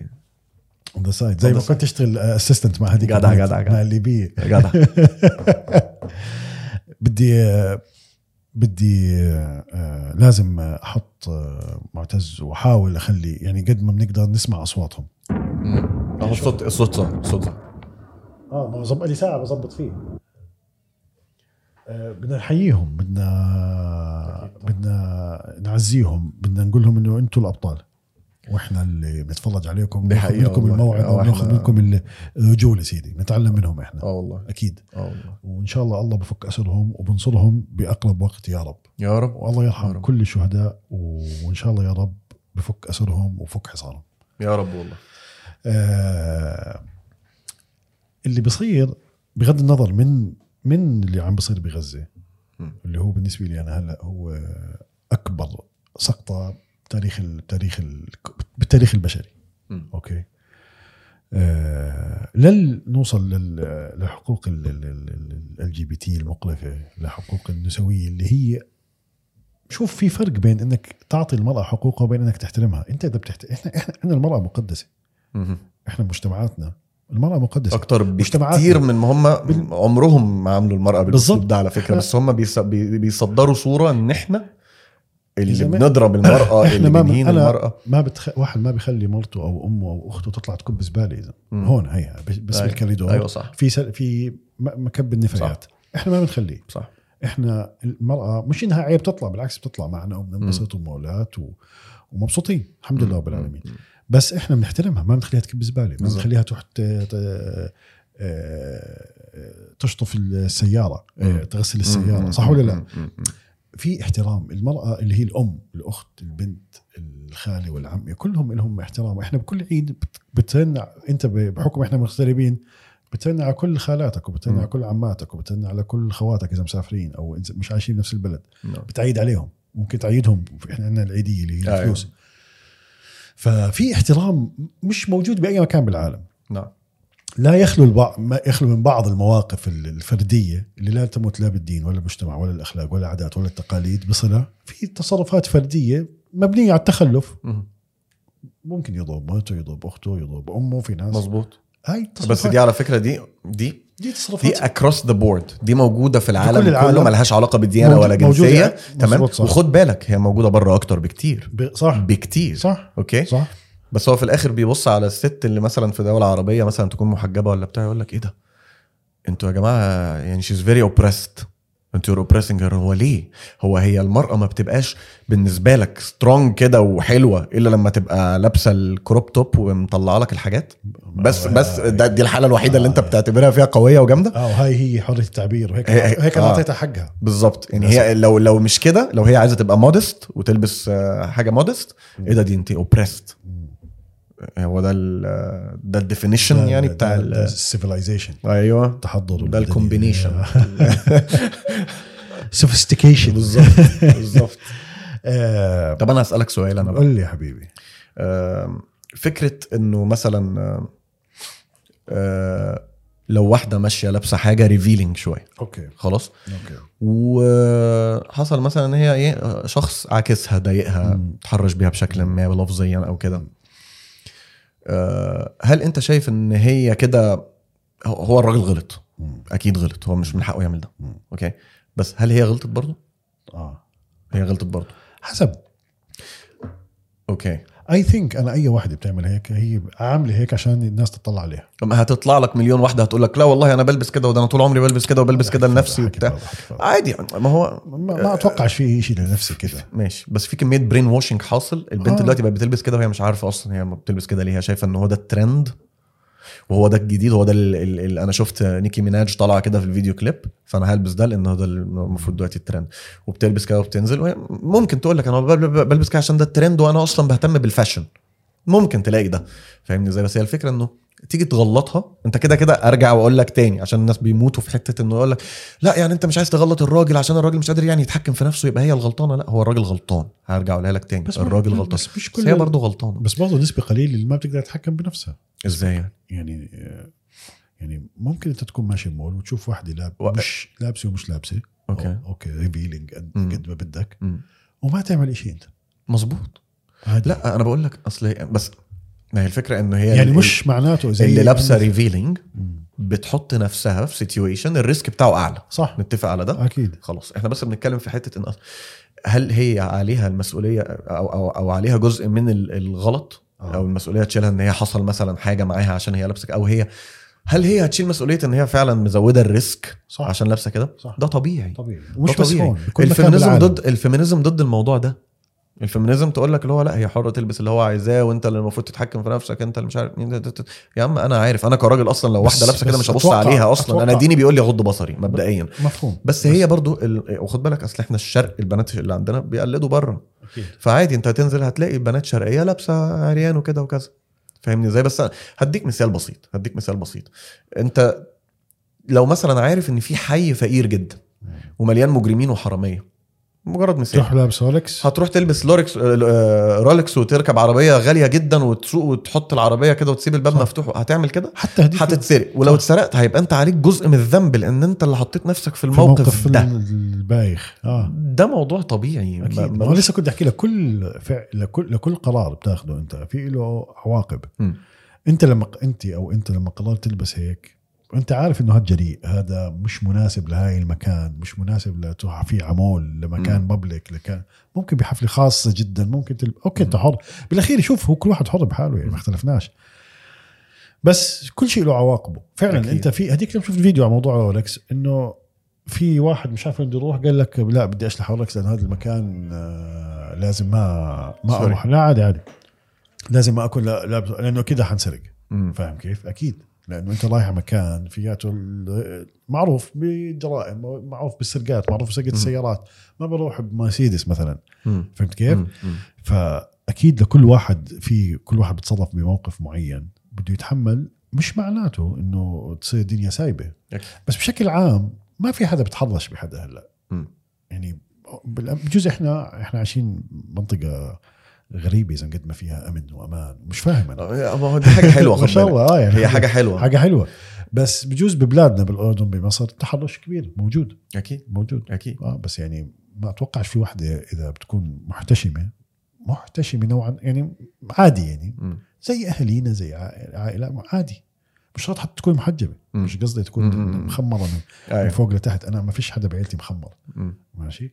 Speaker 3: on the side. زي
Speaker 1: On
Speaker 3: ما
Speaker 1: the
Speaker 3: كنت تشتغل اسيستنت مع هذيك
Speaker 1: جدع،
Speaker 3: البنت،
Speaker 1: جدع، جدع.
Speaker 3: مع الليبيه
Speaker 1: جدع
Speaker 3: بدي آه، بدي آه، آه، لازم احط آه، معتز واحاول اخلي يعني قد ما بنقدر نسمع اصواتهم
Speaker 1: اهو الصوت الصوت صح الصوت صح
Speaker 3: اه ما زب... لي ساعه بظبط فيه آه، بدنا نحييهم بدنا بدنا نعزيهم بدنا نقول لهم انه انتم الابطال واحنا اللي بنتفرج عليكم
Speaker 1: دي
Speaker 3: بناخذ
Speaker 1: حقيقة
Speaker 3: منكم
Speaker 1: والله.
Speaker 3: الموعد
Speaker 1: آه،
Speaker 3: وناخذ
Speaker 1: إحنا-
Speaker 3: منكم الرجول يا سيدي نتعلم منهم احنا
Speaker 1: اه والله
Speaker 3: اكيد
Speaker 1: اه والله
Speaker 3: وان شاء الله الله بفك اسرهم وبنصرهم باقرب وقت يا رب
Speaker 1: يا رب
Speaker 3: والله
Speaker 1: يا
Speaker 3: يرحم
Speaker 1: رب.
Speaker 3: كل الشهداء و- وان شاء الله يا رب بفك اسرهم وفك حصارهم
Speaker 1: يا رب والله
Speaker 3: آه، اللي بصير بغض النظر من من اللي عم بصير بغزه
Speaker 1: م.
Speaker 3: اللي هو بالنسبه لي انا هلا هو اكبر سقطه بتاريخ ال- بتاريخ ال- بالتاريخ البشري
Speaker 1: مم.
Speaker 3: اوكي آه لل نوصل لل- لحقوق ال جي بي تي المقلفه لحقوق النسويه اللي هي شوف في فرق بين انك تعطي المراه حقوقها وبين انك تحترمها انت اذا بتحت... احنا احنا عندنا المراه مقدسه احنا مجتمعاتنا المراه مقدسه
Speaker 1: اكتر
Speaker 3: مجتمعاتنا.
Speaker 1: بكتير من ما هم عمرهم ما عملوا المراه بالاسلوب
Speaker 3: بالظبط.
Speaker 1: ده على فكره
Speaker 3: إحنا-
Speaker 1: بس هم بيص- بي- بيصدروا صوره ان احنا اللي
Speaker 3: زمان-
Speaker 1: بنضرب المراه
Speaker 3: إحنا
Speaker 1: اللي
Speaker 3: ما-
Speaker 1: بنهين
Speaker 3: أنا-
Speaker 1: المراه
Speaker 3: ما بتخ... واحد ما بيخلي مرته او امه او اخته تطلع تكب زباله اذا
Speaker 1: مم.
Speaker 3: هون هيها بس- بس
Speaker 1: أيوة.
Speaker 3: بالكوريدور
Speaker 1: ايوه صح
Speaker 3: في سل... في م- مكب النفايات احنا ما بنخليه
Speaker 1: صح
Speaker 3: احنا المراه مش انها عيب تطلع بالعكس بتطلع معنا وبننبسط ومولات و... ومبسوطين الحمد لله رب العالمين بس احنا بنحترمها ما بنخليها تكب زباله ما
Speaker 1: بالظبط.
Speaker 3: بنخليها تروح ت- ت- آه، تشطف السياره آه، تغسل السياره صح ولا لا؟ في احترام المرأة اللي هي الأم الأخت البنت الخالة والعمة كلهم لهم احترام احنا بكل عيد بت- بترن انت ب- بحكم احنا مغتربين بترن على كل خالاتك وبترن
Speaker 1: مم.
Speaker 3: على كل عماتك وبترن على كل خواتك اذا مسافرين او إذا مش عايشين بنفس البلد
Speaker 1: نعم.
Speaker 3: بتعيد عليهم ممكن تعيدهم احنا عندنا العيدية اللي هي
Speaker 1: أيوة.
Speaker 3: الفلوس ففي احترام مش موجود بأي مكان بالعالم
Speaker 1: نعم
Speaker 3: لا يخلو البعض ما يخلو من بعض المواقف ال- الفرديه اللي لا تمت لا بالدين ولا بالمجتمع ولا الاخلاق ولا العادات ولا التقاليد بصله في تصرفات فرديه مبنيه على التخلف
Speaker 1: مم.
Speaker 3: ممكن يضرب مرته يضرب اخته يضرب امه في ناس
Speaker 1: مظبوط
Speaker 3: هاي
Speaker 1: بس
Speaker 3: التصرفات
Speaker 1: دي على فكره دي دي
Speaker 3: دي تصرفات
Speaker 1: دي اكروس ذا بورد دي موجوده في العالم,
Speaker 3: كل العالم.
Speaker 1: كله ملهاش علاقه بالديانه
Speaker 3: موجود-
Speaker 1: ولا
Speaker 3: موجودة.
Speaker 1: جنسيه
Speaker 3: مظبوط،
Speaker 1: تمام
Speaker 3: صح.
Speaker 1: وخد بالك هي موجوده بره اكتر بكتير
Speaker 3: ب- صح
Speaker 1: بكتير
Speaker 3: صح
Speaker 1: اوكي
Speaker 3: صح
Speaker 1: بس هو في الاخر بيبص على الست اللي مثلا في دوله عربيه مثلا تكون محجبه ولا بتاع يقول لك ايه ده انتوا يا جماعه يعني شيز فيري اوبريست انتوا اوبريسنج هو ليه هو هي المراه ما بتبقاش بالنسبه لك سترونج كده وحلوه الا لما تبقى لابسه الكروب توب ومطلعه لك الحاجات
Speaker 3: آه،
Speaker 1: بس بس ده دي الحاله الوحيده اللي انت بتعتبرها فيها قويه وجامده
Speaker 3: اه وهي هي حريه التعبير وهيك
Speaker 1: هي- هي-
Speaker 3: هيك انا
Speaker 1: آه.
Speaker 3: اعطيتها حقها
Speaker 1: بالظبط يعني هي لو لو مش كده لو هي عايزه تبقى مودست وتلبس آه، حاجه مودست ايه ده دي انت اوبريست هو ده ال ده الديفينيشن يعني بتاع ال-
Speaker 3: السيفلايزيشن
Speaker 1: ايوه
Speaker 3: التحضر
Speaker 1: ده الكومبينيشن
Speaker 3: سوفيستيكيشن
Speaker 1: بالظبط بالظبط طب انا اسالك سؤال انا آه، بقى
Speaker 3: قول لي يا حبيبي
Speaker 1: آم، فكره انه مثلا آم، آه، لو واحده ماشيه لابسه حاجه ريفيلينج شويه
Speaker 3: اوكي
Speaker 1: خلاص
Speaker 3: اوكي
Speaker 1: وحصل مثلا ان هي ايه شخص عاكسها ضايقها تحرش بيها بشكل ما لفظيا او كده آه، هل انت شايف ان هي كده هو- هو الراجل غلط
Speaker 3: مم.
Speaker 1: اكيد غلط هو مش من حقه يعمل ده
Speaker 3: مم.
Speaker 1: اوكي بس هل هي غلطت برضه
Speaker 3: اه
Speaker 1: هي غلطت برضه
Speaker 3: حسب
Speaker 1: اوكي
Speaker 3: اي ثينك انا اي واحده بتعمل هيك هي عامله هيك عشان الناس تطلع عليها
Speaker 1: لما هتطلع لك مليون واحده هتقول لك لا والله انا بلبس كده وده انا طول عمري بلبس كده وبلبس كده لنفسي
Speaker 3: حكي
Speaker 1: وبتاع
Speaker 3: فاضي، حكي فاضي.
Speaker 1: عادي يعني ما هو
Speaker 3: ما, ما اتوقعش في شيء لنفسي كده
Speaker 1: ماشي بس في كميه برين واشنج حاصل البنت
Speaker 3: آه.
Speaker 1: آه. دلوقتي بقت بتلبس كده وهي مش عارفه اصلا هي ما بتلبس كده ليه هي شايفه ان هو ده الترند وهو ده الجديد هو ده ال ال ال انا شفت نيكي ميناج طالعه كده في الفيديو كليب فانا هلبس ده لان هو ده المفروض دلوقتي الترند وبتلبس كده وبتنزل وهي ممكن تقول لك انا بل- بل- بلبس كده عشان ده الترند وانا اصلا بهتم بالفاشن ممكن تلاقي ده فاهمني ازاي بس هي الفكره انه تيجي تغلطها انت كده كده ارجع واقول لك تاني عشان الناس بيموتوا في حته انه يقول لك لا يعني انت مش عايز تغلط الراجل عشان الراجل مش قادر يعني يتحكم في نفسه يبقى هي الغلطانه لا هو الراجل غلطان هرجع اقولها لك تاني
Speaker 3: بس ما-
Speaker 1: الراجل غلطان
Speaker 3: بس مش
Speaker 1: بس هي
Speaker 3: كل
Speaker 1: برضه غلطانه
Speaker 3: بس برضه نسبه قليله اللي ما بتقدر تتحكم بنفسها
Speaker 1: ازاي يعني؟
Speaker 3: يعني يعني ممكن انت تكون ماشي بمول وتشوف واحده لاب
Speaker 1: و-
Speaker 3: مش لابسه ومش لابسه
Speaker 1: اوكي
Speaker 3: أو- اوكي ريفيلينج قد
Speaker 1: مم.
Speaker 3: قد ما بدك
Speaker 1: مم.
Speaker 3: وما تعمل شيء انت
Speaker 1: مظبوط
Speaker 3: عادي.
Speaker 1: لا انا بقول لك اصل هي- بس ما هي الفكره انه هي
Speaker 3: يعني
Speaker 1: ال-
Speaker 3: مش يعني معناته زي
Speaker 1: اللي لابسه ريفيلينج
Speaker 3: مم.
Speaker 1: بتحط نفسها في سيتويشن الريسك بتاعه اعلى
Speaker 3: صح
Speaker 1: نتفق على ده
Speaker 3: اكيد
Speaker 1: خلاص احنا بس بنتكلم في حته ان أص- هل هي عليها المسؤوليه او او, أو عليها جزء من ال- الغلط
Speaker 3: آه.
Speaker 1: او المسؤوليه تشيلها ان هي حصل مثلا حاجه معاها عشان هي لابسه او هي هل هي هتشيل مسؤوليه ان هي فعلا مزوده الريسك
Speaker 3: صح.
Speaker 1: عشان لابسه كده
Speaker 3: صح.
Speaker 1: ده طبيعي
Speaker 3: طبيعي
Speaker 1: ده
Speaker 3: ومش بس
Speaker 1: طبيعي.
Speaker 3: هون بكل مكان
Speaker 1: الفيمينيزم
Speaker 3: بالعالم.
Speaker 1: ضد الفيمينيزم ضد الموضوع ده الفيمينيزم تقول لك اللي هو لا هي حره تلبس اللي هو عايزاه وانت اللي المفروض تتحكم في نفسك انت اللي مش عارف مين ده- ده- ده. يا عم انا عارف انا كراجل اصلا لو
Speaker 3: بس-
Speaker 1: واحده لابسه كده
Speaker 3: بس
Speaker 1: مش هبص
Speaker 3: أتوقع-
Speaker 1: عليها اصلا انا
Speaker 3: أتوقع.
Speaker 1: ديني بيقول لي غض بصري مبدئيا
Speaker 3: مفهوم
Speaker 1: بس هي برضو ال... وخد بالك اصل احنا الشرق البنات اللي عندنا بيقلدوا بره
Speaker 3: اكيد
Speaker 1: فعادي انت هتنزل هتلاقي بنات شرقيه لابسه عريان وكده وكذا فاهمني ازاي بس أنا هديك مثال بسيط هديك مثال بسيط انت لو مثلا عارف ان في حي فقير جدا ومليان مجرمين وحراميه مجرد مثال
Speaker 3: تروح لابس رولكس
Speaker 1: هتروح تلبس لوركس آه، رولكس وتركب عربيه غاليه جدا وتسوق وتحط العربيه كده وتسيب الباب
Speaker 3: صح.
Speaker 1: مفتوح هتعمل كده
Speaker 3: حتى هديك
Speaker 1: هتتسرق ولو اتسرقت هيبقى انت عليك جزء من الذنب لان انت اللي حطيت نفسك في
Speaker 3: في
Speaker 1: الموقف,
Speaker 3: موقف
Speaker 1: ده
Speaker 3: البايخ اه
Speaker 1: ده موضوع طبيعي
Speaker 3: اكيد ما هو لسه كنت احكي لك كل فعل لكل لكل قرار بتاخده انت في له عواقب
Speaker 1: مم.
Speaker 3: انت لما ق- انت او انت لما قررت تلبس هيك انت عارف انه هذا جريء هذا مش مناسب لهاي المكان مش مناسب لتروح فيه على مول لمكان
Speaker 1: مم.
Speaker 3: بابليك لكان ممكن بحفله خاصه جدا ممكن تلب... اوكي انت
Speaker 1: مم.
Speaker 3: حر بالاخير شوف هو كل واحد حر بحاله يعني ما
Speaker 1: مم.
Speaker 3: اختلفناش بس كل شيء له عواقبه فعلا
Speaker 1: أكيد.
Speaker 3: أكيد. انت في هديك يوم شفت فيديو على موضوع رولكس انه في واحد مش عارف وين بده يروح قال لك لا بدي اشلح رولكس لان هذا المكان آه، لازم ما ما
Speaker 1: Sorry.
Speaker 3: اروح لا عادي عادي لازم ما اكون لا- لا- لانه كده حنسرق
Speaker 1: مم.
Speaker 3: فاهم كيف؟ اكيد لانه انت رايح على مكان فياته ال- معروف بالجرائم معروف بالسرقات معروف بسرقه السيارات ما بروح بمرسيدس مثلا
Speaker 1: مم.
Speaker 3: فهمت كيف؟
Speaker 1: مم. مم.
Speaker 3: فاكيد لكل واحد في كل واحد بتصرف بموقف معين بده يتحمل مش معناته انه تصير دنيا سايبه
Speaker 1: أكيد.
Speaker 3: بس بشكل عام ما في حدا بتحرش بحدا هلا
Speaker 1: مم.
Speaker 3: يعني بالأ- بجوز احنا احنا عايشين منطقه غريبه اذا قد ما فيها امن وامان مش فاهم انا
Speaker 1: آه، ما هو دي حاجه حلوه
Speaker 3: ما
Speaker 1: خد
Speaker 3: شاء
Speaker 1: بالك
Speaker 3: الله اه يعني
Speaker 1: هي حاجه حلوه
Speaker 3: حاجه حلوه بس بجوز ببلادنا بالاردن بمصر تحرش كبير موجود
Speaker 1: اكيد
Speaker 3: موجود
Speaker 1: اكيد
Speaker 3: اه بس يعني ما اتوقعش في وحده اذا بتكون محتشمه محتشمه نوعا يعني عادي يعني
Speaker 1: مم.
Speaker 3: زي اهالينا زي عائله, عائلة عادي مش شرط حتى تكون محجبه
Speaker 1: مم.
Speaker 3: مش قصدي تكون
Speaker 1: مم.
Speaker 3: مخمره من, من
Speaker 1: أيوة.
Speaker 3: فوق لتحت انا ما فيش حدا بعيلتي مخمر
Speaker 1: مم.
Speaker 3: ماشي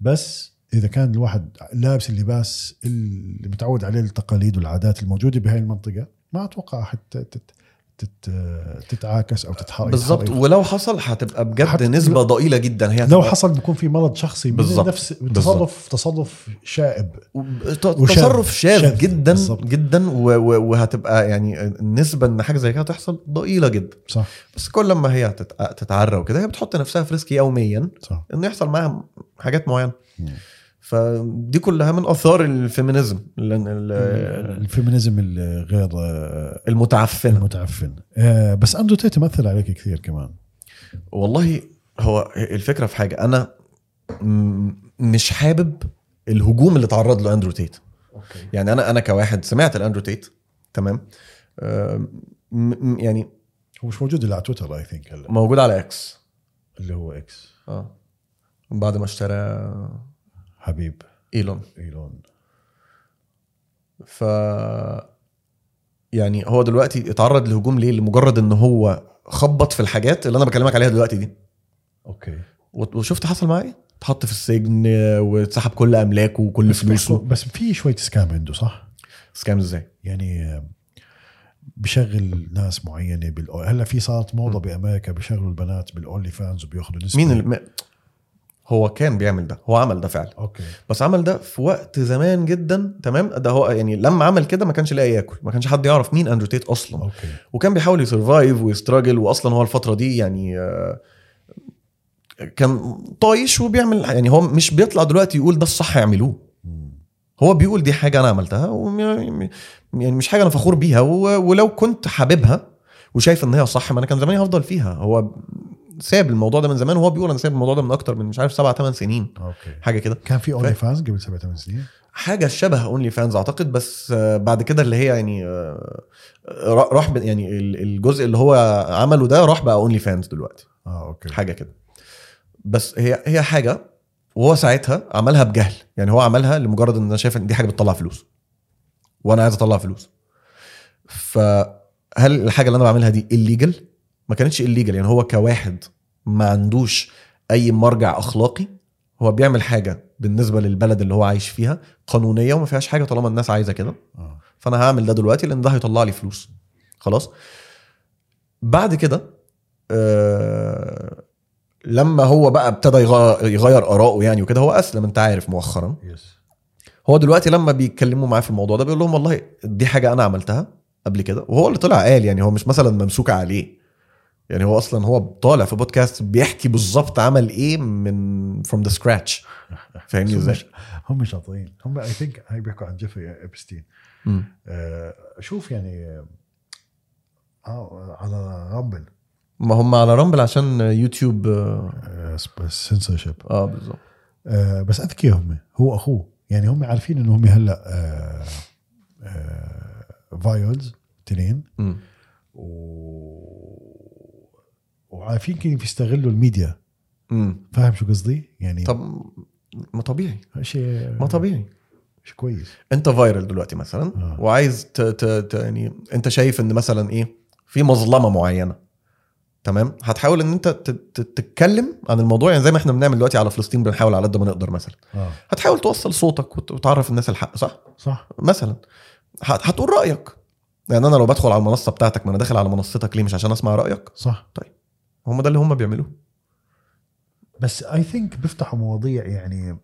Speaker 3: بس اذا كان الواحد لابس اللباس اللي متعود عليه التقاليد والعادات الموجوده بهاي المنطقه ما اتوقع حتى تت تت تتعاكس او تتحرك
Speaker 1: بالظبط
Speaker 3: تتحرك.
Speaker 1: ولو حصل هتبقى بجد
Speaker 3: حت-
Speaker 1: نسبه ضئيله جدا هي
Speaker 3: لو
Speaker 1: هتبقى-
Speaker 3: حصل بيكون في مرض شخصي من
Speaker 1: بالظبط.
Speaker 3: نفس تصرف
Speaker 1: بالظبط.
Speaker 3: تصرف شائب
Speaker 1: وب- ت-
Speaker 3: وشاذ.
Speaker 1: تصرف شاذ
Speaker 3: شاذ،
Speaker 1: جدا
Speaker 3: بالظبط.
Speaker 1: جدا و- و- وهتبقى يعني النسبه ان حاجه زي كده تحصل ضئيله جدا
Speaker 3: صح
Speaker 1: بس كل ما هي تتع- تتعرى وكده هي بتحط نفسها في ريسك يوميا
Speaker 3: صح
Speaker 1: ان يحصل معاها حاجات معينه
Speaker 3: مم.
Speaker 1: فدي كلها من اثار الفيمينيزم ال- ال-
Speaker 3: آه، الفيمينيزم الغير آه،
Speaker 1: المتعفنه
Speaker 3: المتعفن آه، بس اندرو تيت مثل عليك كثير كمان
Speaker 1: والله هو الفكره في حاجه انا م- مش حابب الهجوم اللي تعرض له اندرو تيت
Speaker 3: اوكي
Speaker 1: يعني انا انا كواحد سمعت الاندرو تيت تمام آم، م- م- يعني
Speaker 3: هو مش موجود الا على تويتر اي ثينك هلا
Speaker 1: موجود على اكس
Speaker 3: اللي هو اكس
Speaker 1: اه بعد ما اشترى
Speaker 3: حبيب
Speaker 1: ايلون
Speaker 3: ايلون
Speaker 1: ف يعني هو دلوقتي اتعرض لهجوم ليه لمجرد ان هو خبط في الحاجات اللي انا بكلمك عليها دلوقتي دي
Speaker 3: اوكي
Speaker 1: وت- وشفت حصل معاه ايه اتحط في السجن واتسحب كل املاكه وكل
Speaker 3: بس
Speaker 1: فلوسه
Speaker 3: بس في شويه سكام عنده صح؟
Speaker 1: سكامز ازاي؟
Speaker 3: يعني بشغل ناس معينه بال هلا في صارت موضه بامريكا بشغلوا البنات بالاونلي فانز وبياخذوا نسبه
Speaker 1: مين الم... هو كان بيعمل ده هو عمل ده فعلا
Speaker 3: اوكي
Speaker 1: بس عمل ده في وقت زمان جدا تمام ده هو يعني لما عمل كده ما كانش لاقي ياكل ما كانش حد يعرف مين اندرو تيت اصلا
Speaker 3: اوكي
Speaker 1: وكان بيحاول يسرفايف ويستراجل واصلا هو الفتره دي يعني آه، كان طايش وبيعمل يعني هو مش بيطلع دلوقتي يقول ده الصح يعملوه
Speaker 3: مم.
Speaker 1: هو بيقول دي حاجه انا عملتها وم- يعني مش حاجه انا فخور بيها و- ولو كنت حاببها وشايف ان هي صح ما انا كان زماني هفضل فيها هو ساب الموضوع ده من زمان وهو بيقول انا ساب الموضوع ده من اكتر من مش عارف سبعة ثمان سنين
Speaker 3: اوكي
Speaker 1: حاجه كده
Speaker 3: كان في اونلي
Speaker 1: ف-
Speaker 3: فانز قبل سبع ثمان سنين
Speaker 1: حاجه شبه اونلي فانز اعتقد بس آه، بعد كده اللي هي يعني آه، را- راح ب- يعني ال- الجزء اللي هو عمله ده راح بقى اونلي فانز دلوقتي
Speaker 3: اه اوكي
Speaker 1: حاجه كده بس هي هي حاجه وهو ساعتها عملها بجهل يعني هو عملها لمجرد ان انا شايف ان دي حاجه بتطلع فلوس وانا عايز اطلع فلوس فهل الحاجه اللي انا بعملها دي الليجل ما كانتش الليجل يعني هو كواحد ما عندوش اي مرجع اخلاقي هو بيعمل حاجه بالنسبه للبلد اللي هو عايش فيها قانونيه وما فيهاش حاجه طالما الناس عايزه كده
Speaker 3: آه.
Speaker 1: فانا هعمل ده دلوقتي لان ده هيطلع لي فلوس خلاص بعد كده آه لما هو بقى ابتدى يغ- يغير اراءه يعني وكده هو اسلم انت عارف مؤخرا
Speaker 3: يس
Speaker 1: هو دلوقتي لما بيتكلموا معاه في الموضوع ده بيقول لهم والله دي حاجه انا عملتها قبل كده وهو اللي طلع قال يعني هو مش مثلا ممسوك عليه يعني هو اصلا هو طالع في بودكاست بيحكي بالظبط عمل ايه من فروم ذا سكراتش فاهمني ازاي؟
Speaker 3: هم شاطرين هم اي ثينك هاي بيحكوا عن جيفري ابستين
Speaker 1: مم.
Speaker 3: آه، شوف يعني آه، آه، على رامبل
Speaker 1: ما هم على رامبل عشان يوتيوب اه
Speaker 3: سنسورشيب
Speaker 1: آه، بالظبط
Speaker 3: آه، بس اذكياء هم هو اخوه يعني هم عارفين انه هم هلا آه، آه، فايولز تنين
Speaker 1: مم.
Speaker 3: و... وعارفين كيف يستغلوا الميديا
Speaker 1: مم.
Speaker 3: فاهم شو قصدي؟ يعني
Speaker 1: طب ما طبيعي
Speaker 3: شيء
Speaker 1: ما طبيعي
Speaker 3: شيء كويس
Speaker 1: انت فايرل دلوقتي مثلا
Speaker 3: آه.
Speaker 1: وعايز ت... ت... ت... يعني انت شايف ان مثلا ايه في مظلمه معينه تمام هتحاول ان انت ت... ت... تتكلم عن الموضوع يعني زي ما احنا بنعمل دلوقتي على فلسطين بنحاول على قد ما نقدر مثلا
Speaker 3: اه
Speaker 1: هتحاول توصل صوتك وت... وتعرف الناس الحق صح
Speaker 3: صح
Speaker 1: مثلا هت... هتقول رايك يعني انا لو بدخل على المنصه بتاعتك ما انا داخل على منصتك ليه مش عشان اسمع رايك
Speaker 3: صح
Speaker 1: هم ده اللي هم بيعملوه
Speaker 3: بس اي ثينك بيفتحوا مواضيع يعني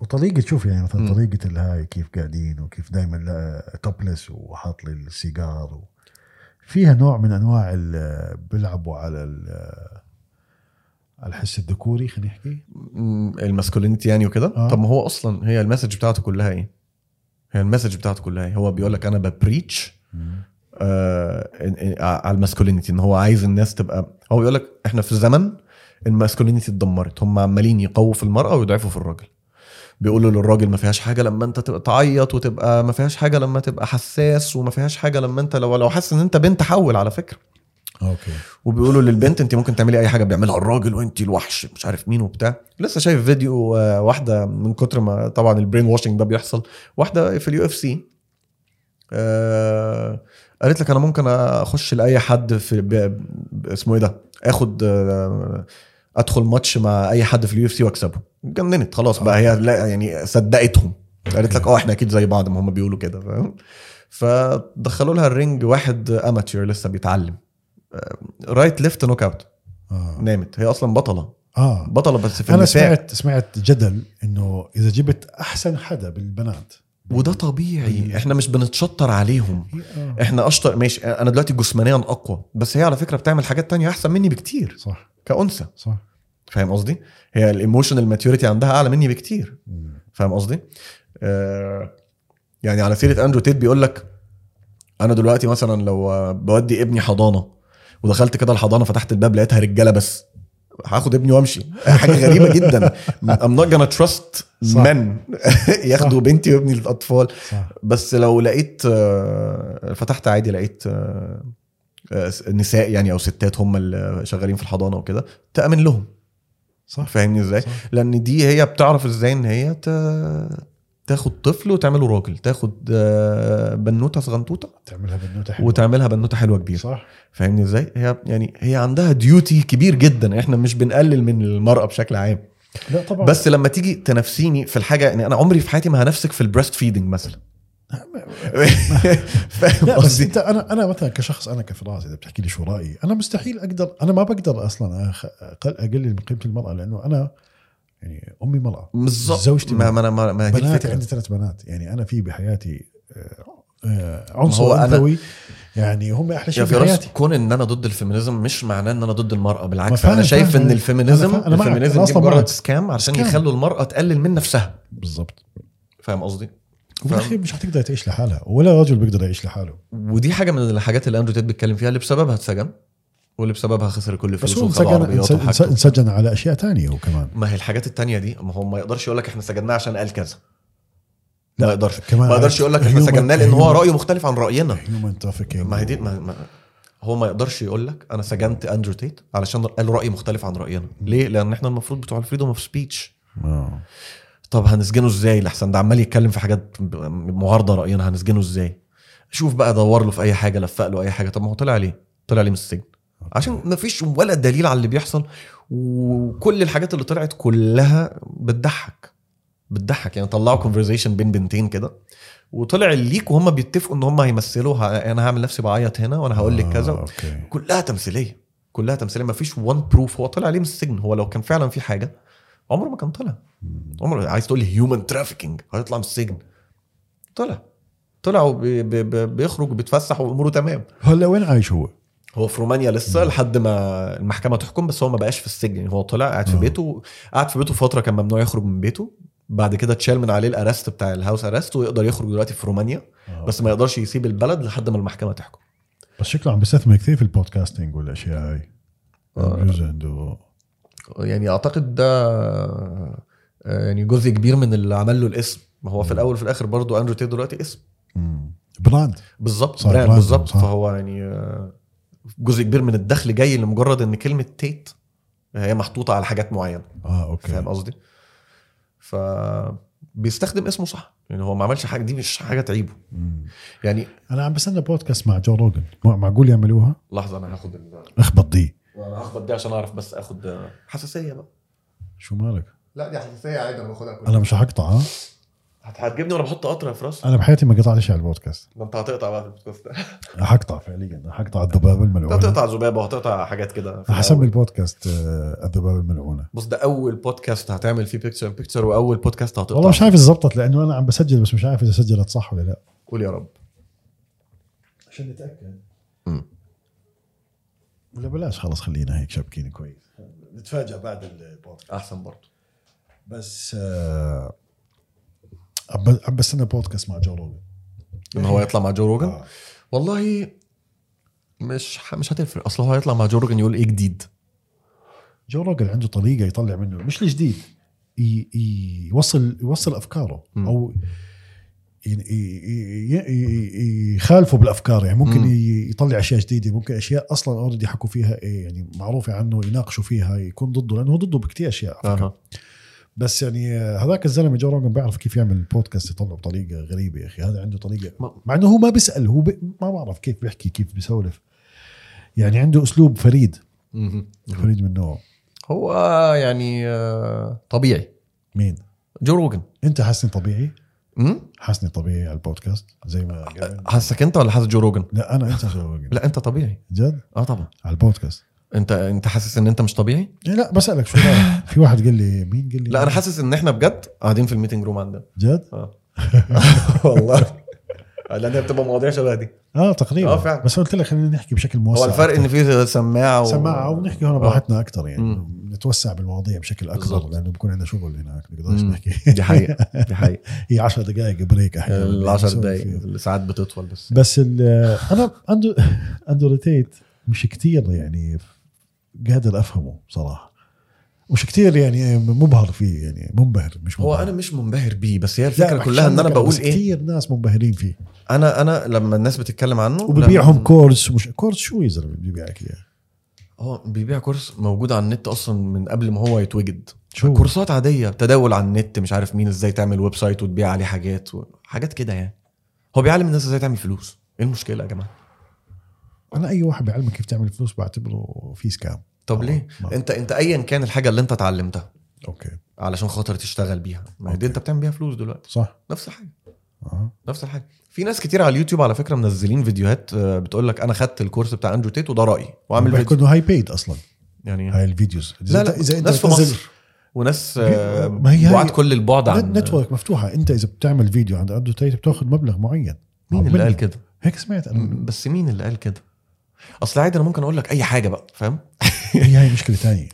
Speaker 3: وطريقه شوف يعني مثلا
Speaker 1: مم.
Speaker 3: طريقه الهاي كيف قاعدين وكيف دائما توبلس وحاط لي السيجار و فيها نوع من انواع ال- بيلعبوا على ال- على الحس الذكوري خلينا نحكي
Speaker 1: م- الماسكولينيتي يعني وكده
Speaker 3: آه.
Speaker 1: آه. طب ما هو اصلا هي المسج بتاعته كلها ايه هي المسج بتاعته كلها ايه هو بيقول لك انا ببريتش آه إن- إن- على الماسكولينيتي ان هو عايز الناس تبقى هو بيقول لك احنا في زمن الماسكولينيتي اتدمرت هم عمالين يقووا في المراه ويضعفوا في الراجل بيقولوا للراجل ما فيهاش حاجه لما انت تبقى تعيط وتبقى ما فيهاش حاجه لما تبقى حساس وما فيهاش حاجه لما انت لو لو حاسس ان انت بنت حول على فكره
Speaker 3: اوكي
Speaker 1: وبيقولوا للبنت انت ممكن تعملي اي حاجه بيعملها الراجل وانت الوحش مش عارف مين وبتاع لسه شايف فيديو آه، واحده من كتر ما طبعا البرين واشنج ده بيحصل واحده في اليو اف سي قالت لك انا ممكن اخش لاي حد في ب... ب- اسمه ايه ده اخد آه، ادخل ماتش مع اي حد في اليو اف سي واكسبه اتجننت خلاص بقى هي لا يعني صدقتهم قالت لك اه احنا اكيد زي بعض ما هم بيقولوا كده فاهم فدخلوا لها الرينج واحد اماتير لسه بيتعلم آه، رايت ليفت نوك اوت
Speaker 3: اه,
Speaker 1: نامت هي اصلا بطله
Speaker 3: آه.
Speaker 1: بطله بس في
Speaker 3: انا
Speaker 1: النساء
Speaker 3: سمعت سمعت جدل انه اذا جبت احسن حدا بالبنات
Speaker 1: وده طبيعي احنا مش بنتشطر عليهم
Speaker 3: هي- آه.
Speaker 1: احنا اشطر ماشي انا دلوقتي جسمانيا اقوى بس هي على فكره بتعمل حاجات تانية احسن مني بكتير
Speaker 3: صح
Speaker 1: كانثى
Speaker 3: صح
Speaker 1: فاهم قصدي هي الايموشنال ماتيوريتي عندها اعلى مني بكتير
Speaker 3: مم.
Speaker 1: فاهم قصدي آه يعني على سيره اندرو تيت بيقول لك انا دلوقتي مثلا لو آه، بودي ابني حضانه ودخلت كده الحضانه فتحت الباب لقيتها رجاله بس هاخد ابني وامشي حاجه غريبه جدا I'm not gonna trust
Speaker 3: صح.
Speaker 1: men ياخدوا بنتي وابني للاطفال
Speaker 3: صح
Speaker 1: بس لو لقيت آه، فتحت عادي لقيت آه، آه، نساء يعني او ستات هم اللي شغالين في الحضانه وكده تامن لهم
Speaker 3: صح
Speaker 1: فاهمني ازاي؟
Speaker 3: صح.
Speaker 1: لان دي هي بتعرف ازاي ان هي ت... تاخد طفل وتعمله راجل تاخد آه، بنوته صغنطوطه
Speaker 3: تعملها بالنوتة حلوة.
Speaker 1: وتعملها بنوته حلوه كبيره
Speaker 3: صح
Speaker 1: فاهمني ازاي هي يعني هي عندها ديوتي كبير جدا احنا مش بنقلل من المراه بشكل عام
Speaker 3: لا طبعا
Speaker 1: بس لما تيجي تنافسيني في الحاجه يعني انا عمري في حياتي ما هنفسك في البريست فيدنج مثلا فاهم
Speaker 3: لا بس
Speaker 1: قصدي؟
Speaker 3: انت انا انا مثلا كشخص انا كفراس اذا بتحكي لي شو رايي انا مستحيل اقدر انا ما بقدر اصلا أخ- اقل اقلل من قيمه المراه لانه انا يعني امي مراه
Speaker 1: بالظبط
Speaker 3: زوجتي
Speaker 1: ما ما انا ما, ما هي دي
Speaker 3: بناتي
Speaker 1: الفكره
Speaker 3: عندي ثلاث بنات يعني انا في بحياتي آه، آه، عنصر
Speaker 1: هو أنا-
Speaker 3: انثوي يعني هم احلى شيء
Speaker 1: يا
Speaker 3: في
Speaker 1: فراس
Speaker 3: حياتي
Speaker 1: كون ان انا ضد الفيمينيزم مش معناه ان انا ضد المراه
Speaker 3: ما
Speaker 1: بالعكس
Speaker 3: فاهم،
Speaker 1: انا شايف
Speaker 3: فاهم.
Speaker 1: ان الفيمينيزم
Speaker 3: أنا فاهم، أنا معك،
Speaker 1: الفيمينيزم
Speaker 3: أنا
Speaker 1: دي
Speaker 3: أصلاً
Speaker 1: مجرد
Speaker 3: معك.
Speaker 1: سكام عشان
Speaker 3: سكام.
Speaker 1: يخلوا المراه تقلل من نفسها
Speaker 3: بالضبط
Speaker 1: فاهم قصدي؟
Speaker 3: وبالاخير مش حتقدر تعيش لحالها ولا رجل بيقدر يعيش لحاله
Speaker 1: ودي حاجه من الحاجات اللي اندرو تيد بيتكلم فيها اللي بسببها اتسجن واللي بسببها خسر كل
Speaker 3: بس
Speaker 1: فلوسه وخد
Speaker 3: هو انسجن
Speaker 1: عربياته
Speaker 3: انس-
Speaker 1: وحاجته
Speaker 3: انسجن على اشياء تانية هو كمان
Speaker 1: ما هي الحاجات التانية دي ما هو ما يقدرش يقول لك احنا سجناه عشان قال كذا
Speaker 3: لا،
Speaker 1: ما يقدرش
Speaker 3: كمان
Speaker 1: ما يقدرش يقول لك احنا
Speaker 3: human-
Speaker 1: سجناه لان هو
Speaker 3: human-
Speaker 1: رايه مختلف عن راينا
Speaker 3: هيومن ترافيكينج
Speaker 1: ما هي دي ما ما هو ما يقدرش يقول لك انا سجنت اندرو تيت علشان قال راي مختلف عن راينا ليه لان احنا المفروض بتوع الفريدوم اوف سبيتش
Speaker 3: آه.
Speaker 1: طب هنسجنه ازاي لحسن ده عمال يتكلم في حاجات ب- معارضه راينا هنسجنه ازاي شوف بقى دور له في اي حاجه لفق له اي حاجه طب ما هو طلع ليه طلع ليه من السجن عشان ما فيش ولا دليل على اللي بيحصل وكل الحاجات اللي طلعت كلها بتضحك بتضحك يعني طلعوا كونفرزيشن بين بنتين كده وطلع الليك وهم بيتفقوا ان هم هيمثلوا ه- انا هعمل نفسي بعيط هنا وانا هقول لك
Speaker 3: آه،
Speaker 1: كذا
Speaker 3: اوكي
Speaker 1: كلها تمثيليه كلها تمثيليه ما فيش وان بروف هو طلع عليه من السجن هو لو كان فعلا في حاجه عمره ما كان طلع عمره عايز تقول لي هيومن ترافيكينج هيطلع من السجن طلع طلع وبي- بي- بي- بيخرج وبيتفسح واموره تمام
Speaker 3: هلا وين عايش هو؟
Speaker 1: هو في رومانيا لسه لحد ما المحكمه تحكم بس هو ما بقاش في السجن يعني هو طلع قاعد في
Speaker 3: آه.
Speaker 1: بيته قاعد في بيته فتره كان ممنوع يخرج من بيته بعد كده اتشال من عليه الارست بتاع الهاوس ارست ويقدر يخرج دلوقتي في رومانيا بس ما يقدرش يسيب البلد لحد ما المحكمه تحكم
Speaker 3: بس شكله عم بيستثمر كثير في البودكاستنج والاشياء هاي
Speaker 1: آه.
Speaker 3: بجوز عنده
Speaker 1: يعني اعتقد ده آه، يعني جزء كبير من اللي عمل له الاسم ما هو في الاول وفي الاخر برضه اندرو تيت دلوقتي اسم
Speaker 3: مم. براند
Speaker 1: بالظبط
Speaker 3: صح،
Speaker 1: براند
Speaker 3: براند،
Speaker 1: بالظبط
Speaker 3: صح.
Speaker 1: فهو يعني آه، جزء كبير من الدخل جاي لمجرد ان كلمه تيت هي محطوطه على حاجات معينه
Speaker 3: اه اوكي
Speaker 1: فاهم قصدي؟ ف بيستخدم اسمه صح يعني هو ما عملش حاجه دي مش حاجه تعيبه
Speaker 3: مم.
Speaker 1: يعني
Speaker 3: انا عم بستنى بودكاست مع جو روجن مع- معقول يعملوها؟
Speaker 1: لحظه انا هاخد ال...
Speaker 3: اخبط دي
Speaker 1: انا هاخد دي عشان اعرف بس اخد حساسيه بقى
Speaker 3: شو مالك؟
Speaker 1: لا دي حساسيه عادي انا باخدها كل-
Speaker 3: انا مش حقطع ها؟
Speaker 1: هت- هتجيبني وانا بحط قطره في راسي
Speaker 3: انا بحياتي ما قطعت شيء على البودكاست
Speaker 1: ما انت هتقطع بقى في البودكاست ده
Speaker 3: حقطع فعليا حقطع الذبابه
Speaker 1: انت
Speaker 3: الملعونه
Speaker 1: هتقطع ذبابه وهتقطع حاجات كده في
Speaker 3: حسمي
Speaker 1: الأول.
Speaker 3: البودكاست آه، الذبابه الملعونه
Speaker 1: بص ده اول بودكاست هتعمل فيه بيكتشر بيكتشر واول بودكاست هتقطع
Speaker 3: والله مش عارف اذا زبطت لانه انا عم بسجل بس مش عارف اذا سجلت صح ولا لا
Speaker 1: قول يا رب
Speaker 3: عشان نتاكد
Speaker 1: مم.
Speaker 3: ولا بلاش خلص خلينا هيك شابكين كويس نتفاجئ بعد البودكاست
Speaker 1: احسن برضه
Speaker 3: بس آه، عم عم بستنى بودكاست مع جو روجن
Speaker 1: ان هو يطلع مع جو روجن
Speaker 3: آه.
Speaker 1: والله مش ح- مش هتفرق اصل هو هيطلع مع جو روجن يقول ايه جديد
Speaker 3: جو روجن عنده طريقه يطلع منه مش الجديد ي- ي- يوصل يوصل افكاره
Speaker 1: مم.
Speaker 3: او ي- ي- ي- ي- يخالفه بالافكار يعني ممكن
Speaker 1: مم.
Speaker 3: ي- يطلع اشياء جديده ممكن اشياء اصلا اوريدي حكوا فيها إيه يعني معروفه عنه يناقشوا فيها يكون ضده لانه هو ضده بكثير اشياء على فكرة.
Speaker 1: اها
Speaker 3: بس يعني آه، هذاك الزلمه جو روجن بيعرف كيف يعمل البودكاست يطلعه بطريقه غريبه يا اخي هذا عنده طريقه
Speaker 1: ما-
Speaker 3: مع انه هو ما بيسال هو ب... ما بعرف كيف بيحكي كيف بيسولف يعني عنده اسلوب فريد فريد من نوعه
Speaker 1: هو يعني آه، طبيعي
Speaker 3: مين
Speaker 1: جو روجن
Speaker 3: انت حاسني طبيعي
Speaker 1: أمم؟
Speaker 3: حاسني طبيعي على البودكاست زي ما
Speaker 1: أه.
Speaker 3: قبل
Speaker 1: حاسك انت ولا حاسس جو روجن
Speaker 3: لا انا انت شو
Speaker 1: لا انت طبيعي
Speaker 3: جد
Speaker 1: اه طبعا
Speaker 3: على البودكاست
Speaker 1: انت انت حاسس ان انت مش طبيعي
Speaker 3: إيه لا بسالك شو رأيك؟ في واحد قال لي مين قال لي
Speaker 1: لا انا حاسس ان احنا بجد قاعدين في الميتنج روم عندنا
Speaker 3: جد
Speaker 1: اه والله لان هي بتبقى مواضيع شبه دي
Speaker 3: اه تقريبا
Speaker 1: آه، فعلا.
Speaker 3: بس قلت لك خلينا نحكي بشكل موسع
Speaker 1: هو الفرق ان
Speaker 3: أكتر.
Speaker 1: في سماعه و...
Speaker 3: سماعه ونحكي هون
Speaker 1: آه.
Speaker 3: براحتنا اكثر يعني
Speaker 1: مم.
Speaker 3: نتوسع بالمواضيع بشكل اكبر
Speaker 1: بالضبط.
Speaker 3: لانه بكون عندنا شغل هناك بنقدرش
Speaker 1: مم.
Speaker 3: نحكي
Speaker 1: دي حقيقه دي حقيقه
Speaker 3: هي 10 دقائق بريك احيانا
Speaker 1: ال 10
Speaker 3: نسوي
Speaker 1: دقايق
Speaker 3: فيها.
Speaker 1: اللي ساعات بتطول بس
Speaker 3: بس ال- انا اندر اندر ريتيت مش كتير يعني قادر افهمه بصراحه مش كتير يعني مبهر فيه يعني منبهر مش
Speaker 1: هو
Speaker 3: منبهر.
Speaker 1: انا مش منبهر بيه بس هي
Speaker 3: لا،
Speaker 1: الفكره
Speaker 3: بحكي
Speaker 1: كلها ان
Speaker 3: عنك
Speaker 1: انا بقول نعم.
Speaker 3: بس
Speaker 1: ايه
Speaker 3: كتير ناس منبهرين فيه
Speaker 1: انا انا لما الناس بتتكلم عنه
Speaker 3: وببيعهم
Speaker 1: لما-
Speaker 3: كورس مش كورس شو يا زلمه بيبيع لك اياه
Speaker 1: هو بيبيع كورس موجود على النت اصلا من قبل ما هو يتوجد
Speaker 3: شو
Speaker 1: كورسات عاديه تداول على النت مش عارف مين ازاي تعمل ويب سايت وتبيع عليه حاجات و... حاجات كده يعني هو بيعلم الناس ازاي تعمل فلوس ايه المشكله يا جماعه
Speaker 3: انا اي واحد بيعلمك كيف تعمل فلوس بعتبره في آه، سكام
Speaker 1: طب
Speaker 3: طبعاً.
Speaker 1: ليه
Speaker 3: طبعاً.
Speaker 1: انت انت ايا كان الحاجه اللي انت اتعلمتها
Speaker 3: اوكي
Speaker 1: علشان خاطر تشتغل بيها ما هي دي
Speaker 3: أوكي.
Speaker 1: انت بتعمل بيها فلوس دلوقتي
Speaker 3: صح
Speaker 1: نفس الحاجه
Speaker 3: آه.
Speaker 1: نفس الحاجه في ناس كتير على اليوتيوب على فكره منزلين فيديوهات آه، بتقول لك انا خدت الكورس بتاع اندرو تيت وده رايي واعمل
Speaker 3: بيحكوا
Speaker 1: فيديو
Speaker 3: انه هاي بيد اصلا
Speaker 1: يعني
Speaker 3: هاي الفيديوز
Speaker 1: لا لا ناس في
Speaker 3: بتنزل-
Speaker 1: مصر وناس آه،
Speaker 3: ما هي-
Speaker 1: بعاد كل البعد عن
Speaker 3: نت- نتورك مفتوحه انت اذا بتعمل فيديو عند اندرو تيت بتاخذ مبلغ معين
Speaker 1: مين اللي
Speaker 3: منها.
Speaker 1: قال كده
Speaker 3: هيك سمعت انا
Speaker 1: بس مين اللي قال كده اصل عادي انا ممكن اقول لك اي حاجه بقى فاهم
Speaker 3: هي هاي مشكله تانية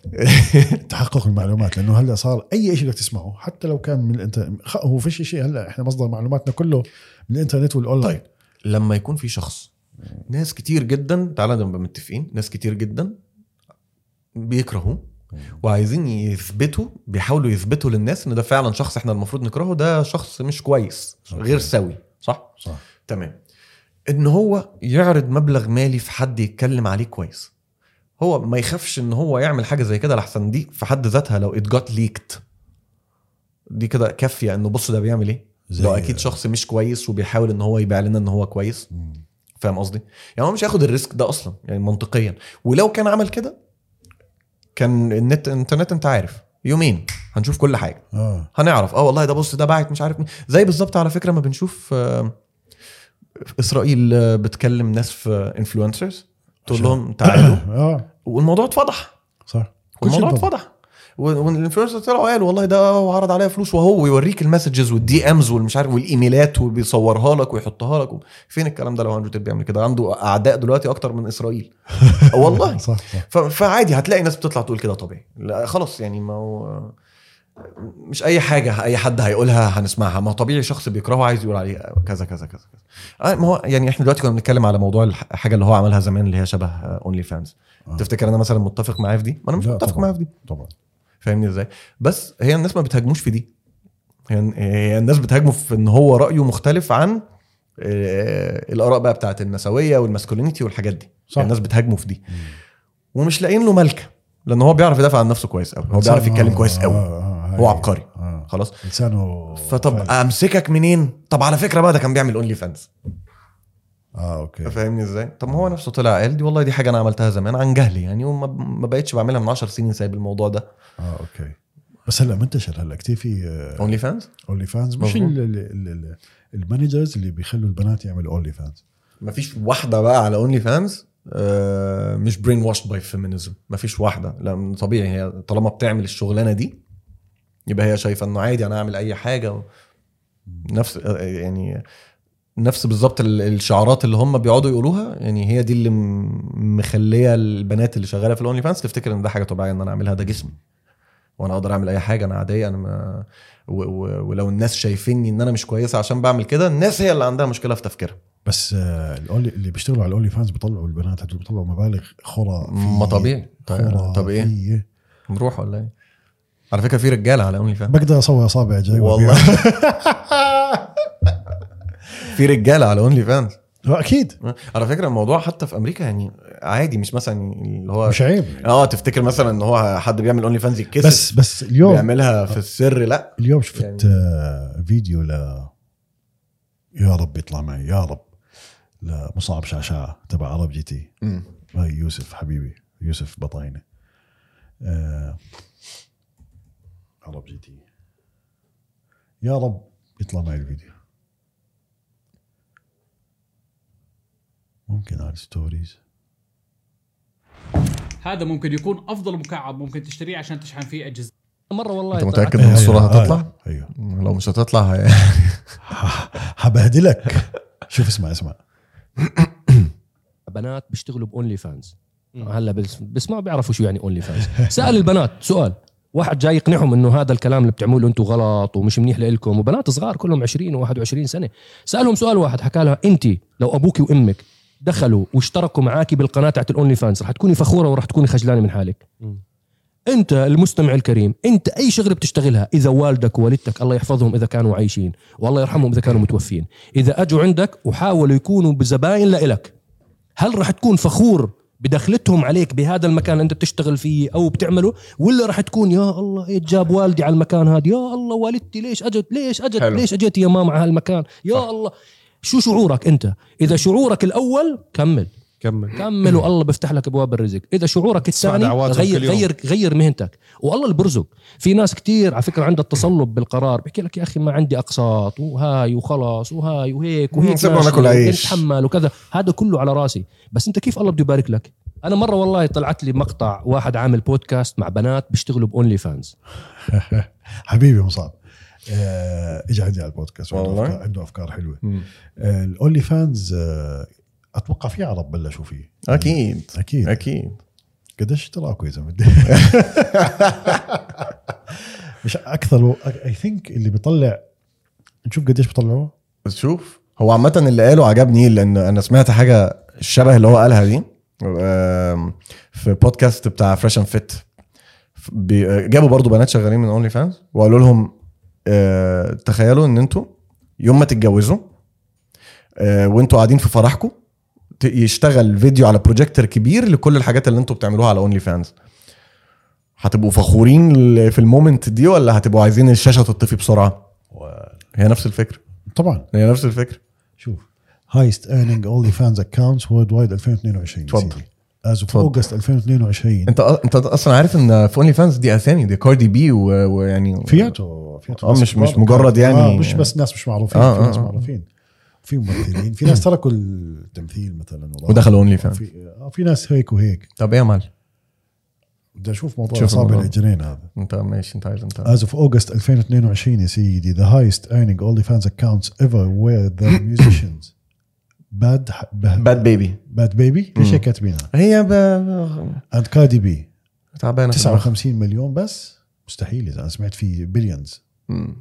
Speaker 3: تحقق المعلومات لانه هلا صار اي شيء بدك تسمعه حتى لو كان من الانترنت خ- هو فيش شيء هلا احنا مصدر معلوماتنا كله من الانترنت والاونلاين
Speaker 1: طيب. لما يكون في شخص ناس كتير جدا تعالى نبقى متفقين ناس كتير جدا بيكرهوه وعايزين يثبتوا بيحاولوا يثبتوا للناس ان ده فعلا شخص احنا المفروض نكرهه ده شخص مش كويس غير
Speaker 3: أوكي.
Speaker 1: سوي صح
Speaker 3: صح
Speaker 1: تمام ان هو يعرض مبلغ مالي في حد يتكلم عليه كويس هو ما يخافش ان هو يعمل حاجه زي كده لحسن دي في حد ذاتها لو اتجات ليكت دي كده كافيه انه بص ده بيعمل ايه
Speaker 3: زي-
Speaker 1: لو اكيد شخص مش كويس وبيحاول ان هو يبيع لنا ان هو كويس
Speaker 3: مم.
Speaker 1: فاهم قصدي؟ يعني هو مش هياخد الريسك ده اصلا يعني منطقيا ولو كان عمل كده كان النت الانترنت انت عارف يومين هنشوف كل حاجه
Speaker 3: اه
Speaker 1: هنعرف اه والله ده بص ده باعت مش عارف مين زي بالظبط على فكره ما بنشوف آه، في اسرائيل آه، بتكلم ناس في انفلونسرز تقول
Speaker 3: عشان-
Speaker 1: لهم تعالوا
Speaker 3: اه
Speaker 1: والموضوع اتفضح
Speaker 3: صح كل شيء
Speaker 1: والموضوع
Speaker 3: اتفضح.
Speaker 1: اتفضح و- والانفلونسر طلعوا قالوا والله ده هو عرض عليا فلوس وهو يوريك المسجز والدي امز والمش عارف والايميلات وبيصورها لك ويحطها لك و... فين الكلام ده لو اندرو تيت بيعمل كده عنده اعداء دلوقتي اكتر من اسرائيل والله
Speaker 3: صح صح
Speaker 1: ف... فعادي هتلاقي ناس بتطلع تقول كده طبيعي لا خلاص يعني ما هو مش اي حاجه اي حد هيقولها هنسمعها ما هو طبيعي شخص بيكرهه عايز يقول عليه كذا كذا كذا كذا آه، ما هو يعني احنا دلوقتي كنا بنتكلم على موضوع الح- الحاجه اللي هو عملها زمان اللي هي شبه اونلي فانز
Speaker 3: آه.
Speaker 1: تفتكر انا مثلا متفق معاه في دي ما انا مش
Speaker 3: لا
Speaker 1: متفق
Speaker 3: طبعاً.
Speaker 1: معاه في دي
Speaker 3: طبعا
Speaker 1: فاهمني ازاي بس هي الناس ما بتهاجموش في دي هي هي الناس بتهاجمه في ان هو رايه مختلف عن آه، الاراء بقى بتاعت النسويه والماسكولينيتي والحاجات دي
Speaker 3: صح.
Speaker 1: الناس بتهاجمه في دي ومش لاقيين له ملكه لان هو بيعرف يدافع عن نفسه كويس قوي هو بيعرف
Speaker 3: آه،
Speaker 1: يتكلم كويس قوي هو
Speaker 3: أيوة.
Speaker 1: عبقري خلاص
Speaker 3: لسانه
Speaker 1: فطب
Speaker 3: فعلا.
Speaker 1: امسكك منين طب على فكره بقى ده كان بيعمل اونلي فانز
Speaker 3: اه اوكي
Speaker 1: فاهمني ازاي طب ما هو نفسه طلع قال دي والله دي حاجه انا عملتها زمان عن جهلي يعني وما ما بقتش بعملها من 10 سنين سايب الموضوع ده
Speaker 3: اه اوكي بس هلا منتشر هلا كثير في
Speaker 1: اونلي فانز
Speaker 3: اونلي فانز مش
Speaker 1: مظبوط.
Speaker 3: ال- ال- ال- ال- المانجرز اللي بيخلوا البنات يعملوا اونلي فانز
Speaker 1: مفيش واحده بقى على اونلي فانز مش برين واشد باي فيمينيزم مفيش واحده لان طبيعي هي طالما بتعمل الشغلانه دي يبقى هي شايفه انه عادي انا اعمل اي حاجه و... نفس آه، يعني نفس بالظبط ال- الشعارات اللي هم بيقعدوا يقولوها يعني هي دي اللي م- مخليه البنات اللي شغاله في الاونلي فانز تفتكر ان ده حاجه طبيعيه ان انا اعملها ده جسمي وانا اقدر اعمل اي حاجه انا عاديه انا ما و... و... ولو الناس شايفيني ان انا مش كويسه عشان بعمل كده الناس هي اللي عندها مشكله في تفكيرها
Speaker 3: بس آه، الأونلي- اللي بيشتغلوا على الاونلي فانز بيطلعوا البنات هدول بيطلعوا مبالغ خرافيه
Speaker 1: ما طبيعي
Speaker 3: خرافيه
Speaker 1: طب ايه نروح ولا ايه على فكره في رجاله على اونلي فانز
Speaker 3: بقدر اسوي اصابع جاي
Speaker 1: والله. في رجاله على اونلي فانز
Speaker 3: اكيد
Speaker 1: على فكره الموضوع حتى في امريكا يعني عادي مش مثلا اللي هو
Speaker 3: مش عيب
Speaker 1: اه تفتكر مثلا ان هو حد بيعمل اونلي فانز يتكسر
Speaker 3: بس بس اليوم
Speaker 1: بيعملها في السر لا
Speaker 3: اليوم شفت
Speaker 1: يعني-
Speaker 3: يعني... فيديو ل يا رب يطلع معي يا رب لمصعب شعشاع تبع عرب جي تي هاي يوسف حبيبي يوسف بطاينه آه... عرب جي تي يا رب يطلع معي الفيديو ممكن على الستوريز
Speaker 2: هذا ممكن يكون افضل مكعب ممكن تشتريه عشان تشحن فيه اجهزه مره والله
Speaker 1: انت
Speaker 2: طلعت-
Speaker 1: متاكد ان الصوره
Speaker 3: أيوة،
Speaker 1: هتطلع؟
Speaker 3: ايوه
Speaker 1: لو مش هتطلع هي-
Speaker 3: حبهدلك شوف اسمع اسمع
Speaker 4: بنات بيشتغلوا باونلي فانز هلا بس, بس ما بيعرفوا شو يعني اونلي فانز سال البنات سؤال واحد جاي يقنعهم انه هذا الكلام اللي بتعملوه انتم غلط ومش منيح لكم وبنات صغار كلهم 20 و21 سنه سالهم سؤال واحد حكى لها انت لو ابوك وامك دخلوا واشتركوا معاكي بالقناه تاعت الاونلي فانز رح تكوني فخوره ورح تكوني خجلانه من حالك انت المستمع الكريم انت اي شغله بتشتغلها اذا والدك ووالدتك الله يحفظهم اذا كانوا عايشين والله يرحمهم اذا كانوا متوفين اذا اجوا عندك وحاولوا يكونوا بزباين لإلك هل راح تكون فخور بدخلتهم عليك بهذا المكان اللي انت بتشتغل فيه او بتعمله ولا راح تكون يا الله ايه جاب والدي على المكان هذا يا الله والدتي ليش اجت ليش اجت
Speaker 1: حلو.
Speaker 4: ليش اجيت يا ماما على هالمكان يا الله شو شعورك انت اذا شعورك الاول كمل
Speaker 5: كمل
Speaker 4: كمل والله بيفتح لك ابواب الرزق اذا شعورك الثاني
Speaker 5: دعواتهم
Speaker 4: غير
Speaker 5: كل يوم.
Speaker 4: غير غير مهنتك والله اللي برزق في ناس كتير على فكره عندها التصلب بالقرار بيحكي لك يا اخي ما عندي اقساط وهاي وخلاص وهاي وهيك وهيك
Speaker 1: سيبنا
Speaker 4: ماشي
Speaker 1: ناكل عيش.
Speaker 4: ونتحمل وكذا هذا كله على راسي بس انت كيف الله بده يبارك لك انا مره والله طلعت لي مقطع واحد عامل بودكاست مع بنات بيشتغلوا باونلي فانز
Speaker 3: حبيبي مصعب آه، اجى عندي على البودكاست وعنده
Speaker 1: والله؟
Speaker 3: أفكار- عنده افكار حلوه آه، الاونلي فانز آه، اتوقع في عرب بلشوا فيه
Speaker 1: اكيد
Speaker 3: اكيد
Speaker 1: اكيد
Speaker 3: قديش اشتراكوا يا زلمه مش اكثر اي ثينك اللي بيطلع نشوف قديش بيطلعوه
Speaker 1: بس شوف هو عامة اللي قاله عجبني لأن أنا سمعت حاجة الشبه اللي هو قالها دي آم، في بودكاست بتاع فريش اند فيت جابوا برضو بنات شغالين من اونلي فانز وقالوا لهم آه، تخيلوا ان انتوا يوم ما تتجوزوا آه، وانتوا قاعدين في فرحكم ت- يشتغل فيديو على بروجيكتور كبير لكل الحاجات اللي انتوا بتعملوها على اونلي فانز هتبقوا فخورين ل- في المومنت دي ولا هتبقوا عايزين الشاشه تطفي بسرعه هي نفس الفكره
Speaker 3: طبعا
Speaker 1: هي نفس الفكره
Speaker 3: شوف هايست ايرنينج اونلي فانز اكونتس وورد وايد 2022
Speaker 1: اتفضل.
Speaker 3: از اوف
Speaker 1: اتفضل.
Speaker 3: اوجست 2022
Speaker 1: انت انت اصلا عارف ان في اونلي فانز دي اسامي دي كاردي بي و- يعني ويعني
Speaker 3: فياتو فياتو
Speaker 1: آه،
Speaker 3: ناس
Speaker 1: مش-
Speaker 3: كبار.
Speaker 1: مش مجرد يعني-
Speaker 3: آه مش بس ناس مش معروفين
Speaker 1: آه،
Speaker 3: في ناس
Speaker 1: آه، آه.
Speaker 3: معروفين في ممثلين في ناس تركوا التمثيل مثلا والله.
Speaker 1: ودخلوا اونلي فانز
Speaker 3: في آه، في ناس هيك وهيك
Speaker 1: طب ايه يا معلم
Speaker 3: بدي اشوف موضوع
Speaker 1: شوف
Speaker 3: اصابع
Speaker 1: الموضوع.
Speaker 3: الرجلين هذا
Speaker 1: انت ماشي انت عايز انت
Speaker 3: As of August 2022 يا سيدي the highest earning OnlyFans accounts ever were the musicians bad bad,
Speaker 1: باد بيبي
Speaker 3: bad
Speaker 1: Mm.
Speaker 3: baby ليش هيك كاتبينها
Speaker 1: هي ب...
Speaker 3: and Cardi B
Speaker 1: تعبانه في دماغها.
Speaker 3: 59 مليون بس مستحيل اذا انا سمعت في بليونز
Speaker 1: مم.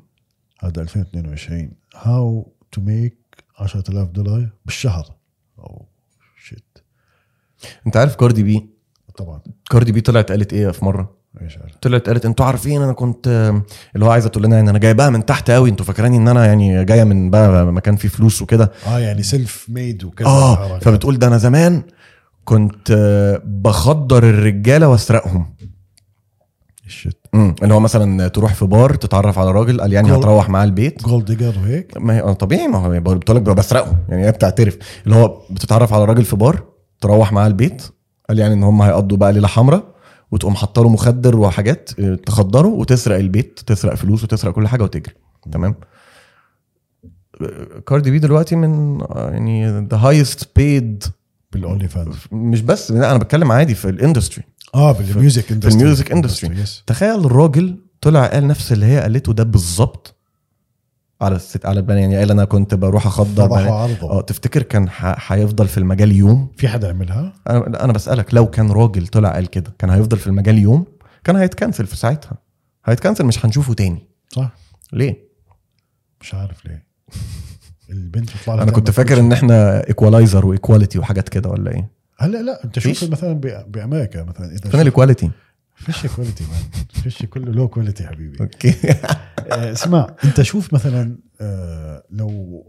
Speaker 3: هذا 2022 how to make 10000 دولار بالشهر او شيت
Speaker 1: انت عارف كاردي بي
Speaker 3: طبعا
Speaker 1: كاردي بي طلعت قالت ايه في مره
Speaker 3: ايش عارف
Speaker 1: طلعت قالت انتوا عارفين انا كنت آم، اللي هو عايزه تقول لنا يعني انا جايبها من تحت قوي انتوا فاكراني ان انا يعني جايه من بقى مكان فيه فلوس وكده
Speaker 3: اه يعني سيلف ميد وكذا
Speaker 1: اه
Speaker 3: حركات.
Speaker 1: فبتقول ده انا زمان كنت آه، بخدر الرجاله واسرقهم
Speaker 3: شيت
Speaker 1: مم. اللي هو مثلا تروح في بار تتعرف على راجل قال يعني
Speaker 3: جول.
Speaker 1: هتروح معاه البيت
Speaker 3: جولد ديجر وهيك
Speaker 1: ما هي آه طبيعي ما هو بقول لك بسرقه يعني هي بتعترف اللي هو بتتعرف على راجل في بار تروح معاه البيت قال يعني ان هم هيقضوا بقى ليله حمراء وتقوم حاطه له مخدر وحاجات آه، تخدره وتسرق البيت تسرق فلوس وتسرق كل حاجه وتجري تمام آه، كاردي بي دلوقتي من آه، يعني ذا هايست بيد
Speaker 3: بالاونلي فانز
Speaker 1: مش بس لا انا بتكلم عادي في الاندستري
Speaker 3: اه بالميوزك اندستري
Speaker 1: الميوزك industry.
Speaker 3: يس
Speaker 1: تخيل الراجل طلع قال نفس اللي هي قالته ده بالظبط على الست على البنات يعني قال انا كنت بروح اخدر
Speaker 3: فضحوا
Speaker 1: بنات. اه
Speaker 3: عرضه
Speaker 1: تفتكر كان ح- هيفضل في المجال يوم
Speaker 3: في حدا عملها؟
Speaker 1: انا لا، انا بسالك لو كان راجل طلع قال كده كان هيفضل في المجال يوم كان هيتكنسل في ساعتها هيتكنسل مش هنشوفه تاني
Speaker 3: صح
Speaker 1: ليه
Speaker 3: مش عارف ليه البنت بتطلع لها
Speaker 1: انا كنت
Speaker 3: تعمل
Speaker 1: فاكر
Speaker 3: كل
Speaker 1: ان احنا ايكوالايزر وايكواليتي وحاجات كده ولا ايه
Speaker 3: شيء. هلا لا انت
Speaker 1: فيش.
Speaker 3: شوف مثلا ب- بامريكا مثلا اذا
Speaker 1: فين
Speaker 3: شفت-
Speaker 1: الايكواليتي
Speaker 3: فيش كواليتي مان فيش كله لو كواليتي حبيبي
Speaker 1: اوكي
Speaker 3: آه، اسمع انت شوف مثلا آه، لو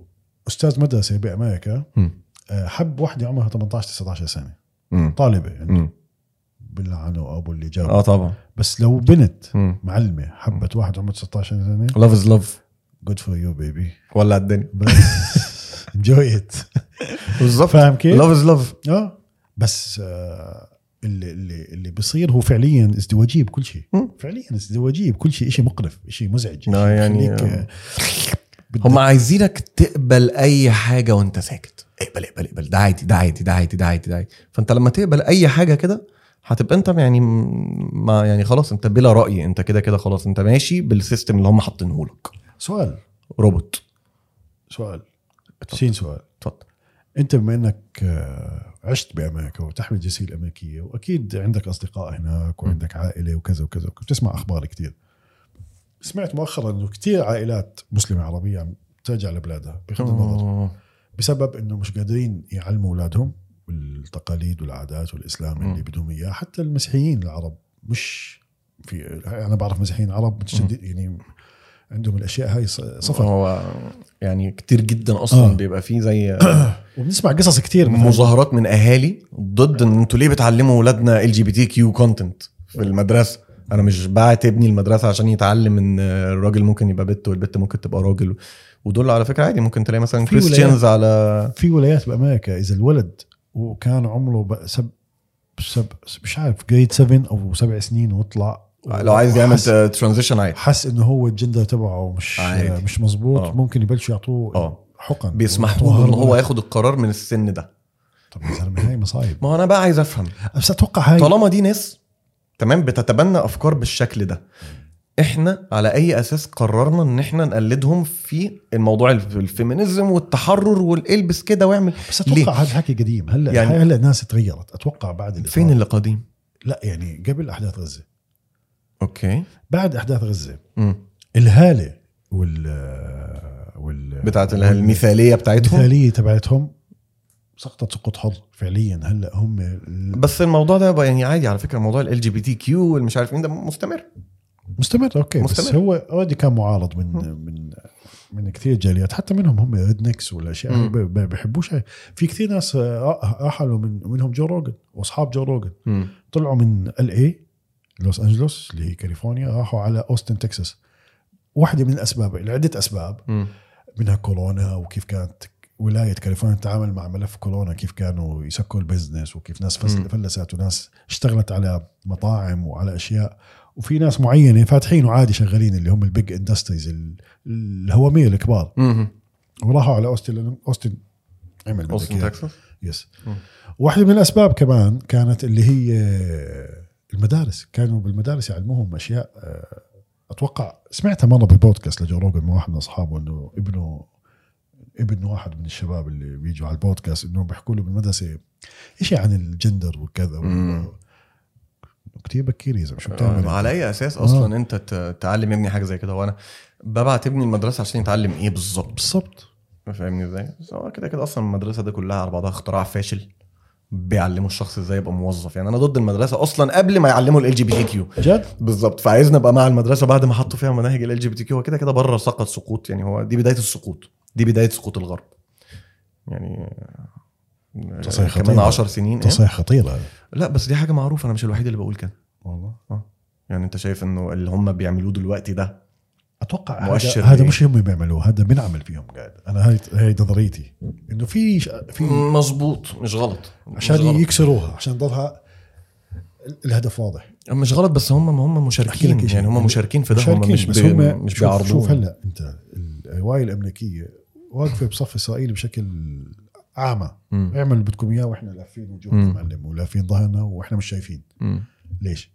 Speaker 3: استاذ مدرسه بامريكا
Speaker 1: مم.
Speaker 3: آه، حب واحده عمرها 18 19 سنه
Speaker 1: مم.
Speaker 3: طالبه يعني
Speaker 1: مم.
Speaker 3: باللعنه ابو اللي جاب
Speaker 1: اه طبعا
Speaker 3: بس لو بنت معلمه حبت واحد عمره 19 سنه
Speaker 1: لاف از لاف
Speaker 3: جود فور يو بيبي
Speaker 1: ولا الدنيا
Speaker 3: بس انجوي ات
Speaker 1: بالظبط
Speaker 3: فاهم كيف؟
Speaker 1: لاف از لاف
Speaker 3: اه بس آه اللي اللي اللي بيصير هو فعليا ازدواجيه بكل شيء
Speaker 1: مم.
Speaker 3: فعليا ازدواجيه بكل شيء شيء مقرف شيء مزعج
Speaker 1: آه،
Speaker 3: شيء
Speaker 1: يعني-
Speaker 3: بخليك، آه، بدك-
Speaker 1: هم عايزينك تقبل اي حاجه وانت ساكت اقبل اقبل اقبل ده عادي ده عادي ده عادي ده عادي ده عادي فانت لما تقبل اي حاجه كده هتبقى انت يعني م- ما يعني خلاص انت بلا راي انت كده كده خلاص انت ماشي بالسيستم اللي هم حاطينه لك
Speaker 3: سؤال
Speaker 1: روبوت
Speaker 3: سؤال سين سؤال
Speaker 1: اتفضل
Speaker 3: انت بما انك آه، عشت بامريكا وتحمل الجنسيه الامريكيه واكيد عندك اصدقاء هناك وعندك عائله وكذا وكذا وكذا بتسمع اخبار كثير سمعت مؤخرا انه كثير عائلات مسلمه عربيه عم ترجع لبلادها بغض النظر بسبب انه مش قادرين يعلموا اولادهم التقاليد والعادات والاسلام
Speaker 1: مم.
Speaker 3: اللي بدهم اياه حتى المسيحيين العرب مش في انا بعرف مسيحيين عرب متشدد يعني عندهم الاشياء هاي ص- صفر
Speaker 1: هو يعني كتير جدا اصلا
Speaker 3: آه.
Speaker 1: بيبقى فيه زي
Speaker 3: وبنسمع قصص كثير
Speaker 1: مظاهرات من اهالي ضد ان انتوا ليه بتعلموا اولادنا ال جي بي تي كيو كونتنت في المدرسه انا مش بعت ابني المدرسه عشان يتعلم ان الراجل ممكن يبقى بنت والبنت ممكن تبقى راجل ودول على فكره عادي ممكن تلاقي مثلا
Speaker 3: في ولايات-
Speaker 1: كريستيانز على
Speaker 3: في ولايات بامريكا اذا الولد وكان عمره بقى سب سب مش عارف جريد 7 او سبع سنين وطلع
Speaker 1: لو عايز يعمل
Speaker 3: وحس-
Speaker 1: ترانزيشن عادي
Speaker 3: حس انه هو الجندر تبعه مش
Speaker 1: عادي.
Speaker 3: مش مظبوط
Speaker 1: آه.
Speaker 3: ممكن يبلشوا يعطوه
Speaker 1: آه.
Speaker 3: حقن
Speaker 1: بيسمحوا
Speaker 3: ويعطوه
Speaker 1: له ان هو
Speaker 3: هرمونات.
Speaker 1: ياخد القرار من السن ده
Speaker 3: طب يا زلمه هاي مصايب
Speaker 1: ما هو انا بقى عايز افهم
Speaker 3: بس اتوقع هاي
Speaker 1: طالما دي ناس تمام بتتبنى افكار بالشكل ده احنا على اي اساس قررنا ان احنا نقلدهم في الموضوع الف- الفيمينيزم والتحرر والالبس كده واعمل
Speaker 3: بس
Speaker 1: ليه؟
Speaker 3: اتوقع هذا الحكي قديم هلا
Speaker 1: يعني-
Speaker 3: يعني هلا الناس تغيرت اتوقع بعد الإطلاق.
Speaker 1: فين اللي قديم
Speaker 3: لا يعني قبل احداث غزه
Speaker 1: اوكي
Speaker 3: بعد احداث غزه
Speaker 1: مم.
Speaker 3: الهاله وال وال
Speaker 1: بتاعت ال- المثاليه بتاعتهم
Speaker 3: المثاليه تبعتهم سقطت سقوط حر فعليا هلا هم ال-
Speaker 1: بس الموضوع ده بقى يعني عادي على فكره موضوع ال جي بي تي كيو والمش عارف مين ده مستمر
Speaker 3: مستمر اوكي مستمر. بس
Speaker 1: مستمر.
Speaker 3: هو اوريدي كان معارض من من من كثير جاليات حتى منهم هم ريد نكس والاشياء
Speaker 1: مم.
Speaker 3: ما ما بيحبوش هاي. في كثير ناس آه، رحلوا من منهم جو روجن واصحاب جو روجن طلعوا من ال اي لوس انجلوس اللي هي كاليفورنيا راحوا على اوستن تكساس واحده من الاسباب لعده اسباب
Speaker 1: مم.
Speaker 3: منها كورونا وكيف كانت ولايه كاليفورنيا تتعامل مع ملف كورونا كيف كانوا يسكروا البزنس وكيف ناس فس-
Speaker 1: مم.
Speaker 3: فلست وناس اشتغلت على مطاعم وعلى اشياء وفي ناس معينه فاتحين وعادي شغالين اللي هم البيج اندستريز الهواميه الكبار
Speaker 1: مم.
Speaker 3: وراحوا على اوستن لأنه اوستن عمل بدك
Speaker 1: اوستن
Speaker 3: إياه.
Speaker 1: تكساس
Speaker 3: يس
Speaker 1: مم.
Speaker 3: واحده من الاسباب كمان كانت اللي هي المدارس كانوا بالمدارس يعلموهم اشياء آه، اتوقع سمعتها مره ببودكاست لجو روجن من واحد من اصحابه انه ابنه ابن واحد من الشباب اللي بيجوا على البودكاست انه بيحكوا له بالمدرسه شيء عن الجندر وكذا
Speaker 1: مم.
Speaker 3: كثير بكير يا زلمه شو بتعمل
Speaker 1: آه، على اي اساس
Speaker 3: آه.
Speaker 1: اصلا انت ت- تعلم ابني حاجه زي كده وانا ببعت ابني المدرسه عشان يتعلم ايه بالظبط
Speaker 3: بالضبط
Speaker 1: فاهمني ازاي؟ بس هو كده كده اصلا المدرسه دي كلها على بعضها اختراع فاشل بيعلموا الشخص ازاي يبقى موظف يعني انا ضد المدرسه اصلا قبل ما يعلموا ال جي بي تي كيو
Speaker 3: جد
Speaker 1: بالظبط فعايزنا نبقى مع المدرسه بعد ما حطوا فيها مناهج ال جي بي تي كيو هو كده كده بره سقط سقوط يعني هو دي بدايه السقوط دي بدايه سقوط الغرب يعني آه،
Speaker 3: تصحيح
Speaker 1: كمان
Speaker 3: خطير.
Speaker 1: 10 سنين إيه؟
Speaker 3: تصحيح خطير هذا
Speaker 1: لا بس دي حاجه معروفه انا مش الوحيد اللي بقول كده
Speaker 3: والله
Speaker 1: يعني انت شايف انه اللي هم بيعملوه دلوقتي ده
Speaker 3: اتوقع
Speaker 1: مؤشر
Speaker 3: هذا, هذا
Speaker 1: لإيه؟
Speaker 3: مش هم بيعملوه هذا بنعمل فيهم قاعد انا هاي هاي نظريتي انه في ش- في
Speaker 1: مظبوط مش غلط مش
Speaker 3: عشان
Speaker 1: غلط.
Speaker 3: يكسروها عشان تضلها الهدف واضح
Speaker 1: مش غلط بس هم هم مشاركين
Speaker 3: إشي.
Speaker 1: يعني هم مشاركين في ده هم
Speaker 3: مشاركين،
Speaker 1: مش
Speaker 3: بس
Speaker 1: بي
Speaker 3: هم
Speaker 1: مش
Speaker 3: شوف- شوف
Speaker 1: بيعرضوه
Speaker 3: هلا انت الروايه الامريكيه واقفه بصف اسرائيل بشكل اعمى
Speaker 1: مم.
Speaker 3: اعمل اللي بدكم اياه واحنا لافين وجوهنا
Speaker 1: مم.
Speaker 3: معلم ولافين ظهرنا واحنا مش شايفين
Speaker 1: مم.
Speaker 3: ليش؟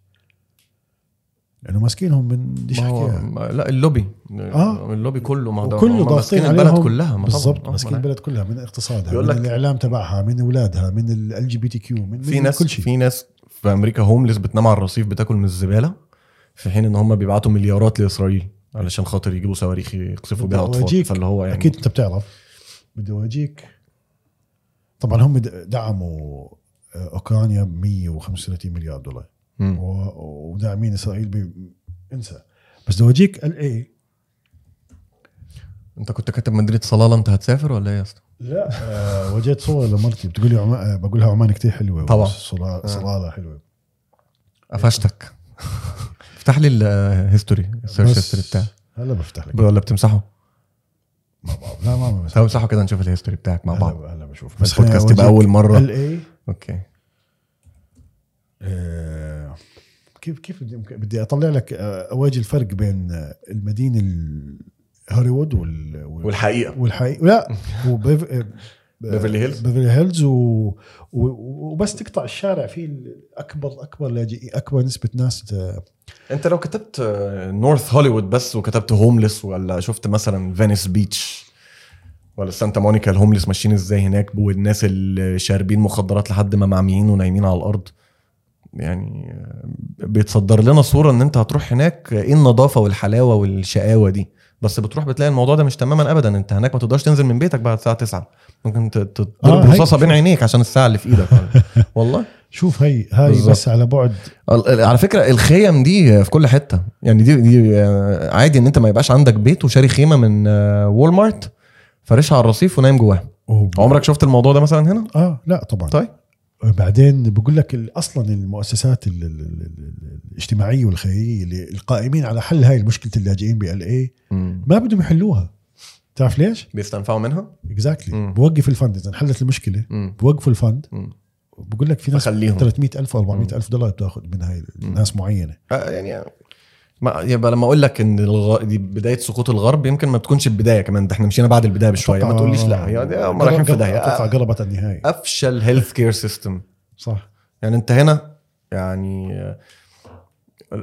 Speaker 3: لانه ماسكينهم من ديش
Speaker 1: ما هو-
Speaker 3: حكيها
Speaker 1: ما- لا اللوبي
Speaker 3: آه.
Speaker 1: اللوبي كله ما هو ده- هم
Speaker 3: وكله ضاغطين
Speaker 1: ماسكين البلد
Speaker 3: عليهم
Speaker 1: كلها ما طبعاً.
Speaker 3: بالضبط
Speaker 1: آه،
Speaker 3: ماسكين
Speaker 1: ما أنا-
Speaker 3: البلد كلها من اقتصادها
Speaker 1: بيقول
Speaker 3: من
Speaker 1: لك-
Speaker 3: الاعلام تبعها من اولادها من ال جي بي تي كيو من
Speaker 1: في
Speaker 3: من
Speaker 1: ناس
Speaker 3: كل شيء
Speaker 1: في ناس في امريكا هوملس بتنام على الرصيف بتاكل من الزباله في حين ان هم بيبعتوا مليارات لاسرائيل علشان خاطر يجيبوا صواريخ يقصفوا بيها اطفال
Speaker 3: بيورجيك.
Speaker 1: فاللي هو يعني
Speaker 3: اكيد انت بتعرف بدي اورجيك طبعا هم د- دعموا آه، اوكرانيا ب 135 مليار دولار
Speaker 1: مم.
Speaker 3: و- وداعمين اسرائيل ب انسى بس بدي اورجيك ال اي
Speaker 1: انت كنت كاتب مدينه صلاله انت هتسافر ولا ايه يا اسطى؟
Speaker 3: لا آه، وجدت صور لمرتي بتقول لي عمان آه، بقول لها عمان كثير حلوه
Speaker 1: طبعاً.
Speaker 3: صلا-
Speaker 1: آه.
Speaker 3: صلاله حلوه
Speaker 1: قفشتك افتح لي الهيستوري السيرش هيستوري بتاعك
Speaker 3: هلا بفتح لك
Speaker 1: ولا بتمسحه؟
Speaker 3: مع بعض لا ما بمسح
Speaker 1: طب امسحه كده نشوف الهيستوري بتاعك مع بعض
Speaker 3: هلا هلا بشوف
Speaker 1: بس البودكاست يبقى اول مره
Speaker 3: ال اي
Speaker 1: اوكي
Speaker 3: آه، كيف كيف بدي ممكن- بدي اطلع لك آه، اواجه الفرق بين آه، المدينه ال- هوليوود وال وال-
Speaker 1: والحقيقه
Speaker 3: والحقيقه لا وبيف... آه،
Speaker 1: بيفرلي هيلز؟
Speaker 3: بيفرلي هيلز و... و... وبس تقطع الشارع في اكبر اكبر لاجئ اكبر نسبه ناس آه،
Speaker 1: انت لو كتبت آه، نورث هوليوود بس وكتبت هوملس ولا شفت مثلا فينيس بيتش ولا سانتا مونيكا الهوملس ماشيين ازاي هناك والناس اللي شاربين مخدرات لحد ما معميين ونايمين على الارض يعني آه، بيتصدر لنا صوره ان انت هتروح هناك آه، ايه النظافه والحلاوه والشقاوه دي بس بتروح بتلاقي الموضوع ده مش تماما ابدا انت هناك ما تقدرش تنزل من بيتك بعد الساعه 9 ممكن ت- ت- تضرب
Speaker 3: هاي-
Speaker 1: رصاصه بين عينيك عشان الساعه اللي في ايدك والله
Speaker 3: شوف هي هاي
Speaker 1: بالظبط.
Speaker 3: بس على بعد
Speaker 1: ال- ال- على فكره الخيم دي في كل حته يعني دي, دي آه، عادي ان انت ما يبقاش عندك بيت وشاري خيمه من آه، وول مارت فارشها على الرصيف ونايم جواها
Speaker 3: وب-
Speaker 1: عمرك شفت الموضوع ده مثلا هنا
Speaker 3: اه لا طبعا
Speaker 1: طيب.
Speaker 3: بعدين بقول لك ال- اصلا المؤسسات ال- ال- ال- ال- الاجتماعيه والخيريه اللي القائمين على حل هاي مشكله اللاجئين بال اي ما بدهم يحلوها تعرف ليش؟
Speaker 1: بيستنفعوا منها
Speaker 3: اكزاكتلي
Speaker 1: مم.
Speaker 3: بوقف الفند اذا انحلت المشكله
Speaker 1: مم.
Speaker 3: بوقفوا الفند
Speaker 1: مم.
Speaker 3: بقول لك في ناس
Speaker 1: بخليهم.
Speaker 3: 300 الف 400 الف دولار بتاخذ من هاي الناس معينه
Speaker 1: آه، يعني ما يبقى لما اقول لك ان الغ... دي بدايه سقوط الغرب يمكن ما بتكونش البدايه كمان ده احنا مشينا بعد البدايه بشويه ما تقوليش
Speaker 3: آه.
Speaker 1: لا هي دي- هم رايحين في داهيه
Speaker 3: اتوقع
Speaker 1: آه،
Speaker 3: قربت على النهايه
Speaker 1: افشل هيلث كير سيستم
Speaker 3: صح
Speaker 1: يعني انت هنا يعني آه،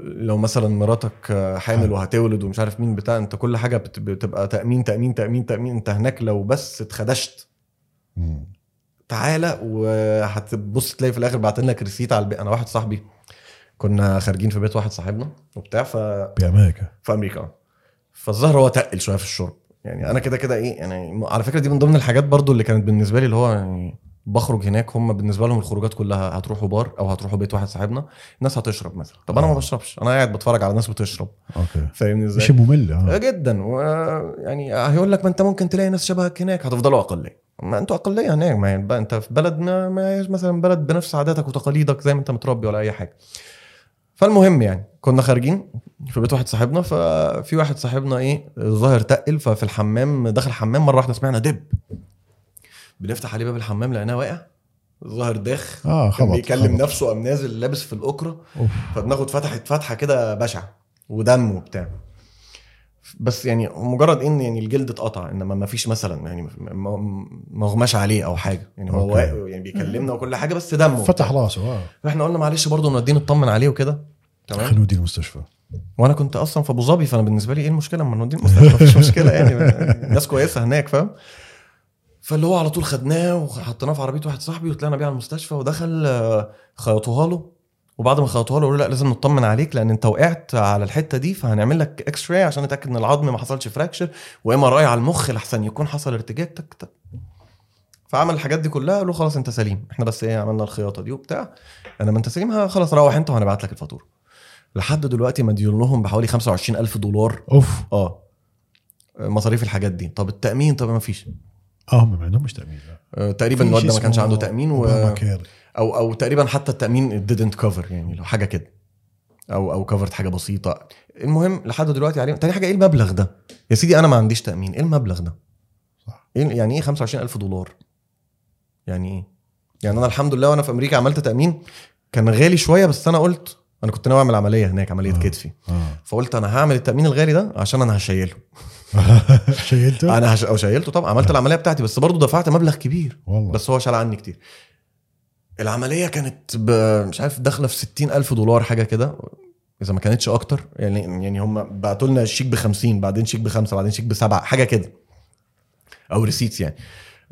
Speaker 1: لو مثلا مراتك آه، حامل وهتولد ومش عارف مين بتاع انت كل حاجه بت- بتبقى تامين تامين تامين تامين انت هناك لو بس اتخدشت
Speaker 3: مم.
Speaker 1: تعالى وهتبص تلاقي في الاخر بعتين لك ريسيت على البيت انا واحد صاحبي كنا خارجين في بيت واحد صاحبنا وبتاع ف...
Speaker 3: بامريكا
Speaker 1: في امريكا فالظاهر هو تقل شويه في الشرب يعني انا كده كده ايه يعني على فكره دي من ضمن الحاجات برضو اللي كانت بالنسبه لي اللي هو يعني بخرج هناك هم بالنسبه لهم الخروجات كلها هتروحوا بار او هتروحوا بيت واحد صاحبنا الناس هتشرب مثلا طب انا ما بشربش انا قاعد بتفرج على ناس بتشرب
Speaker 3: اوكي
Speaker 1: فاهمني ازاي
Speaker 3: شيء ممل آه.
Speaker 1: جدا و يعني هيقول لك ما انت ممكن تلاقي ناس شبهك هناك هتفضلوا اقليه ما انتوا اقليه هناك ما يعني بقى انت في بلد ما, ما هيش مثلا بلد بنفس عاداتك وتقاليدك زي ما انت متربي ولا اي حاجه فالمهم يعني كنا خارجين في بيت واحد صاحبنا ففي واحد صاحبنا ايه الظاهر تقل ففي الحمام دخل الحمام مره واحده سمعنا دب بنفتح عليه باب الحمام لقيناه واقع الظاهر داخ
Speaker 3: اه
Speaker 1: كان
Speaker 3: خبط
Speaker 1: بيكلم
Speaker 3: خبط.
Speaker 1: نفسه قام نازل لابس في الاوكرا
Speaker 3: أوف.
Speaker 1: فدماغه اتفتحت فتحه كده بشعه ودم وبتاع بس يعني مجرد ان يعني الجلد اتقطع انما ما فيش مثلا يعني ما- ما اغماش عليه او حاجه يعني هو
Speaker 3: أوكي.
Speaker 1: واقف يعني بيكلمنا وكل حاجه بس دمه
Speaker 3: فتح راسه اه
Speaker 1: فاحنا قلنا معلش برضه نوديه نطمن عليه وكده تمام
Speaker 3: خلينا نوديه المستشفى
Speaker 1: وانا كنت اصلا في ابو ظبي فانا بالنسبه لي ايه المشكله اما نوديه المستشفى مفيش مشكله يعني الناس كويسه هناك فاهم فاللي هو على طول خدناه وحطيناه في عربيه واحد صاحبي وطلعنا بيه على المستشفى ودخل آه، خيطوها له وبعد ما خيطوها له قالوا له لا لازم نطمن عليك لان انت وقعت على الحته دي فهنعمل لك اكس راي عشان نتاكد ان العظم ما حصلش فراكشر وام ار اي على المخ لحسن يكون حصل ارتجاج تك تك فعمل الحاجات دي كلها قالوا خلاص انت سليم احنا بس ايه عملنا الخياطه دي وبتاع انا ما انت سليم ها، خلاص روح انت وهنبعت لك الفاتوره لحد دلوقتي مديون لهم بحوالي 25000 دولار
Speaker 3: اوف
Speaker 1: اه مصاريف الحاجات دي طب التامين طب ما فيش
Speaker 3: اه هم ما عندهمش تامين لا.
Speaker 1: آه، تقريبا
Speaker 3: في
Speaker 1: الواد ده
Speaker 3: شيء
Speaker 1: ما كانش
Speaker 3: اسمه
Speaker 1: عنده تامين و...
Speaker 3: أوباما كير.
Speaker 1: او او تقريبا حتى التامين didn't cover يعني لو حاجه كده او او كفرت حاجه بسيطه المهم لحد دلوقتي عليهم تاني حاجه ايه المبلغ ده يا سيدي انا ما عنديش تامين ايه المبلغ ده
Speaker 3: صح.
Speaker 1: إيه يعني ايه 25000 دولار يعني ايه يعني انا الحمد لله وانا في امريكا عملت تامين كان غالي شويه بس انا قلت انا كنت ناوي اعمل عمليه هناك عمليه
Speaker 3: آه.
Speaker 1: كتفي
Speaker 3: اه
Speaker 1: فقلت انا هعمل التامين الغالي ده عشان انا هشيله
Speaker 3: شيلته
Speaker 1: انا هش... او شيلته طبعا عملت العمليه بتاعتي بس برضه دفعت مبلغ كبير
Speaker 3: والله
Speaker 1: بس هو شال عني كتير العمليه كانت ب... مش عارف داخله في 60000 دولار حاجه كده اذا ما كانتش اكتر يعني يعني هم بعتوا لنا شيك ب 50 بعدين شيك بخمسه بعدين شيك بسبعه حاجه كده او ريسيتس يعني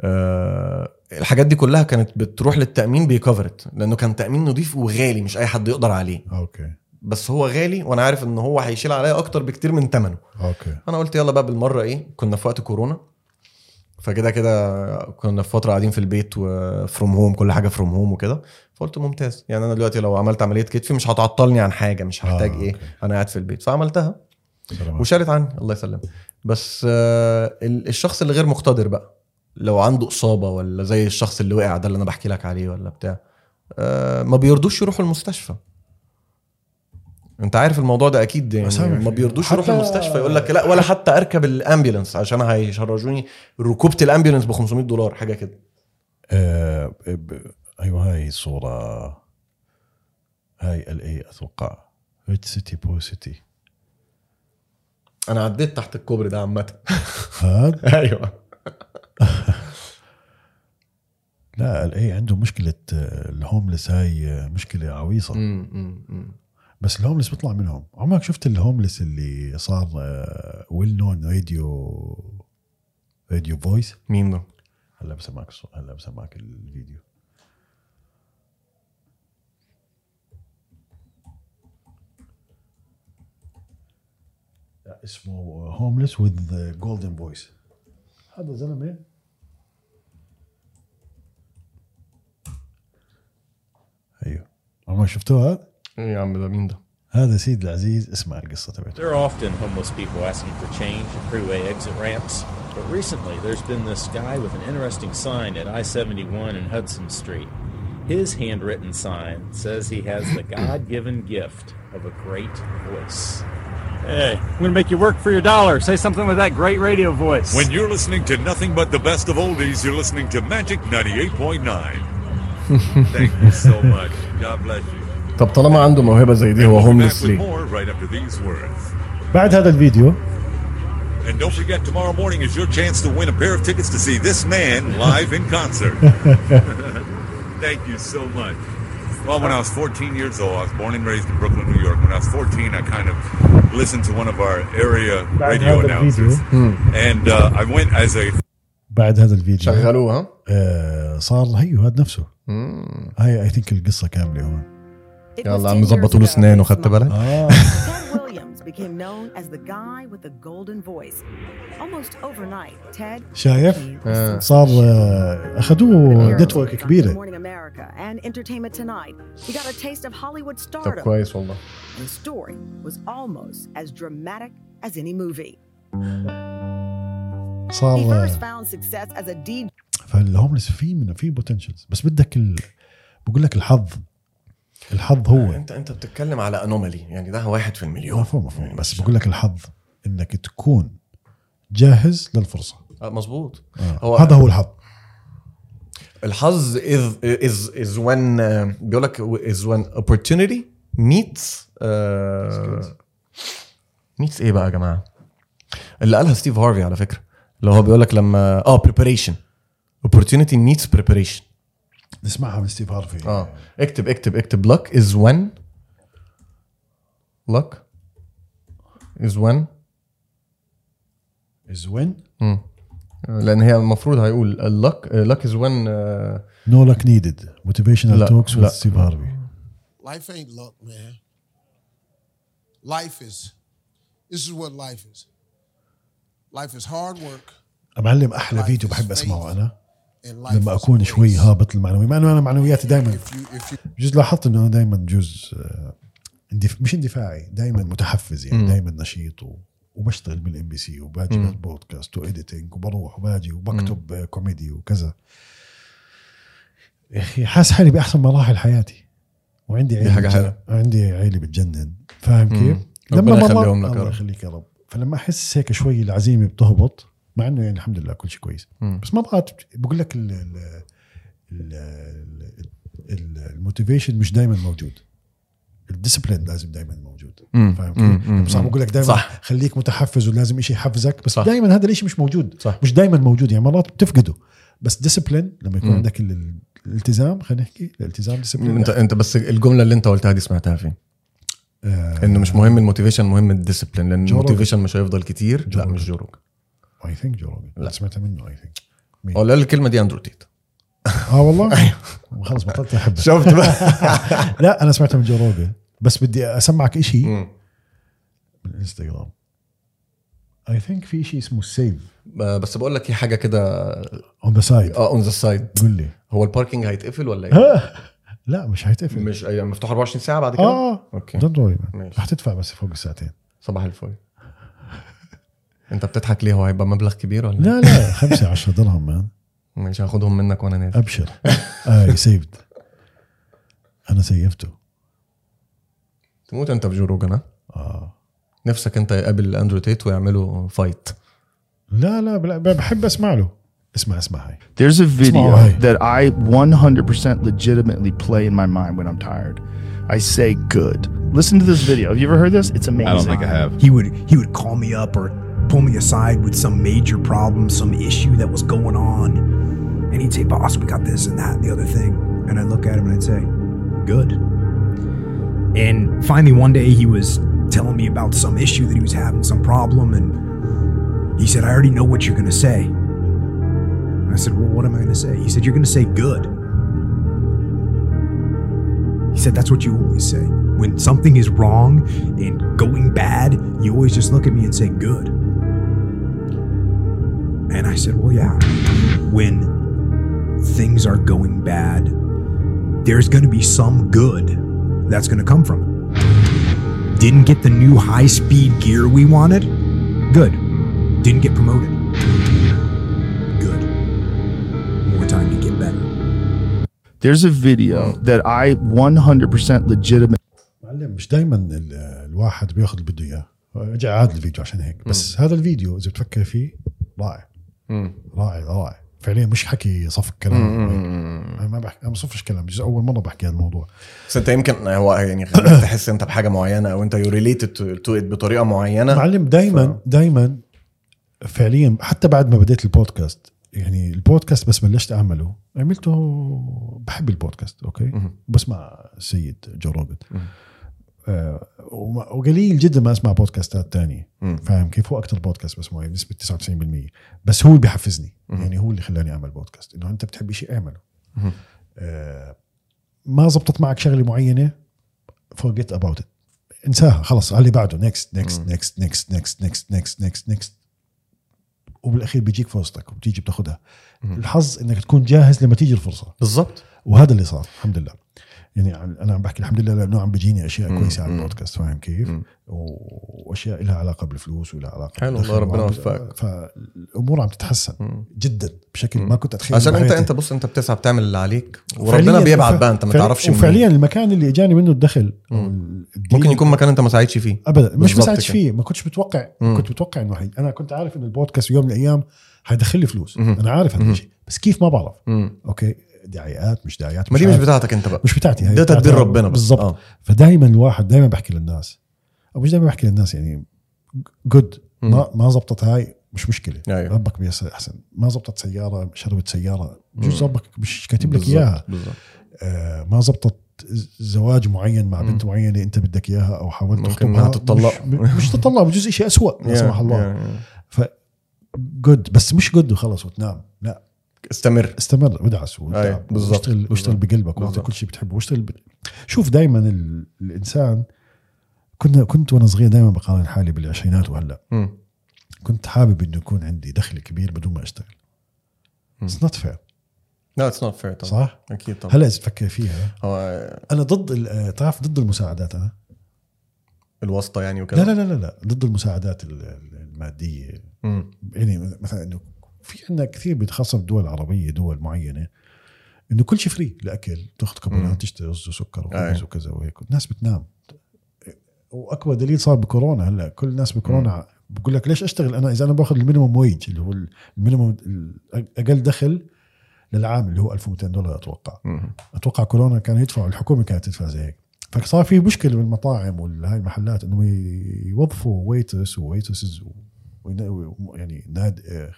Speaker 1: أه الحاجات دي كلها كانت بتروح للتامين بيكفرت لانه كان تامين نضيف وغالي مش اي حد يقدر عليه
Speaker 3: اوكي
Speaker 1: بس هو غالي وانا عارف ان هو هيشيل عليا اكتر بكتير من ثمنه
Speaker 3: اوكي
Speaker 1: انا قلت يلا بقى بالمره ايه كنا في وقت كورونا فكده كده كنا في فتره قاعدين في البيت وفروم هوم كل حاجه فروم هوم وكده فقلت ممتاز يعني انا دلوقتي لو عملت عمليه كتفي مش هتعطلني عن حاجه مش هحتاج
Speaker 3: آه،
Speaker 1: ايه
Speaker 3: أوكي.
Speaker 1: انا قاعد في البيت فعملتها
Speaker 3: سلام
Speaker 1: وشالت عني الله يسلمك بس آه، ال- الشخص اللي غير مقتدر بقى لو عنده اصابه ولا زي الشخص اللي وقع ده اللي انا بحكي لك عليه ولا بتاع آه، ما بيرضوش يروحوا المستشفى انت عارف الموضوع ده اكيد يعني
Speaker 3: أسامي
Speaker 1: ما
Speaker 3: في-
Speaker 1: بيرضوش
Speaker 3: حتى-
Speaker 1: يروحوا المستشفى يقول لك لا ولا حتى اركب الامبيولنس عشان هيشرجوني ركوبه الامبيولنس ب 500 دولار حاجه كده
Speaker 3: آه، ب- ايوه هاي صوره هاي ال اي اتوقع ريد سيتي بو سيتي
Speaker 1: انا عديت تحت الكوبري ده عامه
Speaker 3: هذا
Speaker 1: ايوه
Speaker 3: لا ال اي عنده مشكله آه، الهوملس هاي آه، مشكله عويصه بس الهوملس بيطلع منهم عمرك شفت الهوملس اللي صار آه، ويل نون راديو راديو فويس
Speaker 1: مين ده؟
Speaker 3: هلا بسمعك الصو- هلا بسمعك الفيديو لا، اسمه هوملس وذ جولدن فويس هذا زلمه ايوه عمرك شفتوه هذا؟
Speaker 1: ايه يا عم ده مين ده؟
Speaker 3: هذا سيد العزيز اسمع القصه تبعته
Speaker 5: There are often homeless people asking for change at freeway exit ramps, but recently there's been this guy with an interesting sign at I 71 and Hudson Street. His handwritten sign says he has the God given gift of a great voice. Hey,
Speaker 6: I'm gonna make you work for your dollar. Say something with that great radio voice.
Speaker 7: When you're listening to nothing but the best of oldies, you're listening to Magic 98.9.
Speaker 8: Thank you so much. God bless you.
Speaker 1: طب طالما عنده موهبه زي دي هو
Speaker 7: We'll be
Speaker 1: هوملس
Speaker 7: back with
Speaker 1: ليه؟
Speaker 7: more right after these words.
Speaker 3: بعد هذا الفيديو
Speaker 7: And don't forget, tomorrow morning is your chance to win a pair of tickets to see this man live in concert. Thank you so much. Well, when I was 14 years old, I was born and raised in Brooklyn, New York. When I was 14, I kind of listened to one of our area
Speaker 3: بعد
Speaker 7: radio
Speaker 3: هذا
Speaker 7: announcers.
Speaker 3: الفيديو
Speaker 7: And uh, I went as a
Speaker 3: بعد هذا الفيديو
Speaker 1: شغلوه ها؟
Speaker 3: آه صار هيو هذا نفسه هاي اي ثينك القصه كامله هون
Speaker 1: يلا عم ظبطوا له اسنان وخدت بالك؟
Speaker 3: اه
Speaker 9: Ted Williams became known as the guy with the golden voice. Almost overnight, Ted
Speaker 3: شايف
Speaker 9: became
Speaker 1: آه.
Speaker 3: صار آه اخذوه نتورك
Speaker 9: Good
Speaker 3: كبيره
Speaker 9: Morning America and Entertainment Tonight. He got a taste of Hollywood
Speaker 1: طب
Speaker 9: stardom.
Speaker 1: كويس والله
Speaker 9: The story was almost as dramatic as any movie.
Speaker 3: صار
Speaker 9: He
Speaker 3: آه
Speaker 9: first found success as a DJ
Speaker 3: فالهوملس في منه في بوتنشلز بس بدك ال... بقول لك الحظ الحظ
Speaker 10: آه.
Speaker 3: هو
Speaker 1: انت انت بتتكلم على انومالي يعني ده واحد في المليون
Speaker 3: مفهوم مفهوم بس بقول لك الحظ انك تكون جاهز للفرصه
Speaker 1: آه، مظبوط
Speaker 3: آه.
Speaker 1: هو-
Speaker 3: هذا هو الحظ
Speaker 1: الحظ is is is when uh, بيقول لك is when opportunity meets uh, meets ايه بقى يا جماعه؟ اللي قالها ستيف هارفي على فكره اللي هو بيقول لك لما اه preparation opportunity meets preparation
Speaker 3: نسمعها من ستيف هارفي
Speaker 10: آه.
Speaker 1: اه اكتب اكتب اكتب luck is when luck is when
Speaker 3: از وين
Speaker 1: لان هي المفروض هيقول luck luck is when uh,
Speaker 3: نو لك نيدد موتيفيشنال
Speaker 1: لا،
Speaker 3: توكس
Speaker 1: لا.
Speaker 3: وذ ستيف هارفي
Speaker 10: Life ain't luck, man. Life is, this is what life is. Life is hard work
Speaker 3: معلم احلى
Speaker 10: Life
Speaker 3: فيديو
Speaker 10: is
Speaker 3: بحب اسمعه
Speaker 10: faith.
Speaker 3: انا
Speaker 10: and life
Speaker 3: لما
Speaker 10: is
Speaker 3: اكون شوي
Speaker 10: grace.
Speaker 3: هابط المعنوي مع انه انا معنوياتي دائما
Speaker 10: If you, if you,
Speaker 3: بجوز لاحظت انه انا دائما بجوز آه، اندف... مش اندفاعي دائما متحفز يعني دائما نشيط و... وبشتغل بالام بي سي وباجي بالبودكاست واديتنج وبروح وباجي وبكتب آه، كوميدي وكذا يا اخي حاسس حالي باحسن مراحل حياتي وعندي عيله
Speaker 1: حاجة
Speaker 3: بتج-
Speaker 1: حلوة.
Speaker 3: عندي عيله بتجنن فاهم كيف؟
Speaker 1: ربنا
Speaker 3: مرة-
Speaker 1: يخليهم لك يا
Speaker 3: الله
Speaker 1: رب.
Speaker 3: يخليك يا رب فلما احس هيك شوي العزيمه بتهبط مع انه يعني الحمد لله كل شيء كويس
Speaker 1: مم.
Speaker 3: بس مرات بقول لك ال- ال- ال- ال- الموتيفيشن مش دائما موجود الديسبلين لازم دائما موجود
Speaker 1: مم.
Speaker 3: فاهم
Speaker 1: مم.
Speaker 3: كيف؟ بس عم بقول لك دائما
Speaker 1: صح.
Speaker 3: خليك متحفز ولازم شيء يحفزك بس
Speaker 1: صح.
Speaker 3: دائما هذا الشيء مش موجود
Speaker 1: صح.
Speaker 3: مش دائما موجود يعني مرات بتفقده بس ديسبلين لما يكون
Speaker 1: مم.
Speaker 3: عندك ال- ال- الالتزام خلينا نحكي الالتزام ديسبلين
Speaker 1: انت انت بس الجمله اللي انت قلتها دي سمعتها فين؟ انه مش مهم الموتيفيشن مهم الديسبلين لان
Speaker 3: جو روجن.
Speaker 1: الموتيفيشن مش هيفضل كتير
Speaker 3: جو
Speaker 1: لا
Speaker 3: روجن.
Speaker 1: مش جو روجن
Speaker 3: اي ثينك جو روجن سمعتها منه اي ثينك
Speaker 1: هو اللي قال الكلمه اه، دي اندرو تيت
Speaker 3: اه والله خلص بطلت احبه
Speaker 1: أيوه. شفت بقى
Speaker 3: لا انا سمعتها من جو روجن بس بدي اسمعك شيء من الانستغرام اي ثينك في شيء اسمه السيف
Speaker 1: بس بقول لك في حاجه كده
Speaker 3: اون ذا سايد
Speaker 1: اه اون ذا سايد
Speaker 3: قول لي
Speaker 1: هو الباركينج هيتقفل ولا ايه؟
Speaker 3: لا مش هيتقفل
Speaker 1: مش أي- مفتوح 24 ساعه بعد كده؟
Speaker 3: اه
Speaker 1: اوكي
Speaker 3: دونت وري
Speaker 1: ماشي.
Speaker 3: رح تدفع بس فوق الساعتين
Speaker 1: صباح الفل انت بتضحك ليه هو هيبقى مبلغ كبير ولا
Speaker 3: لا لا 5 10 درهم آه، مان
Speaker 1: إيه؟ مش هاخدهم منك وانا نازل
Speaker 3: ابشر اي سيفد انا سيفته
Speaker 1: تموت انت بجو روجن ها؟
Speaker 3: اه
Speaker 1: نفسك انت يقابل اندرو تيت ويعملوا فايت
Speaker 3: لا لا بلا- بحب اسمع له اسمع اسمع هاي
Speaker 11: There's a
Speaker 3: Small
Speaker 11: video
Speaker 3: eye.
Speaker 11: that I 100% legitimately play in my mind when I'm tired. I say good. Listen to this video. Have you ever heard this? It's amazing.
Speaker 6: have.
Speaker 12: he would he would call me up or pull me aside with some major problem, some issue that was going on, and he'd say, "Boss, we got this and that and the other thing," and I'd look at him and I'd say, "Good." And finally, one day he was telling me about some issue that he was having, some problem, and he said, "I already know what you're gonna say." And I said, "Well, what am I gonna say?" He said, "You're gonna say good." He said, That's what you always say. When something is wrong and going bad, you always just look at me and say, Good. And I said, Well, yeah. When things are going bad, there's going to be some good that's going to come from it. Didn't get the new high speed gear we wanted? Good. Didn't get promoted? Good. More time to get better.
Speaker 11: There's a video that I 100% legitimately
Speaker 3: معلم مش دائما الواحد بياخذ اللي بده اياه رجع عاد الفيديو عشان هيك بس هذا الفيديو اذا بتفكر فيه رائع رائع رائع فعليا مش حكي صف كلام انا ما بحكي انا ما بصفش كلام بجوز اول مره بحكي هذا الموضوع
Speaker 1: بس انت يمكن هو يعني خليك تحس انت بحاجه معينه او انت يو ريليتد تو ات بطريقه معينه
Speaker 3: معلم دائما دائما فعليا حتى بعد ما بديت البودكاست يعني البودكاست بس بلشت اعمله عملته بحب البودكاست اوكي بسمع سيد جو روجن آه، وما- وقليل جدا ما اسمع بودكاستات تانية
Speaker 1: مم.
Speaker 3: فاهم كيف هو اكثر بودكاست بسمعه بنسبه 99% بس هو اللي بحفزني يعني هو اللي خلاني اعمل بودكاست انه انت بتحب شيء اعمله
Speaker 1: مم.
Speaker 3: آه، ما زبطت معك شغله معينه forget about it انساها خلص على اللي بعده نكست نكست نكست نكست نكست نكست نكست نكست نكست وبالاخير بيجيك فرصتك وبتيجي بتاخدها الحظ انك تكون جاهز لما تيجي الفرصه
Speaker 1: بالضبط
Speaker 3: وهذا اللي صار الحمد لله يعني عن- انا عم بحكي الحمد لله لانه عم بيجيني اشياء
Speaker 1: مم.
Speaker 3: كويسه على
Speaker 1: مم.
Speaker 3: البودكاست فاهم كيف و- واشياء لها علاقه بالفلوس ولها علاقه
Speaker 1: حلو،
Speaker 3: بالدخل،
Speaker 1: الله ربنا
Speaker 3: وعم-
Speaker 1: يوفقك.
Speaker 3: فالامور عم تتحسن جدا بشكل ما كنت اتخيل
Speaker 1: عشان انت
Speaker 3: بحياتي.
Speaker 1: انت بص انت بتسعى بتعمل اللي عليك
Speaker 3: فعلياً-
Speaker 1: وربنا بيبعت بقى انت ما
Speaker 3: فعلياً-
Speaker 1: تعرفش منين.
Speaker 3: وفعليا المكان اللي اجاني منه الدخل
Speaker 1: ممكن يكون مكان انت ما ساعدتش فيه
Speaker 3: ابدا مش
Speaker 1: بالظبط
Speaker 3: مساعد
Speaker 1: كده.
Speaker 3: فيه ما كنتش متوقع
Speaker 1: مم.
Speaker 3: كنت متوقع انه حي... انا كنت عارف ان البودكاست في يوم من الايام حيدخل لي فلوس
Speaker 1: مم.
Speaker 3: انا عارف هذا
Speaker 1: مم.
Speaker 3: الشيء بس كيف ما بعرف
Speaker 1: مم.
Speaker 3: اوكي دعايات مش دعايات
Speaker 1: ما دي مش
Speaker 3: عارف.
Speaker 1: بتاعتك انت بقى
Speaker 3: مش بتاعتي هي
Speaker 1: ده
Speaker 3: بتاعت
Speaker 1: تدبير
Speaker 3: رب-
Speaker 1: ربنا بس.
Speaker 3: بالضبط
Speaker 1: آه.
Speaker 3: فدائما الواحد دائما بحكي للناس او مش دائما بحكي للناس يعني جود
Speaker 1: مم.
Speaker 3: ما ما زبطت هاي مش مشكله
Speaker 1: أيوة.
Speaker 3: ربك بيسر احسن ما زبطت سياره شربت سياره بجوز
Speaker 1: مم.
Speaker 3: ربك مش كاتب لك
Speaker 1: بالظبط،
Speaker 3: اياها
Speaker 1: بالظبط.
Speaker 3: آه، ما زبطت زواج معين مع بنت معينه انت بدك اياها او حاولت
Speaker 1: ممكن
Speaker 3: تخطبها
Speaker 1: إنها تتطلق.
Speaker 3: مش, مش تطلق بجوز شيء اسوء لا
Speaker 1: Yeah,
Speaker 3: سمح الله
Speaker 1: yeah,
Speaker 3: ف جود بس مش جود وخلص وتنام لا
Speaker 1: استمر
Speaker 3: استمر وادعس وتعب
Speaker 1: أيوة، بالظبط،
Speaker 3: واشتغل واشتغل
Speaker 1: بالظبط.
Speaker 3: بقلبك واعطي
Speaker 1: بالظبط.
Speaker 3: كل شيء بتحبه واشتغل ب... شوف دائما الانسان كنا كنت وانا صغير دائما بقارن حالي بالعشرينات وهلا
Speaker 1: مم.
Speaker 3: كنت حابب انه يكون عندي دخل كبير بدون ما اشتغل اتس نوت فير
Speaker 1: لا اتس نوت فير طبعا
Speaker 3: صح؟
Speaker 1: اكيد طبعا
Speaker 3: هلا اذا تفكر فيها
Speaker 1: هو
Speaker 3: انا ضد ال- آه، تعرف ضد المساعدات انا
Speaker 1: الواسطه يعني
Speaker 3: لا
Speaker 1: وكده
Speaker 3: لا لا لا, لا. ضد المساعدات ال- ال- الماديه
Speaker 1: مم.
Speaker 3: يعني مثلا انه في عندنا كثير بيتخصص بدول عربيه دول معينه انه كل شيء فري الاكل تاخذ
Speaker 1: مم.
Speaker 3: كابونات تشتري رز وسكر وخبز
Speaker 1: أي.
Speaker 3: وكذا وهيك الناس بتنام واكبر دليل صار بكورونا هلا كل الناس بكورونا بقول لك ليش اشتغل انا اذا انا باخذ المينيموم ويج اللي هو المينيموم اقل دخل للعام اللي هو 1200 دولار اتوقع
Speaker 1: مم.
Speaker 3: اتوقع كورونا كان يدفع الحكومه كانت تدفع زي هيك فصار في مشكله بالمطاعم والهاي المحلات انه يوظفوا ويترس وويترسز يعني ناد آه،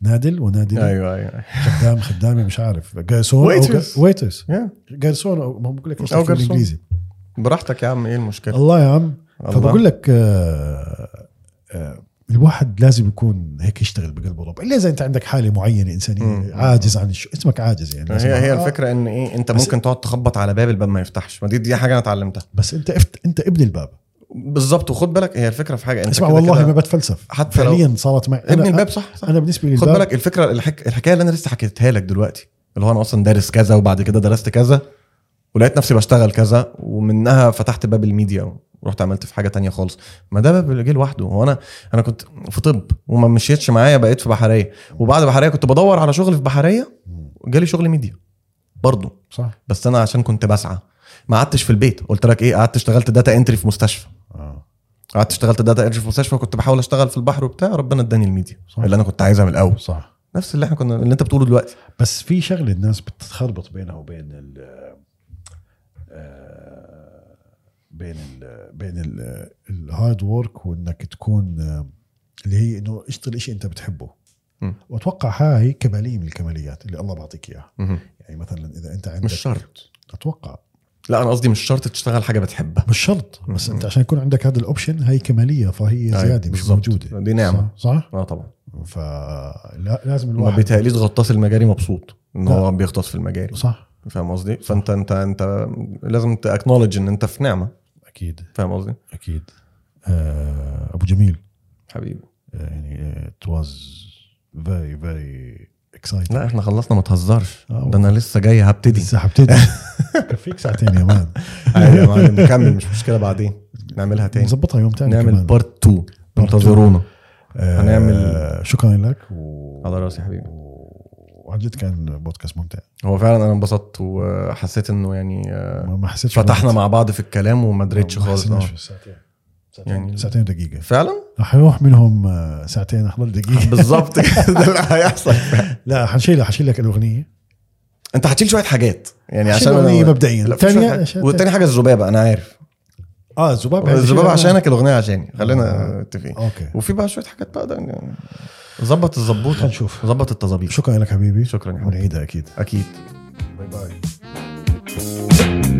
Speaker 3: نادل ونادل
Speaker 1: ايوه ايوه
Speaker 3: خدام خدامه مش عارف جرسون
Speaker 1: Waitress.
Speaker 3: ويترس
Speaker 1: Yeah.
Speaker 3: جرسون او ما بقول لك ايش
Speaker 1: او
Speaker 3: في الانجليزي
Speaker 1: جرسون براحتك يا عم ايه المشكله
Speaker 3: الله يا عم
Speaker 1: الله.
Speaker 3: فبقول لك آه، آه، الواحد لازم يكون هيك يشتغل بقلبه رب الا اذا انت عندك حاله معينه انسانيه
Speaker 1: مم.
Speaker 3: عاجز عن الش... اسمك عاجز يعني لازم-
Speaker 1: هي هي
Speaker 3: آه،
Speaker 1: الفكره ان ايه انت
Speaker 3: بس-
Speaker 1: ممكن تقعد تخبط على باب الباب ما يفتحش ما دي دي حاجه انا اتعلمتها
Speaker 3: بس انت افت... انت ابن الباب
Speaker 1: بالظبط وخد بالك هي الفكره في حاجه انت
Speaker 3: اسمع
Speaker 1: كده
Speaker 3: والله
Speaker 1: كده
Speaker 3: ما بتفلسف
Speaker 1: حتى لو-
Speaker 3: فعليا صارت معي
Speaker 1: ابن الباب صح صح
Speaker 3: انا بالنسبه لي
Speaker 1: خد بالك الفكره الحك... الحكايه اللي انا لسه حكيتها لك دلوقتي اللي هو انا اصلا دارس كذا وبعد كده درست كذا ولقيت نفسي بشتغل كذا ومنها فتحت باب الميديا ورحت عملت في حاجه تانية خالص ما ده باب اللي جه لوحده هو انا انا كنت في طب وما مشيتش معايا بقيت في بحريه وبعد بحريه كنت بدور على شغل في بحريه جالي شغل ميديا برضه
Speaker 3: صح
Speaker 1: بس انا عشان كنت بسعى ما قعدتش في البيت قلت لك ايه قعدت اشتغلت داتا انتري في مستشفى
Speaker 3: آه.
Speaker 1: قعدت اشتغلت داتا انتري في مستشفى كنت بحاول اشتغل في البحر وبتاع ربنا اداني الميديا
Speaker 3: صح.
Speaker 1: اللي انا كنت عايزها من الاول
Speaker 3: صح
Speaker 1: نفس اللي احنا كنا اللي انت بتقوله دلوقتي
Speaker 3: بس في شغله الناس بتخربط بينها وبين ال آه، بين ال بين ال- الهارد وورك وانك تكون آه، اللي هي انه اشتغل شيء انت بتحبه
Speaker 1: مم.
Speaker 3: واتوقع هاي كماليه من الكماليات اللي الله بعطيك اياها
Speaker 1: مهم.
Speaker 3: يعني مثلا اذا انت عندك
Speaker 1: مش شرط
Speaker 3: اتوقع
Speaker 1: لا انا قصدي مش شرط تشتغل حاجه بتحبها
Speaker 3: مش شرط بس انت عشان يكون عندك هذا الاوبشن هي كماليه فهي
Speaker 1: أيوة،
Speaker 3: زياده مش
Speaker 1: بالظبط.
Speaker 3: موجوده
Speaker 1: دي نعمة.
Speaker 3: صح, صح؟
Speaker 1: اه طبعا
Speaker 3: فلازم
Speaker 1: ما
Speaker 3: الواحد
Speaker 1: بيتهيأليش غطاس المجاري مبسوط ان
Speaker 3: لا.
Speaker 1: هو بيغطس في المجاري
Speaker 3: صح
Speaker 1: فاهم قصدي فانت انت انت لازم تاكنولج ان انت في نعمه
Speaker 3: اكيد
Speaker 1: فاهم قصدي
Speaker 3: اكيد آه ابو جميل
Speaker 1: حبيبي
Speaker 3: آه، يعني ات واز فيري فيري اكسايتنج
Speaker 1: لا احنا خلصنا ما تهزرش
Speaker 3: آه.
Speaker 1: ده انا لسه جاي هبتدي
Speaker 3: لسه حبتدي كفيك ساعتين يا مان
Speaker 1: عادي يا معلم نكمل مش مشكله بعدين نعملها تاني
Speaker 3: نظبطها يوم تاني
Speaker 1: نعمل
Speaker 3: كمان.
Speaker 1: بارت 2
Speaker 3: two.
Speaker 1: انتظرونا
Speaker 3: آه،
Speaker 1: هنعمل-
Speaker 3: شكرا لك و...
Speaker 1: على راسي يا حبيبي
Speaker 3: وعن جد كان بودكاست ممتع
Speaker 1: هو فعلا انا انبسطت وحسيت انه يعني آه،
Speaker 3: ما ما حسيتش
Speaker 1: فتحنا مع بعض في الكلام وما دريتش
Speaker 3: ما
Speaker 1: خالص
Speaker 3: حسيناش
Speaker 1: آه.
Speaker 3: في الساعتين.
Speaker 1: يعني
Speaker 3: ساعتين دقيقه
Speaker 1: فعلا
Speaker 3: رح يروح منهم آه، ساعتين 11 دقيقه
Speaker 1: بالظبط كده اللي هيحصل
Speaker 3: لا حنشيل حشيل لك الاغنيه
Speaker 1: انت هتشيل شويه حاجات يعني
Speaker 3: هشيل
Speaker 1: عشان
Speaker 3: أغنية مبدئيا.
Speaker 1: لا، في شوية
Speaker 3: تانية-
Speaker 1: حاجات. يعني
Speaker 3: عشان-
Speaker 1: والتاني حاجه الذبابه انا عارف
Speaker 3: اه الذبابه
Speaker 1: الذبابه عشانك الاغنيه عشاني خلينا متفقين
Speaker 3: اوكي
Speaker 1: وفي بقى شويه حاجات بقى ده يعني ظبط الظبوطه
Speaker 3: هنشوف
Speaker 1: ظبط التظابيط
Speaker 3: شكرا لك حبيبي
Speaker 1: شكرا يا حبيبي
Speaker 3: ونعيدها اكيد
Speaker 1: اكيد
Speaker 3: باي باي